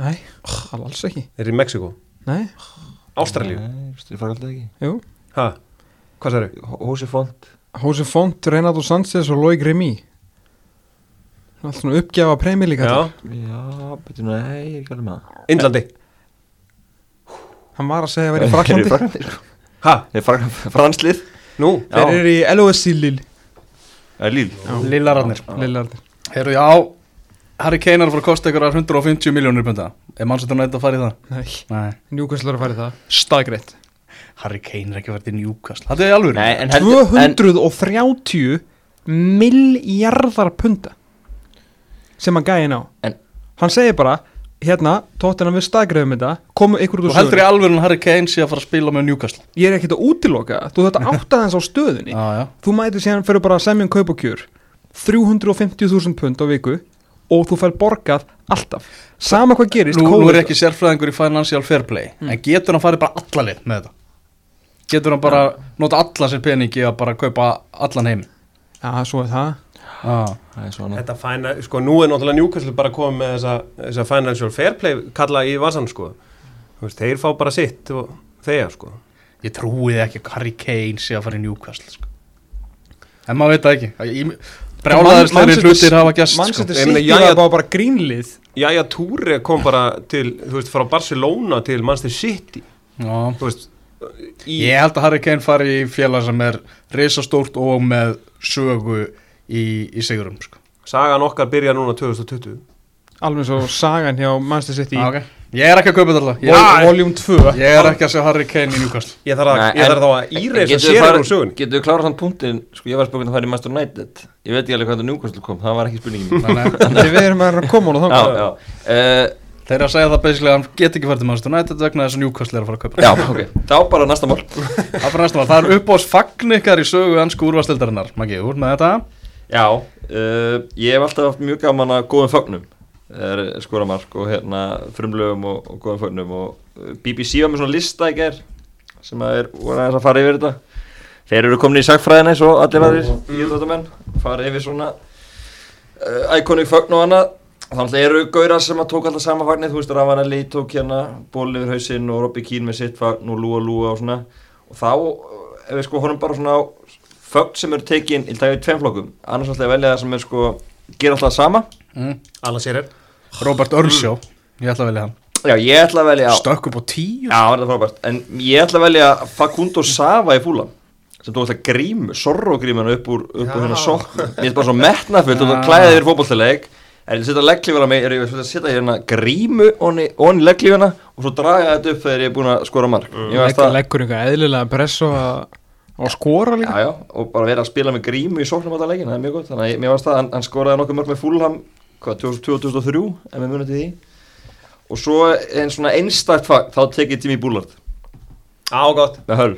Speaker 3: Nei, all, alls ekki
Speaker 4: þeir eru í Mexiko
Speaker 3: Nei,
Speaker 4: Ástralíu,
Speaker 5: Nei, veistu, ég fara alltaf ekki
Speaker 3: jú
Speaker 4: hæ, hvað særu?
Speaker 5: Hó- Hósi Font
Speaker 3: Hose Font, Renato Sanchez og Loic Remi Allt svona uppgjafa Premier League
Speaker 4: Já,
Speaker 3: allir.
Speaker 5: já betur nei ég er ekki alveg með það
Speaker 4: Indlandi,
Speaker 3: Hann var að
Speaker 2: (laughs)
Speaker 3: segja að vera í Fraklandi
Speaker 5: Fraklandi sko.
Speaker 4: hæ,
Speaker 5: Nei, Frak- franslið
Speaker 4: nú
Speaker 5: Já.
Speaker 3: Þeir eru í LOSC Lill
Speaker 5: Það er líl
Speaker 2: Lillararnir
Speaker 3: Lillardir
Speaker 2: Heyrðu, já Harry Kane er að fara að kosta ykkur að 150 miljónir punda Er Manchester United að fara í það?
Speaker 3: Nei,
Speaker 2: Nei
Speaker 3: Newcastle er að fara í það Staðgreitt
Speaker 2: Harry Kane er ekki að fara til Newcastle Þetta er í alvöru
Speaker 5: nei en heldur
Speaker 3: 230 miljardar punda sem hann gæði ná
Speaker 5: En-
Speaker 3: hann segir bara hérna, tóttina við staðgreðum þetta komu ykkur
Speaker 2: Þú
Speaker 3: út úr
Speaker 2: heldur í
Speaker 3: sögur
Speaker 2: alvöru að Harry Kane sé að fara að spila með Newcastle
Speaker 3: ég er ekkert að útiloka, það. þú
Speaker 2: (laughs)
Speaker 3: þetta áttaðans á stöðunni
Speaker 2: Já, já
Speaker 3: þú mætir síðan fyrir bara að semja um kaup og kjör 350.000 pund á viku og þú fær borgað alltaf sama hvað gerist
Speaker 2: Nú, nú
Speaker 3: COVID-
Speaker 2: er ég ekki sérfræðingur í financial fair play
Speaker 5: Mm.
Speaker 2: En getur hann farið bara alla leið með þetta Getur hann bara nota alla sér peningi að bara kaupa allan heim
Speaker 3: já, svo er það
Speaker 2: ah.
Speaker 5: það er svona
Speaker 4: Þetta fæna, sko, nú er náttúrulega Newcastle bara komið með þessa, þessa financial fair play kalla í vasan, sko Þú veist, Þeir fá bara sitt og þeir, sko
Speaker 2: Ég trúið ekki að Harry Kane sé að fara í Newcastle sko. En maður veit það ekki Brjálaðarsleiri
Speaker 3: Manchester-
Speaker 2: hlutir hafa gæst sko.
Speaker 3: Manchester
Speaker 4: Ég meina,
Speaker 3: City
Speaker 4: jæja-
Speaker 3: var bara- bara grínlið
Speaker 4: Jæja, Túri kom bara til, þú veist, frá Barcelona til Manchester City
Speaker 2: Já.
Speaker 4: Þú veist, í,
Speaker 2: Ég held að Harry Kane fari í félag sem er risastórt og með sögu í, í sigurum sko.
Speaker 4: sagan okkar byrja núna 2020
Speaker 3: alveg svo sagan hjá Manchester City
Speaker 2: ah, okay. Ég er ekki að kaupa þetta alltaf
Speaker 3: Vol,
Speaker 2: ég,
Speaker 3: Voljum 2
Speaker 2: ég er ekki að sjá Harry Kane í Newcastle
Speaker 4: Ég þarf, að,
Speaker 5: Nei,
Speaker 4: ég
Speaker 5: en-
Speaker 4: þarf þá að íreisa
Speaker 5: Getum við
Speaker 4: sér
Speaker 5: farið-
Speaker 4: úr sögun
Speaker 5: Getum við klárað þann punktinn Sko ég var spurning að fara í Master United Ég veit ekki alveg hvað þetta njúkvæmstil kom Það var ekki spurningin (laughs) mín.
Speaker 2: Þannig að
Speaker 3: (laughs)
Speaker 2: (laughs)
Speaker 3: Við erum að koma hún og
Speaker 5: Já,
Speaker 3: þangar
Speaker 5: já uh,
Speaker 2: Þeir að segja það basically að hann get ekki farið til Manchester United vegna þess að Newcastle er að fara að kaupa
Speaker 5: Já, ok Þá bara næsta mál
Speaker 2: Það er bara næsta mál. Það er upp á í sögu ansku úrvastildarinnar Maggi, úr með þetta
Speaker 5: Já uh, Ég hef alltaf haft mjög gaman að góðum fögnum er skoramark og hérna frumlögum og, og góðum fögnum og eh, BBC var með svona lista í ger sem að er, voru aðeins að fara yfir þetta þeir eru komin í sagfræðina eins og allir aðrir íðvöldamenn, fara yfir svona uh, iconic fögn og annað þannig eru gaurar sem að tók alltaf sama fagnið, þú veist Ravanelli tók hérna bólið yfir hausinn og Robby Keane með sitt fagn og Lúa Lúa og svona og þá, eh, ef við sko horfum bara svona á fögn sem eru tekin í dag í tveim flokkum, annars ætla ég að velja það sem er sko gera alltaf sama
Speaker 4: Alla sér er
Speaker 2: Robert Örnsjó Ég ætla að velja hann
Speaker 5: Já, ég ætla að velja
Speaker 2: Stökk upp á tíu
Speaker 5: Já, það er frábært En ég ætla að velja Facundo Sava í fúlan sem tók alltaf grím, sorrogrímuna upp úr, upp úr hérna sokk Mér finnst bara svo metnafullt og það klæðið yfir fótbolltileik Er ég að setja legglífuna mig, er ég að setja hérna grímu onni, onni legglífuna og svo draga þetta upp þegar ég er búin að skora mark mm. Ég veist
Speaker 6: Leggur,
Speaker 5: það,
Speaker 6: leggur einhver eðlilega press og að og skora
Speaker 5: já
Speaker 6: líka
Speaker 5: já, og bara vera að spila með grímu í sokknum alltaf leikin, það er mjög gott Þannig að ég- mér veist það, hann, hann skoraði nokkuð mörg með fúlham, hvað, 2003, ef við munum til því Og svo en svona einstakt fag, þá tek ég Jimmy Bullard
Speaker 4: Ágótt,
Speaker 5: með höll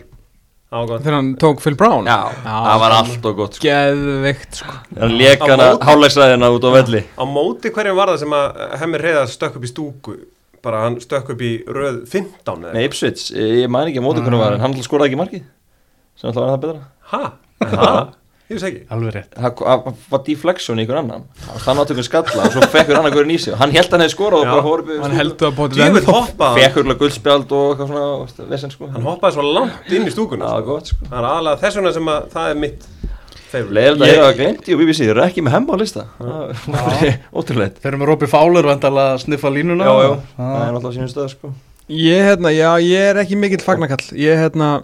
Speaker 4: ágótt
Speaker 6: þegar hann tók Phil Brown
Speaker 5: Já, það var allt og gott sko.
Speaker 6: geðveikt sko.
Speaker 5: Hann lék
Speaker 4: Á
Speaker 5: hana
Speaker 4: móti?
Speaker 5: hálflegsræðina út á velli
Speaker 4: Á móti hverjum var það sem að eh, hemmi reyða stökk upp í stúku bara hann stökk upp í röð 15 eða
Speaker 5: Nei, Ipswich, ég man ekki á móti hvernig var en hann alltaf skoraði ekki markið sem alltaf var það betra
Speaker 4: ha, ha, ég veist ekki
Speaker 2: Alveg rétt
Speaker 5: Það ko- það var deflection í einhvern annan hann átti einhvern skalla og svo fekk einhvern annan hverjum í sig hann held að hann hefði skorað og
Speaker 4: Já.
Speaker 5: bara horfið
Speaker 6: hann heldur að bóti
Speaker 4: Djöfull hoppaði hann,
Speaker 5: fekk einhvern guldspjald og eitthvað svona veist, vesen sko
Speaker 4: hann hoppaði svo langt inn í stúkuna
Speaker 5: Það var gott sko
Speaker 4: Það er aðalega þess vegna sem að það er mitt favorite
Speaker 5: Leðilegt að ég hafa glemt í og BBC, þeir eru ekki með hemma á lista (laughs) Ótrúlegt
Speaker 2: Þeir eru með Robby Fowler vendala að sniffa línuna
Speaker 5: Já, já, það
Speaker 2: Ah.
Speaker 5: er alltaf sínum stöð sko
Speaker 3: Ég, hérna, já, ég er ekki mikill fagnakall Ég, hérna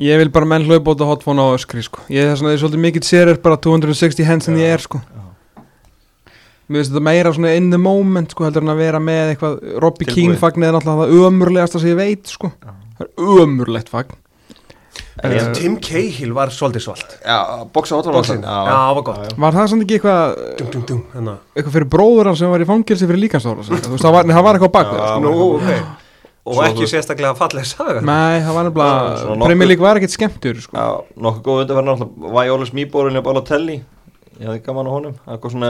Speaker 3: Ég vil bara menn hlaupa út á hotfón á öskri, sko Ég er svona, ég er svolítið mikill sér er bara 260 hands en ég er, sko Mér finnst þetta meira svona in the moment, sko Heldur en að vera með eitthvað Robbie
Speaker 5: Tilbúið.
Speaker 3: King fagnið er náttúrulega það ömurlegasta sem ég veit, sko Það er ömurlegt fagn
Speaker 4: En Tim Cahill var svolítið svalt
Speaker 5: Já, bóksa átvar
Speaker 4: Bóksin, já,
Speaker 5: Já,
Speaker 4: það var gott
Speaker 3: Var það samt ekki eitthvað
Speaker 4: Dum, dum, dum, hérna
Speaker 3: Eitthvað fyrir bróður hans sem var í fangelsi fyrir líkanstóra Þú veist, það var, nei, það var eitthvað á bakvið, sko
Speaker 4: Nú, ok Hérna. Og
Speaker 5: Svo
Speaker 4: ekki
Speaker 5: þú-
Speaker 4: sérstaklega fallega saga
Speaker 3: Nei, það var nefnilega
Speaker 5: Svona nokkuð-
Speaker 3: Premier League var ekkert skemmtur, sko
Speaker 5: Já, nokkuð góð undanferðin alltaf Viola Smíborinn og Balotelli Ég hafði gaman á honum, það var svona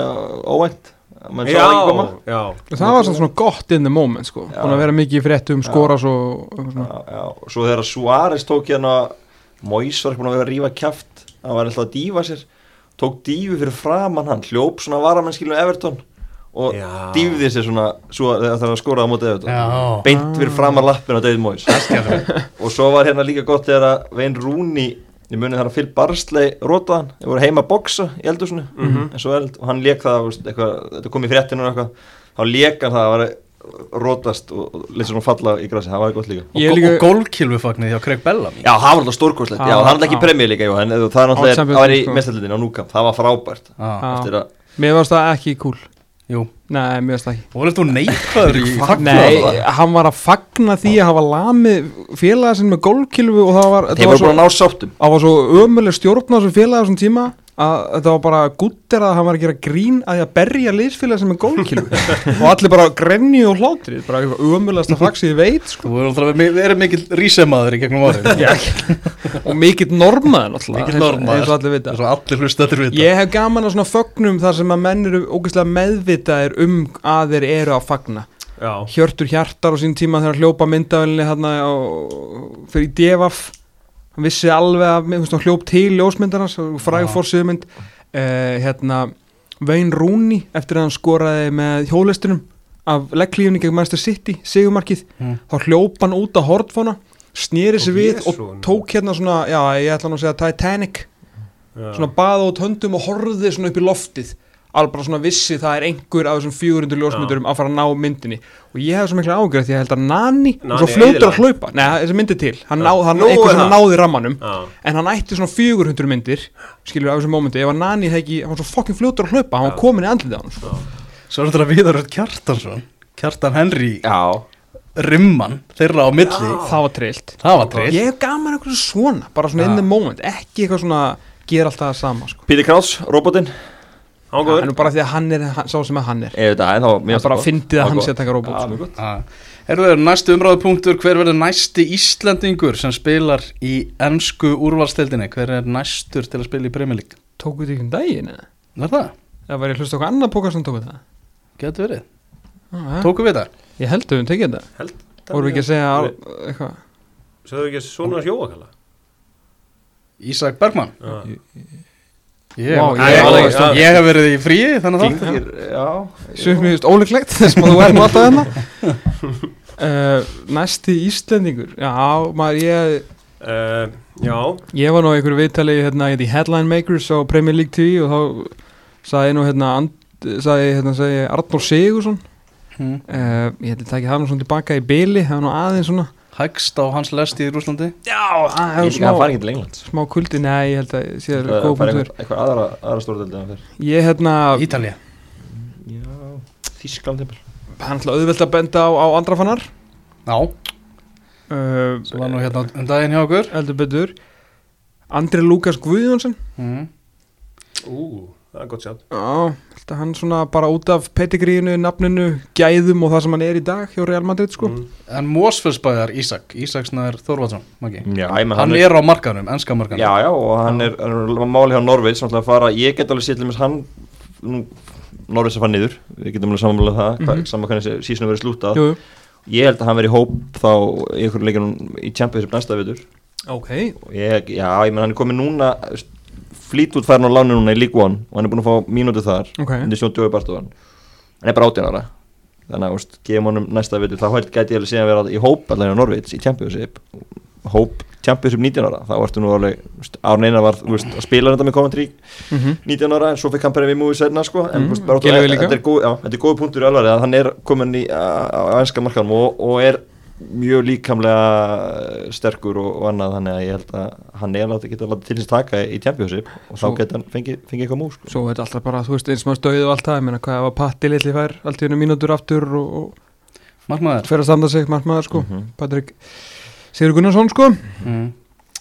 Speaker 5: óvænt menn sá það ekki koma
Speaker 4: Já, já
Speaker 3: Það var samt svona gott in the moment sko
Speaker 5: Já.
Speaker 3: Búin að vera mikið í fréttum, skora svo og eitthvað svona.
Speaker 5: já, já. og Svo þegar Suárez tók hérna Mois var ekki búin að vera að rífa kjaft hann var alltaf að dífa sér tók dífu fyrir framann hann, hljóp svona varamenn skilum Everton og
Speaker 4: Já.
Speaker 5: dýfði sér svona svo, þegar það var skorað á móti Everton
Speaker 2: Já.
Speaker 5: beint fyrir framann lappin á David Mois (laughs) og svo var hérna líka gott þegar að Vein Rúni ég muni þar að fyrir barslei rótaðan, þeir voru heima að boksa í eldusinu en svo eld, og hann lék það þú veist, eitthvað, þetta kom í fréttinu og eitthvað þá lék hann það að vera rótast og, og lýsir hún falla í grasi, það var gott líka
Speaker 6: Ég
Speaker 2: Og,
Speaker 6: líka-
Speaker 2: og gólkilvufagnið hjá Craig Bellamy
Speaker 5: Já, það var alltaf stórkoslegt, já,
Speaker 6: Já,
Speaker 5: það er alltaf ekki
Speaker 6: já.
Speaker 5: premjör líka, jú, en þú- það er
Speaker 3: Á
Speaker 5: alltaf,
Speaker 3: Champions
Speaker 5: það var í
Speaker 3: League, sko.
Speaker 5: mestarlutin á Núkam, það var frábært
Speaker 2: ah.
Speaker 3: Já.
Speaker 5: eftir að,
Speaker 3: Mér varst það ekki cool
Speaker 2: Jú,
Speaker 3: Nei, mér varst það ekki
Speaker 2: og þú neikvæður í
Speaker 3: Nei,
Speaker 5: það.
Speaker 3: hann var að fagna því að hafa lamið félaga sinn með gólkilfu og það var,
Speaker 5: þeir
Speaker 3: það var
Speaker 5: voru
Speaker 3: svo,
Speaker 5: búin að ná sáttum
Speaker 3: það var svo ömuleg stjórn á þessum félaga á þessum tíma að þetta var bara guttir að hann var að gera grín að því að berja liðsfélaga sem er gólkilfu (laughs) og allir bara grenni og hlátri bara eitthvað ömulegasta fag sem ég veit sko.
Speaker 2: Þú hefur náttúrulega verið- verið mikill rísemaður í gegnum árin
Speaker 3: og mikill normaður náttúrulega,
Speaker 2: Mikill
Speaker 3: eins og-
Speaker 2: normaður.
Speaker 3: eins og allir vita
Speaker 2: Svo allir hlusta þetta við
Speaker 3: Ég hef gaman að svona fögnum þar sem að menn eru ógeðslega meðvitaðir um að þeir eru að fagna
Speaker 4: Já
Speaker 3: Hjörtur Hjartar á sín tíma þegar hann hljópa myndavelni hérna á, fyrir í Devaf hann vissi alveg að þú veist, hann hljóp til ljósmyndarnas fræg fórsöðumynd uh, hérna Vein Rúni eftir að hann skoraði með hjólistunum af legglífunni gegn Manchester City, sigumarkið
Speaker 2: Mm.
Speaker 3: þá hljóp hann út að hortfóna snýri sig
Speaker 4: Og
Speaker 3: við
Speaker 4: Jesú.
Speaker 3: og tók hérna svona, já ég ætla nú að segja Titanic svona baða út höndum og horfði svona upp í loftið alveg bara svona vissi það er einhver af þessum 400 ljósmyndurum að fara að ná myndinni og ég hef svo mikla ágjörð því að ég held að Nani,
Speaker 4: Nani
Speaker 3: Nani svo fljótur
Speaker 4: eyðilagði.
Speaker 3: að hlaupa nei, þessi myndi til, hann, ná, hann
Speaker 4: Nú er
Speaker 3: einhver sem
Speaker 4: það.
Speaker 3: náði rammanum
Speaker 4: Já.
Speaker 3: en hann ætti svona 400 myndir skilur af þessum mómenti, ef að Nani hefði ekki hann var svo fokkin fljótur að hlaupa, hann var komin í andlitið á hann sko.
Speaker 2: Svo er þetta Viðar Rödd Kjartansson Kjartan Henry,
Speaker 4: Já
Speaker 2: Rimman þeirra á milli,
Speaker 3: Það var trillt
Speaker 2: það var trill
Speaker 3: Ég hef gaman eitthvað svona, bara svona
Speaker 2: Ja.
Speaker 3: in the moment Ekki eitthvað svona, gera alltaf það sama sko.
Speaker 5: Peter Krauss, robotinn
Speaker 3: Það er
Speaker 4: Ágóður
Speaker 3: nú bara því að hann er hann, sá sem að hann er
Speaker 5: Ég veit að, en þá
Speaker 3: Það
Speaker 5: mér
Speaker 3: er bara að fyndið
Speaker 5: Já,
Speaker 3: að hann
Speaker 5: gott.
Speaker 3: sé að taka robot
Speaker 5: Já,
Speaker 3: sko.
Speaker 5: mjög gott
Speaker 2: Erður, næstu umræðupunktur, hver verður næsti Íslendingur sem spilar í ennsku úrvalstildinni, hver er næstur til að spila í Premier League?
Speaker 3: Tóku þetta ekki um daginn eða?
Speaker 2: Var það?
Speaker 3: Það var ég hlust okkur annað póka sem tóku það
Speaker 2: Getur verið.
Speaker 3: ah, Tók...
Speaker 2: Tókum við það?
Speaker 3: Ég held að við höfum tekið þetta Vorum við ekki að segja al- eitthvað
Speaker 4: Sögðu ekki svona sjóakalla
Speaker 2: Ísak Bergman Ég,
Speaker 3: Vá,
Speaker 2: ég, ég,
Speaker 4: ég- já.
Speaker 2: ég hef verið í fríi þannig að það
Speaker 5: Þingir, já
Speaker 3: Sjöfum við ólíklegt (laughs) þess að þú erum alltaf hérna uh, Næsti Íslendingur Já, maður, ég,
Speaker 4: uh, Já
Speaker 3: ég var nú í einhverju viðtali hérna, í Headline Makers á Premier League 10 og þá sagði ég nú hérna, and, sagði, ég, hérna sagði ég Arnór Sigursson
Speaker 5: Hmm.
Speaker 2: Mm.
Speaker 3: uh, Ég held að taka það nú svona tilbaka í byli það var nú aðeins svona
Speaker 2: Hægst á hans lest í Rúslandi
Speaker 3: Já, það er
Speaker 5: Ég veit ekki að hann
Speaker 3: smá,
Speaker 5: fari ekki til England
Speaker 3: smá kuldi Nei, ég held að sé að
Speaker 5: Það
Speaker 3: góða
Speaker 5: fari
Speaker 3: punktur
Speaker 5: eitthvað eitthvað aðra, aðra stórdeldi en fyrr
Speaker 3: Ég hérna
Speaker 2: Ítalja
Speaker 5: Já Þískland hefur
Speaker 3: hann ætla auðvelt að benda á, á andrafannar
Speaker 2: Já,
Speaker 3: uh,
Speaker 2: sem var nú hérna um daginn hjá okkur
Speaker 3: Eh, heldur betur Andri Lukas Guðjónsson
Speaker 2: mm.
Speaker 4: Ú, það er gott sjátt
Speaker 3: já, held að hann svona bara út af petigríinu, nafninu, gæðum og það sem hann er í dag hjá Real Madrid sko
Speaker 4: Mm.
Speaker 2: En Mósfellsbæðar Ísak Ísaksnæður Þorvaldsson, Maggi
Speaker 5: Já, ég
Speaker 2: Hann
Speaker 5: menn Mm. hann er
Speaker 2: er á markanum, ennska markanum
Speaker 5: Já, já, og hann er, hann er máli hjá Norveits Þannig að fara, ég get alveg sér til mér hann nú, Norveits að fara niður Við getum alveg samanlega það mm
Speaker 3: Mhm.
Speaker 5: -hmm. Saman hvernig sísunum verið slútað
Speaker 3: Jú, jú.
Speaker 5: Ég held að hann verið í hóp þá í einhverjum leikunum í Champions upp næsta vitur
Speaker 3: ok,
Speaker 5: Og ég, Já, ég menn hann er komið núna Flýt út færin á láni núna í League One Og hann er búin að fá mínútið þar
Speaker 3: ok
Speaker 5: undir Sjón Djói Bartóðan hann er bara 18 ára þannig að úst, gefum honum næsta vitur þá hægt gæti ég alveg síðan að vera í hóp allavega á Norveits í Championship hóp Championship 19 ára þá ertu nú alveg úst, árn einar var úst, að spila þetta með Coventry
Speaker 3: mm
Speaker 5: 19 ára en svo fekk hann perið við múið senna sko, en
Speaker 3: Mm,
Speaker 5: úst, bara út af-
Speaker 3: Gylfi líka.
Speaker 5: þetta er góð- já, þetta er góð punktur í alveg að hann er komin í, á á enska markanum og, og er mjög líkamlega sterkur og, og annað þannig að ég held að hann er alveg að geta látið til þess að taka í Championship og þá
Speaker 3: Svo-
Speaker 5: geta hann fengið fengi eitthvað múl sko.
Speaker 3: Svo er þetta alltaf bara, þú veist, eins og maður stöðu og allt það, ég meina hvað var patti litli fær, allt í hennu mínútur aftur og, og
Speaker 2: Markmaður
Speaker 3: fer að standa sig margmaður sko,
Speaker 5: Mhm.
Speaker 3: Patrik Sigur Gunnarsson sko,
Speaker 2: mm.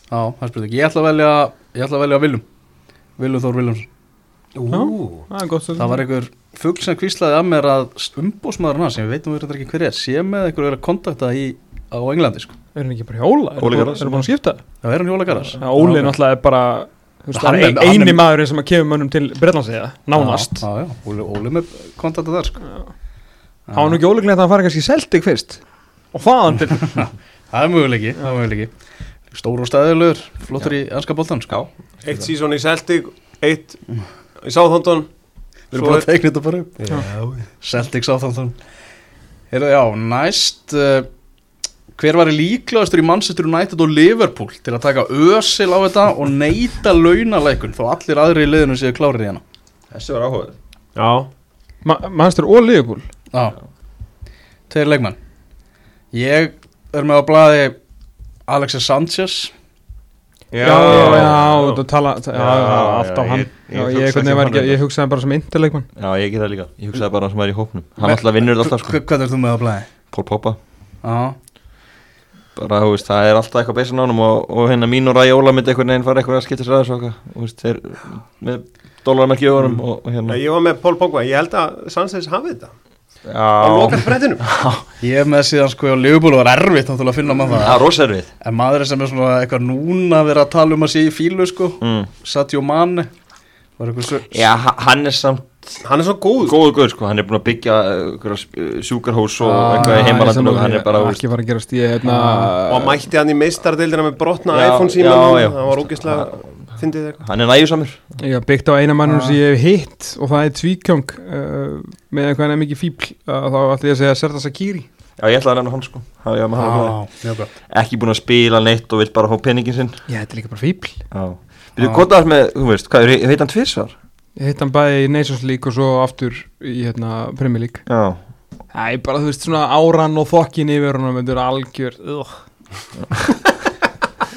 Speaker 2: Já, það spurði ekki Ég ætla að velja, ég ætla að velja Viljum Viljum Þór Viljum
Speaker 4: Ú
Speaker 3: það er gott
Speaker 2: Það var einhver fugl sem kvíslaði að mér að umbósmaðurinn hans, sem við veitum við þetta ekki hver er sé með einhverju að kontakta í, á Englandi sko.
Speaker 3: er hann ekki bara hjóla, er
Speaker 5: Óli
Speaker 3: hann
Speaker 5: Garðars.
Speaker 3: búin að skipta
Speaker 2: Það er hann Jóla Garðars
Speaker 3: Já, Óli er náttúrulega bara þú veist,
Speaker 2: Hann
Speaker 3: hann
Speaker 2: er-
Speaker 3: er
Speaker 2: hann
Speaker 3: eini
Speaker 2: er-
Speaker 3: maðurinn sem að kemur mönnum til Breitlands eða nánast
Speaker 2: Já, já, já, Óli, Óli er með kontakta þar sko.
Speaker 3: Það var nú ekki ólíklegt að hann fara kannski í Celtic fyrst og þaðan til
Speaker 2: Það er möguleiki, það er möguleiki Stór og stæðilegur, flottur í anska boltan sko.
Speaker 4: Eitt sísón í Celtic Eitt í Southampton
Speaker 2: Við erum bara að teikna þetta bara upp
Speaker 4: Já
Speaker 2: Celtics áþáttan Heyrðu, já, næst uh, Hver var líklegastur í Manchester United og Liverpool til að taka ösil á þetta og neyta launaleikun þó allir aðri í liðinu séu klárið í hana
Speaker 5: þessi var áhugað
Speaker 4: Já
Speaker 3: Mannstur og Liverpool
Speaker 2: Já, tveir leikmenn Ég er með á blaði Alexis Sanchez
Speaker 3: Já, já, já, þú tala já, já,
Speaker 5: já,
Speaker 3: alltaf
Speaker 5: já,
Speaker 3: hann
Speaker 5: ég-
Speaker 3: Já,
Speaker 5: ég
Speaker 3: Ég
Speaker 5: hugsa
Speaker 3: einhvern veginn
Speaker 5: ekki
Speaker 3: var ekki,
Speaker 5: hann
Speaker 3: ég hugsaði hann bara sem interleikmann
Speaker 5: Já, ég get það líka, ég hugsaði bara hann sem er í hópnum Hann alltaf vinnur þetta alltaf sko,
Speaker 2: Hva- Hvað er þú með á blaði?
Speaker 5: Pól Poppa
Speaker 2: Já,
Speaker 5: Bara, þú veist, það er alltaf eitthvað beysan á hann og, og hérna mín og Ræja Óla myndi einhvern veginn fara eitthvað að skipta sér aðeins og eitthvað Þú veist, þeir með dólarmerki í orðum og, og hérna
Speaker 4: Eh, Ég var með Paul Pogba Ég held að Sanchez hafi þetta Á
Speaker 5: Já,
Speaker 4: lokar brettinu
Speaker 2: ég er með síðan sko á Liverpool og var erfitt náttúrulega að finna mann það
Speaker 5: það er roservið
Speaker 2: En maður sem er svona eitthvað núna að vera að tala um að sé í fílu sko
Speaker 5: mm.
Speaker 2: Sadio Mane var eitthvað svo
Speaker 5: Já, ha- hann er samt
Speaker 4: Hann er svo góð
Speaker 5: góðu guður sko, hann er búin að byggja uh, sjúkarhús og
Speaker 2: Ah,
Speaker 5: eitthvað í heimalandinu og hann er
Speaker 3: Það
Speaker 5: bara, þú
Speaker 3: er
Speaker 5: veist
Speaker 3: ekki fara að gerast ég hérna, hefna,
Speaker 4: Og mætti hann í meistardeildina með brotna
Speaker 5: Já,
Speaker 4: iPhone síma
Speaker 5: já, já.
Speaker 4: Það var ógeðslega Fyndið eitthvað
Speaker 5: Hann er nægjusamur
Speaker 3: Ég haf byggt á eina mannum sem ég hef hitt og það er tvíkjöng uh, með eitthvað hann er mikið fíbl uh, þá ætla ég að segja Sertan Sakiri
Speaker 5: Já, ég ætlaði að nefna hann sko hann, já, hann ah.
Speaker 2: Á, mjög gott.
Speaker 5: Ekki búin að spila neitt og vil bara fá peningin sinn
Speaker 3: Ég þetta er líka bara fíbl
Speaker 5: Já Býtu, hvað það er með, þú veist, hvað, er- heit hann tvisvar?
Speaker 3: Ég hitt hann bæði í Nations League og svo aftur í hérna, Premier League
Speaker 5: Já
Speaker 3: Æ, bara þú veist svona áran og þokkin yfir honum, þetta er algjör Ugh. (laughs)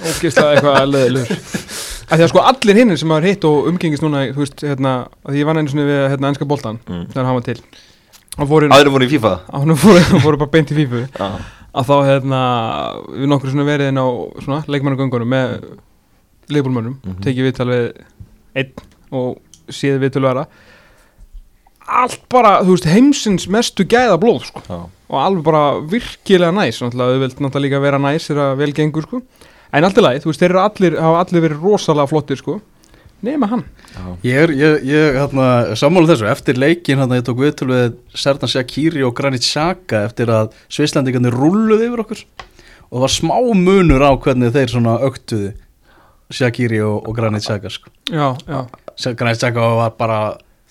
Speaker 3: Ógeðslega eitthvað leðilur Því að sko allir hinnir sem maður hitt og umgengist núna, þú veist, hérna að Því ég vann einu svona við hérna ennska boltan
Speaker 5: Mm.
Speaker 3: þegar hann var til og fór inn (laughs)
Speaker 5: Aðrir voru í FIFA
Speaker 3: að hún fóru, fóru bara beint í fífu
Speaker 5: Já.
Speaker 3: að þá hérna við nokkur svona verið inn á svona leikmannagöngunum með leikbólmönnum
Speaker 5: Mhm.
Speaker 3: tekið viðtal við einn og séð viðtal við aðra allt bara, þú veist, heimsins mestu gæða blóð sko
Speaker 5: Já.
Speaker 3: og alveg bara virkilega næs náttúrulega við vilt náttúrulega líka vera næs er að vel gengur sko en allt í lagi, þú veist, þeir eru allir hafa allir verið rosalega flottir sko nema hann
Speaker 2: Ég er, ég, ég, hérna, sammála þessu, eftir leikin, hérna, ég tók viðtölu við Sertan Shakiri og Granit Xhaka eftir að svislendingarnir rulluði yfir okkur og það var smá munur á hvernig þeir svona öktuði Shakiri og, og Granit Xhaka, sko.
Speaker 3: já, já,
Speaker 2: Sa- Granit Xhaka var bara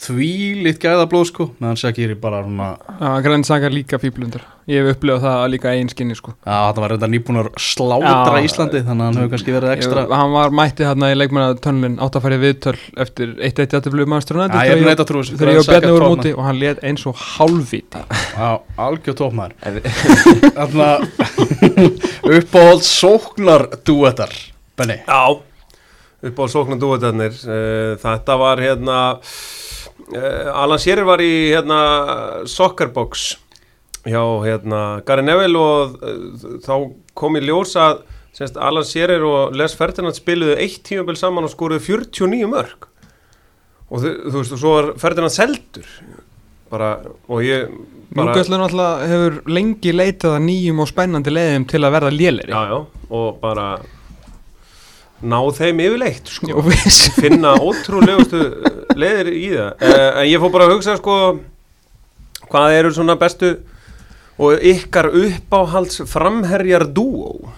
Speaker 2: þvílitt gæðablóð, sko, meðan Shakiri bara, svona,
Speaker 3: að græn saga líka fíblundur ég hef upplegað það líka einskinni sko
Speaker 2: að það var reynda nýbúnar slátra
Speaker 3: Já.
Speaker 2: Íslandi, þannig að hann hefur kannski verið ekstra.
Speaker 5: (laughs)
Speaker 3: Ég, hann var mætti hérna í leikmannatönnlin átt að fara í viðtöl eftir 1-1 jættiflug maður
Speaker 2: Já, ég er neitt að trúa þessu.
Speaker 3: þegar ég og
Speaker 2: Granit Xhaka
Speaker 3: Bjarni vorum
Speaker 2: topmaður.
Speaker 3: úti og hann lét eins og hálfviti
Speaker 2: Já, algjör tópmæður Þarna (laughs) uppáhald sóknar duetar Benni
Speaker 4: Já upp á sóknan dúetarnir þetta var hérna uh, Alan Shearer var í hérna soccerbox hjá hérna Gary Neville og uh, þá kom í ljós að semst, Alan Shearer og Les Ferdinand spiluðu eitt tímabil saman og skoruðu 49 mörg og þau, þú veist og svo var Ferdinand seldur bara og ég bara,
Speaker 3: Núgæslu náttúrulega hefur lengi leitað að nýjum og spennandi leiðum til að verða léleri
Speaker 4: já, já, og bara ná þeim yfirleitt sko.
Speaker 3: og viss
Speaker 4: finna ótrúlegustu eh, leiðir í það Eh, en ég fór bara að hugsa sko hvað eru svona bestu og ykkar uppáhalds framherjar dúó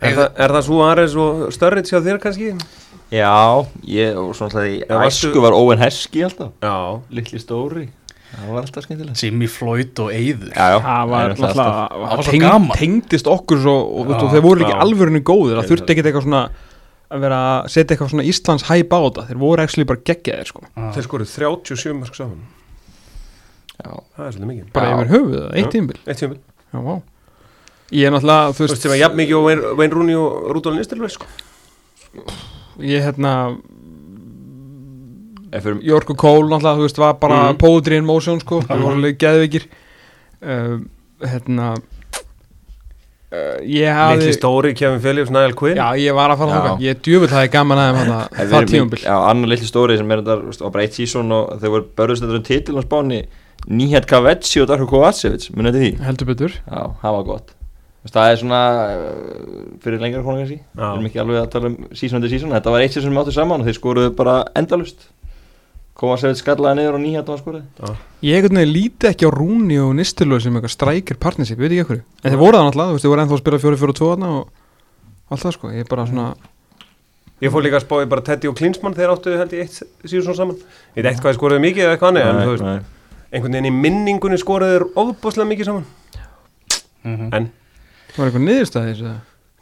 Speaker 4: er, það, er það svo aðeins og störrið sér þér kannski?
Speaker 5: Já, ég og svona alltaf í
Speaker 4: Já, varstu-
Speaker 5: æsku var Owen Heskey alltaf
Speaker 4: Já,
Speaker 5: Littli stóri Það var alltaf skemmtilegt
Speaker 2: Jimmy Floyd og Eyður
Speaker 5: Já, já
Speaker 3: það
Speaker 5: er
Speaker 3: var
Speaker 5: alltaf-
Speaker 3: náttúrulega
Speaker 2: var
Speaker 3: hann
Speaker 2: svo
Speaker 3: teng,
Speaker 2: gaman.
Speaker 3: tengdist okkur svo og, og,
Speaker 2: Já,
Speaker 3: og þeir voru ekki
Speaker 4: já.
Speaker 3: alvörinu góðir það þurfti ekkert eitthvað svona að vera að setja eitthvað svona Íslands hæp á þetta þeir voru ekki bara geggjaðir sko
Speaker 4: þeir skoru 37 mörg saman
Speaker 5: Já.
Speaker 4: það er svolítið mikið
Speaker 3: bara
Speaker 5: Já.
Speaker 3: yfir höfuð, eitt tímbil
Speaker 4: eitt tíma þú
Speaker 3: já, vá. ég er náttúrulega þú
Speaker 4: veist sem að jafn mikið og Wayne- Wayne Rooney og Rudolf Nistelröð sko
Speaker 3: ég hérna
Speaker 5: Ef við erum-
Speaker 3: Jörg og Kól náttúrulega þú veist var bara
Speaker 4: Mhm.
Speaker 3: poetry in motion sko það voru alveg geðveikir uh, hérna uh, ég hafði
Speaker 4: litli stóri Kevin Phillips, Niall Quinn
Speaker 3: já ég var að fara
Speaker 5: Já.
Speaker 3: þáka ég djöfull hafði gaman aðeins
Speaker 5: ef við
Speaker 3: það það
Speaker 5: erum í-
Speaker 3: tíumbil
Speaker 5: Já, annar litli stóri sem er þetta veist, var bara eitt sísón og þeir voru börðustendur um titil á Spáni Nýhjad Kavetsi og Darko Kovacevic Munið þetta því?
Speaker 3: heldur betur
Speaker 5: Já, það var gott Þú veist, Það er svona eh, fyrir lengra konu kannski Við erum ekki alveg að tala um season undir season Þetta var eitt sem áttu saman og þeir skoruðu bara endalust Kovacevic skallaði niður og nýhjad var skoruð
Speaker 3: ég einhvern veginn líti ekki á Rúni og Nistilur sem eitthvað strækir partnership, ég veit ekki ekkur en þeir voru það náttúrulega, þú veist, þeir voru ennþá að spila 4-4-2 þarna og allt það sko, ég er bara svona
Speaker 4: Ég fór líka að spá í bara Teddy og Klinsmann þegar áttu held ég eitt síðan svona saman Ég veit eitthvað þið skoruðu mikið eða eitthvað annað en þú veist,
Speaker 5: nei.
Speaker 4: einhvern veginn í minningunni skoruðu þeir ofbúslega mikið saman En
Speaker 3: það var eitthvað niðurstæði þessu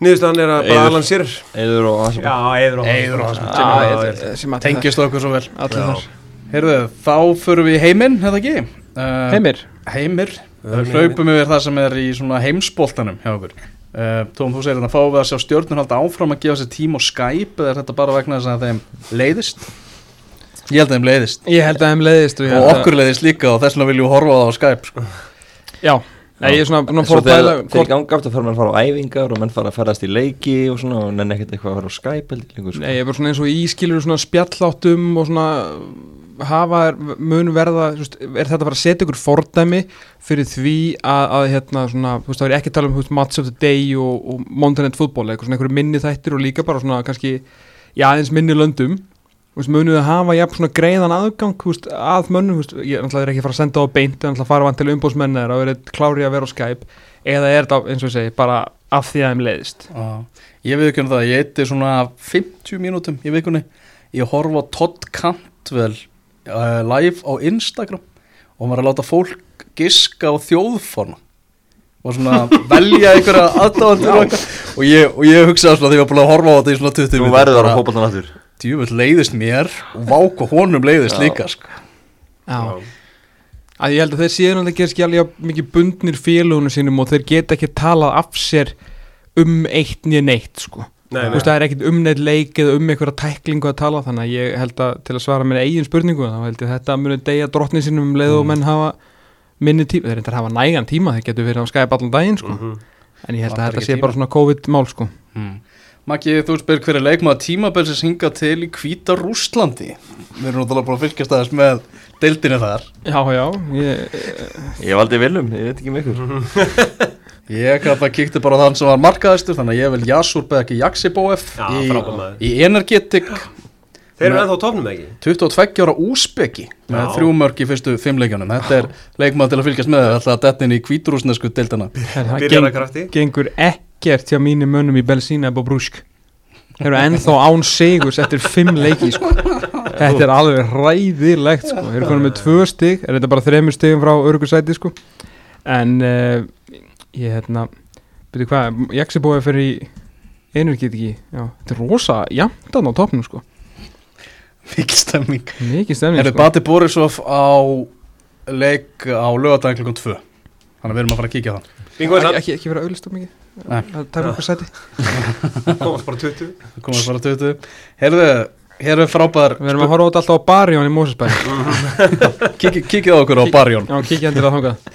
Speaker 4: niðurstaðan er að bara
Speaker 5: Eiður.
Speaker 4: Alan Shearer
Speaker 5: Eður og Hasselhoff.
Speaker 4: Já, Eður og
Speaker 2: Eiður og Hasselhoff.
Speaker 4: Hasselhoff.
Speaker 3: sem allir þar-
Speaker 2: Tengist okkur svo vel
Speaker 3: allir þar
Speaker 2: Heyrðu, þá förum við í heiminn, hefða ekki? Uh,
Speaker 3: Heimir,
Speaker 2: Heimir
Speaker 4: Förum í
Speaker 2: Hlaupum yfir það sem er í svona heimsboltanum hjá okkur uh, Tóm, þú segir þetta, fáum við að sjá stjórnur halda áfram að gefa sér tíma og Skype eða er þetta bara vegna þess að þeim leiðist? Ég held að þeim leiðist
Speaker 3: ég held að þeim leiðist
Speaker 2: Og
Speaker 3: ég held að-
Speaker 2: okkur leiðist líka og þess vegna viljum við horfa á það á Skype sko.
Speaker 3: Já, Nei, ég er svona, svona
Speaker 5: Svo
Speaker 3: fór að pæla
Speaker 5: þegar þeir
Speaker 3: hvort,
Speaker 5: ganga aftur fara menn fara á æfingar og menn fara að ferðast í leiki og svona og nenni ekkert eitthvað að vera á Skype heldur lengur sko.
Speaker 3: Nei, ég er bara svona eins og ískilur svona spjalláttum og svona uh, hafa er- mun verða, þú veist, er þetta bara að setja ykkur fordæmi fyrir því að, að hérna svona, þú veist, það er ekki að tala um þú veist, match of the day og, og Monday Night Football eitthvað svona einhverju minni þættir og líka bara svona kannski í aðeins minni löndum þú veist, munið að hafa jafn svona greiðan aðgang þú veist, að mönnum, þú veist, ég er náttúrulega ekki að fara að senda á beint, ég er náttúrulega að fara vant til umbóðsmenn þeirra og er klári að vera á Skype eða er þetta, eins og ég segi, bara af því að þeim leiðist
Speaker 2: Já, ég viðkjörn það, ég eitti svona 50 mínútum í vikunni Ég horfa á Todd Cantwell uh, live á Instagram og var að láta fólk giska á þjóðfána og svona
Speaker 5: (laughs)
Speaker 2: velja einhverja aðdáðandur og, eitthvað. og, ég- og ég hugsaði svona þegar ég var búin að horfa á þetta í svona 20
Speaker 5: Þú
Speaker 2: mínútur
Speaker 5: verður að
Speaker 2: bara,
Speaker 5: hópa þannig aftur
Speaker 2: Djúvill leiðist mér og váku honum leiðist
Speaker 5: Já.
Speaker 2: líka sko.
Speaker 3: Já. að ég held að þeir séu náttúrulega ekki skjálja mikið bundnir félagunum sínum og þeir geta ekki talað af sér um eitt nýja neitt sko.
Speaker 4: Nei,
Speaker 3: Þú veist, það er ekkit um neitt leik eða um einhverja tæklingu að tala þannig að ég held að til að svara minna eigin spurningu þá held ég að þetta muni deyja drottni sínum um leið og menn hafa minni tíma þeir reyndar hafa nægan tíma, þeir getur verið á Skype allan daginn sko.
Speaker 4: Mhm.
Speaker 3: en ég held að
Speaker 2: Vantar
Speaker 3: þetta
Speaker 2: ekki
Speaker 3: sé
Speaker 2: tíma.
Speaker 3: bara svona COVID-mál sko.
Speaker 2: Hmm. Maggi, þú spyr hver er leikmaður tímabelsins hingað til í hvíta Rússlandi Við erum náttúrulega búin að fylgjast aðeins með deildinu þar
Speaker 3: Já, já, ég,
Speaker 5: Ég valdi viljum, ég veit ekki um ykkur
Speaker 2: Ég gæti að kíkti bara á þann sem var markaðistur Þannig að ég vil Jasur Beggi Jaxibóef
Speaker 4: Já,
Speaker 2: í,
Speaker 4: frábær maður.
Speaker 2: í Energetic
Speaker 4: Þeir eru ennþá á topnum ekki
Speaker 2: 22 ára Úsbeki með
Speaker 4: Já.
Speaker 2: þrjú mörg í fyrstu fimmleikjanum Þetta er leikmaður til að fylgjast með Þetta er dettin í hvíturúsnesku deildina
Speaker 3: það
Speaker 4: Byrjar að krafti
Speaker 3: gengur ekkert hjá mínum mönnum í Belsína eða Brúsk Þeir eru ennþá án sigurs eftir fimm leiki sko. Þetta er alveg ræðilegt sko. Þeir eru konum með tvö stig er þetta bara þremur stigum frá örgusæti sko. en uh, ég hérna byrju hvað, Jaxibói fyrir í energeti ekki, já, þetta er rosa jafndan á topnum sko,
Speaker 2: Mikil stemming
Speaker 3: mikið stemning
Speaker 2: Er
Speaker 3: sko.
Speaker 2: þið Bati Borisov á leik á lögadagin klukkan 2 Þannig að við erum að fara að kíkja á þann
Speaker 4: Bingo er
Speaker 3: ekki,
Speaker 4: samt,
Speaker 3: ekki, ekki vera auðlist of mikið
Speaker 2: Nei.
Speaker 3: að taka okkur sæti
Speaker 4: komast bara 20
Speaker 2: Það komum við bara 20 Herðu, herðu frábær
Speaker 3: við erum að horfa á þetta alltaf á barjón í Mósesberg
Speaker 2: Kiki, Kikið á okkur á barjón
Speaker 3: já, kikið hendur að þangað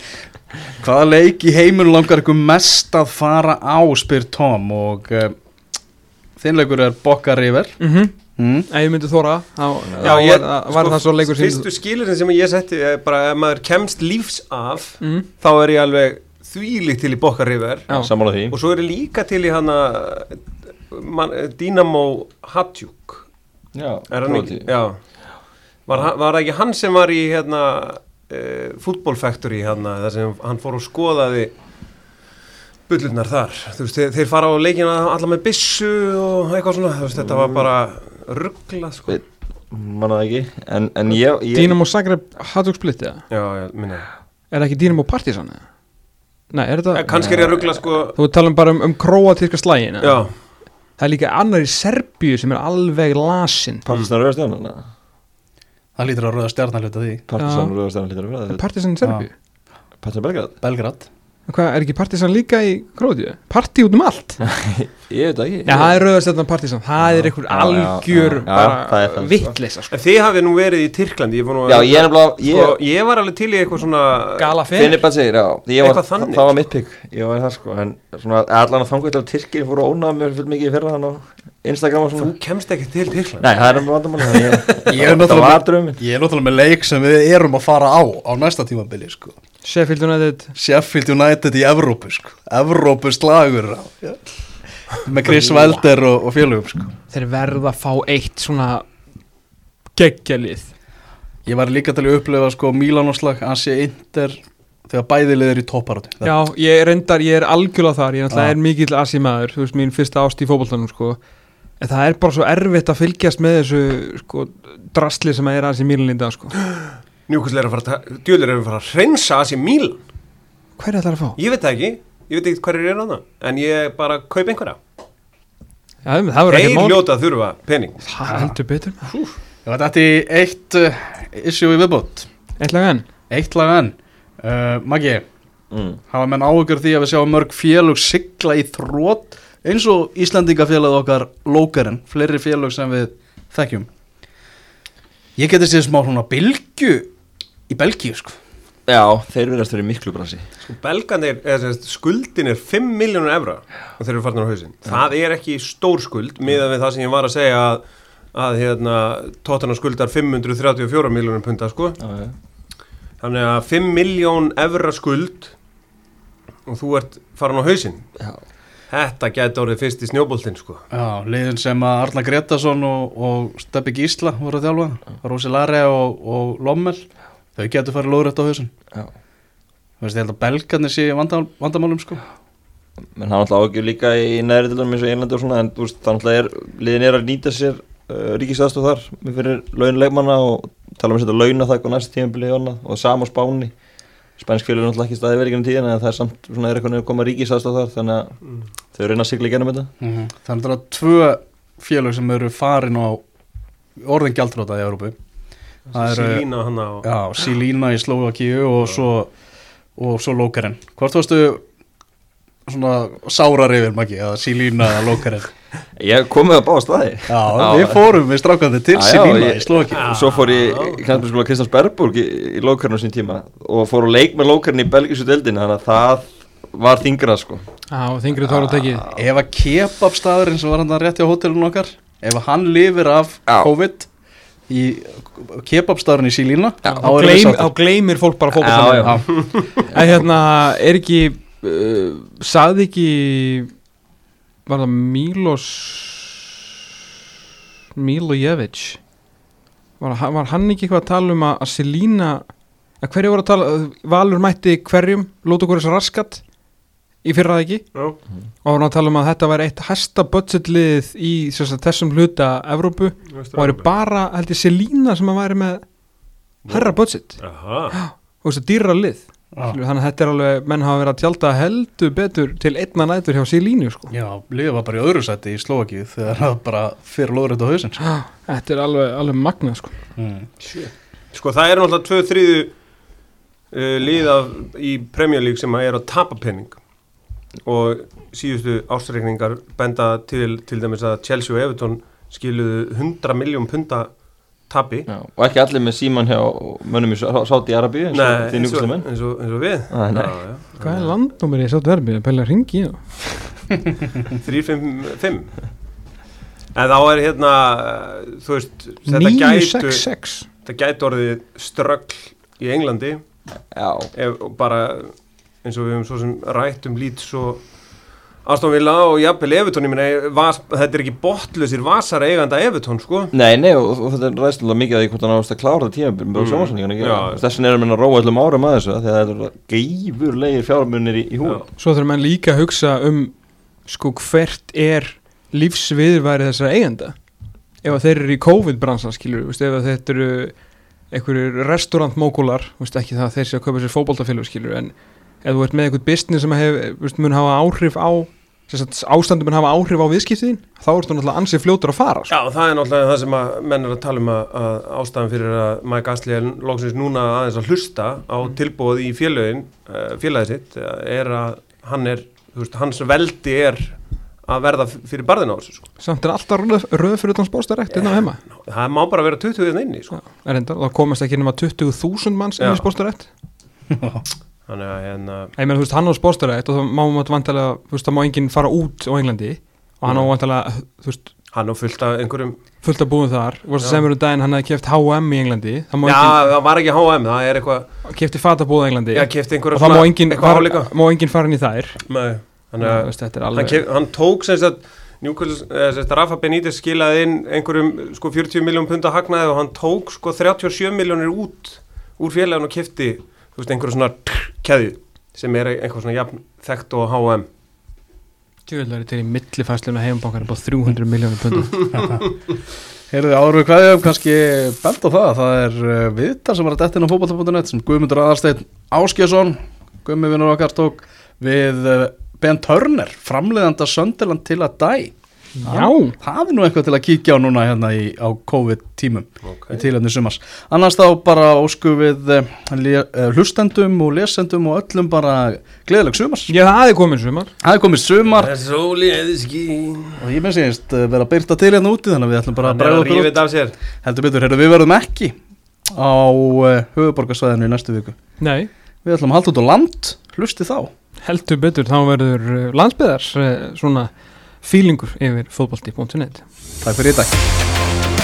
Speaker 2: Hvaða leik í heiminu langar ykkur mest að fara á, spyr Tom Og uh, þinnleikur er Bokka River
Speaker 3: mm
Speaker 2: mm.
Speaker 3: Ef ég myndi þóra þá
Speaker 4: Já,
Speaker 3: já,
Speaker 4: ég- sko,
Speaker 3: var, var það svo leikur sín
Speaker 4: Fyrstu skilirinn sem ég setti er bara ef maður kemst lífs af
Speaker 3: mm,
Speaker 4: þá er ég alveg þvílíkt til í bokkarriver
Speaker 3: Já.
Speaker 5: Sammála því
Speaker 4: og svo er ég líka til í hana eh, man- eh, Dynamo Hattjúk
Speaker 5: Já,
Speaker 4: er hann ekki?
Speaker 5: Króatía.
Speaker 4: Já Var, hann- var það ekki hann sem var í hérna uh, Football Factory hérna þar sem hann fór og skoðaði bullurnar þar þú veist, þeir, þeir fara á leikina alla með byssu og eitthvað svona, þú veist, þetta var bara ruggla sko
Speaker 5: Við- Manna það ekki En, en ég, ég
Speaker 3: Dínamo Zagreb Hattug Split eða?
Speaker 4: Já, já, minna
Speaker 3: Er það ekki Dínamo Partisan eða? Nei, er þetta
Speaker 4: Kannski er ég að ruggla sko
Speaker 3: Þú talum bara um, um króatíska slægin
Speaker 4: Já,
Speaker 3: Það er líka annar í Serbíu sem er alveg lasin
Speaker 5: Partisan Rauðastján
Speaker 2: Það lítur að rauða stjarnar hluta því
Speaker 5: Partisan
Speaker 3: Já.
Speaker 5: Rauðastján lítur að vera
Speaker 3: Er
Speaker 5: þetta-
Speaker 3: Partisan í Serbíu?
Speaker 5: Partisan Belgrad
Speaker 2: Belgrad
Speaker 3: En Hvað, er ekki Partisan líka í Króatíu? Parti út um allt Nei,
Speaker 5: Ég veit það ekki
Speaker 3: það er rauðastjarnan Partisan Það er einhver
Speaker 5: Já, já,
Speaker 3: algjör
Speaker 5: já, já, það er
Speaker 3: bara
Speaker 5: það.
Speaker 3: vitleisa sko.
Speaker 4: en þið hafið nú verið í Tyrklandi ég var nú að-
Speaker 5: Já, ég er nefnilega
Speaker 4: sko,
Speaker 5: Ég
Speaker 4: ég var alveg til í eitthvað svona
Speaker 3: Gala fyrir
Speaker 5: Finnibad segir, já Ég var,
Speaker 4: Eitthvað þannig.
Speaker 5: það, það var mitt pikk Ég var það sko En svona allan að þangu til að Tyrkir fóru ónað mér fyrir mikið fyrir hann á Instagram og
Speaker 4: Þú
Speaker 5: svona
Speaker 4: kemst ekki til Tyrklandi
Speaker 5: Nei, það er um vandamáli
Speaker 2: Ég er
Speaker 5: Það
Speaker 2: náttúrulega-
Speaker 5: var drömmin
Speaker 2: Ég er náttúrulega með leik sem við erum að fara á á næsta tímabili sko.
Speaker 3: Sheffield United
Speaker 2: Sheffield United í Evrópu sko. Evrópu slagur á. með Chris Welder og, og félögum sko.
Speaker 3: Þeir verða að fá eitt svona geggjalið
Speaker 2: Ég var líka til að upplifa sko Mílanóslag, Asi Inter þegar bæði liðir í topparátu
Speaker 3: Já, ég reyndar, ég er algjörlega þar Ég náttúrulega
Speaker 2: Já.
Speaker 3: er mikill asimæður Þú veist, mín fyrsta ást í fótboltanum sko. En það er bara svo erfitt að fylgjast með þessu sko, drasli sem að er aðeins í Mílan í dag sko.
Speaker 4: Njúkvæslega er að fara að djöðlega er að fara að hreinsa að sér Mílan
Speaker 3: Hver er það að fá?
Speaker 4: Ég veit það ekki, ég veit ekki hverjir er annað En ég bara kaup einhverja
Speaker 3: Já, það verður ekki
Speaker 4: Þeir
Speaker 3: mál
Speaker 4: ljóta að þurfa pening
Speaker 3: Það heldur betur maður.
Speaker 2: Það var þetta í eitt uh, issue í viðbót
Speaker 3: Eitt lag enn
Speaker 2: Eitt lag enn uh, Maggi,
Speaker 5: mm.
Speaker 2: hafa menn áhugur því að við sjáum mörg félög sigla í þrótt eins og Íslandingafélagið okkar Lókarinn, fleiri félög sem við þekkjum Ég geti séð smá svona bylgju í Belgíu sko
Speaker 5: Já, þeir verðast verið í miklu bransi
Speaker 4: Belgandir, Sko, eða sem sagt, skuldin er 5 miljónur evra Og þeir eru farnir á hausinn Það er ekki stór skuld Miðað við það sem ég var að segja að að hérna, tóttan skuldar 534 miljónum punta sko
Speaker 5: Já,
Speaker 4: þannig að 5 miljón evra skuld og þú ert farin á hausinn
Speaker 5: já
Speaker 4: Þetta gæti orðið fyrst í snjóboltinn sko
Speaker 2: Já, liðin sem að Arna Gretarsson og, og Steppi Gísla voru að þjálfa, Rósi Lare og, og Lommel, þau getur farið lóðrætt á hausinn.
Speaker 5: Já.
Speaker 2: Þú veist, ég held að belgarnir séu í vandam, vandamálum sko.
Speaker 5: uh, um
Speaker 2: Mm -hmm.
Speaker 5: Mhm.
Speaker 2: Það er náttúrulega tvö félög sem eru farin á orðin gjaldróta í Európu. Það eru-
Speaker 4: Sílína hann á
Speaker 2: Já, Silína í Slóakíu og svo, og svo Lókaren. Hvort varstu svona sárar yfir Maggi eða Silína eða Lókaren
Speaker 5: Ég komið á báða staði (laughs)
Speaker 2: Já, við fórum við strákandi til
Speaker 5: Já, já,
Speaker 2: Silína
Speaker 5: ég-
Speaker 2: í Slóki
Speaker 5: og svo fór ég í knallmennskóla Kristjáns Berburg í, í lókarinn á sín tíma og fór að leik með lókarinn í belgísu deildin þannig að það var þingra sko
Speaker 3: Já, og þingri tóra tekið
Speaker 2: Ef að kebabstaðurinn sem var hann rétt hjá hótelun okkar ef að hann lifir af
Speaker 5: Já.
Speaker 2: COVID í kebabstaðurinn í Silína
Speaker 3: Á gleym- Þá gleymir fólk bara fólk
Speaker 5: Já, já.
Speaker 3: En hérna, er ekki uh, Saði ekki Var það Milos Milojevic Var, hann- var hann ekki eitthvað að tala um að, að Selína að hverju voru að tala Valur mætti hverjum, lóta okkur þess raskat í fyrra það ekki
Speaker 4: Já.
Speaker 3: og var hann að tala um að þetta væri eitt hæsta budgetlið í sem sagt, þessum hluta Evrópu og væri bara, held ég, Selína sem að væri með herra budget
Speaker 4: Aha,
Speaker 3: og þess að dýra lið Skilur, þannig að þetta er alveg, menn hafa verið að tjálta heldur betur til einna nætur hjá Selínu sko.
Speaker 2: Já, liðið var bara í öðru sæti í Slóki þegar það bara fyrir lóðrætt á hausinn sko.
Speaker 3: Ah, þetta er alveg, alveg magnað sko.
Speaker 2: mm.
Speaker 4: sko það er náttúrulega tvö þriðu uh, lið af, í Premier League sem að er að tapa penning og síðustu ástreikningar benda til, til dæmis að Chelsea og Everton skiluðu 100 miljón punta tapi
Speaker 5: Já, og ekki allir með síman hjá mönnum í Sáti Arabi eins og
Speaker 4: Nei,
Speaker 5: þín
Speaker 4: eins og,
Speaker 5: úrslamenn
Speaker 4: eins, og, eins og við
Speaker 5: Nei, nei.
Speaker 4: Já, já.
Speaker 3: hvað er landnúmer í sátt verfið, pæla að ringi
Speaker 4: 355 En þá er hérna uh, þú veist, þetta gætu
Speaker 3: 966
Speaker 4: þetta gætu orðið ströggl í Englandi
Speaker 5: Já,
Speaker 4: ef, og bara eins og við höfum svo sem rætt um lít svo Aston Villa og jafnvel Evertón, ég meina, vas, þetta er ekki botlausir vasar eiganda Evertón, sko
Speaker 5: nei, nei, og, og þetta ræðst alveg mikið að því hvort hann ást að klára það tíma með
Speaker 4: Mm.
Speaker 5: mm.
Speaker 4: Já.
Speaker 5: sjómansendingan þessin erum við að róa allum árum að þessu af því að það er geifurlegir fjármunir í, í húi
Speaker 3: svo þurfum menn líka að hugsa um sko hvert er lífsviðurværi þessara eigenda ef að þeir eru í COVID-bransan skilur veist, ef að þetta eru einhverjir restaurantmókular, veist, ekki það að þeir séu að kaupa sér fótboltafélög skilur en ef þú ert með einhvern business sem hef, veist, mun hafa áhrif á sem sagt, ástandum mun hafa áhrif á viðskiptiðin þá ertu náttúrulega ansið fljótur að fara sko.
Speaker 4: Já, það er náttúrulega það sem að menn er að tala um að, að ástæðan fyrir að Mike Astley er loksins núna aðeins að hlusta á tilbúið í félagin, félagið sitt eh, er að hann er, þú veist, hans veldi er að verða f- fyrir barðin á þessu sko.
Speaker 3: samt er alltaf röð, röð fyrir utan spórstarækt yeah. innan heima
Speaker 4: það má bara vera 20 þinn inni sko.
Speaker 3: Er reyndar, þá komast ekki nema 20.000 manns inn
Speaker 4: Já.
Speaker 3: í spórstarækt
Speaker 4: þannig að hérna,
Speaker 3: Ég meina, þú veist, hann á spórstarætt og þá má maður vantilega, þú veist, það má enginn fara út á Englandi og hann á vantilega, þú veist,
Speaker 4: hann á fullt af einhverjum
Speaker 3: fullt að búið þar og það sem eru daginn hann hefði keft H&M í Englandi það má
Speaker 4: Já,
Speaker 3: enginn,
Speaker 4: það var ekki HM, það er eitthvað
Speaker 3: kefti fatabúð á Englandi
Speaker 4: Já, kefti einhverja
Speaker 3: og það má enginn
Speaker 4: eitthvað
Speaker 3: fara,
Speaker 4: álíka
Speaker 3: má enginn fara inn í þær
Speaker 4: Nei, þannig
Speaker 3: Þannig
Speaker 4: að
Speaker 3: að, veist, þetta er
Speaker 4: hann,
Speaker 3: alveg
Speaker 4: kef, hann tók sem sagt Newcastle, eh, sem sagt Rafa Benítez skilaði inn einhverjum sko 40 miljón pund að hagnaði og hann tók sko 37 miljónir út úr félagin og kifti þú veist einhverjum svona keðju sem er einhver svona jafn þekkt og H&M
Speaker 3: tjóðlega til í millifæslinu heimbankan upp á 300 miljónum (laughs) pundum
Speaker 2: Heyrðu, árum við kveðjum, kannski bent á það, það er uh, viðtal sem var að dettin á fótballta.net sem Guðmundur Aðarsteinn Áskjesson, Guðmi vinnur okkar tók við uh, Ben Turner, framleiðanda Sönderland til að dæ.
Speaker 3: Já,
Speaker 2: Það er nú eitthvað til að kíkja á núna hérna í, á COVID-tímum í
Speaker 4: okay.
Speaker 2: tilhæfni sumars. Annars þá bara ósku við uh, le- uh, hlustendum og lesendum og öllum bara gleðileg sumars.
Speaker 3: ég það er komin sumar
Speaker 2: Það er komið sumar
Speaker 4: Það er sólið skín
Speaker 2: og ég með sést uh, vera byrta til hérna úti þannig að við ætlum bara að
Speaker 4: Hann er
Speaker 2: bregða
Speaker 4: að
Speaker 2: okkur út.
Speaker 4: rífið af sér
Speaker 2: Heldur betur, heyrðu, við verðum ekki á uh, höfuborgarsvæðinu í næstu viku.
Speaker 3: Nei,
Speaker 2: Við ætlum að halda út á land, hlusti þá.
Speaker 3: heldur betur, þá verður eh, landsbyðar eh, svona fílingur yfir fótbolti.net
Speaker 2: Takk fyrir í dag.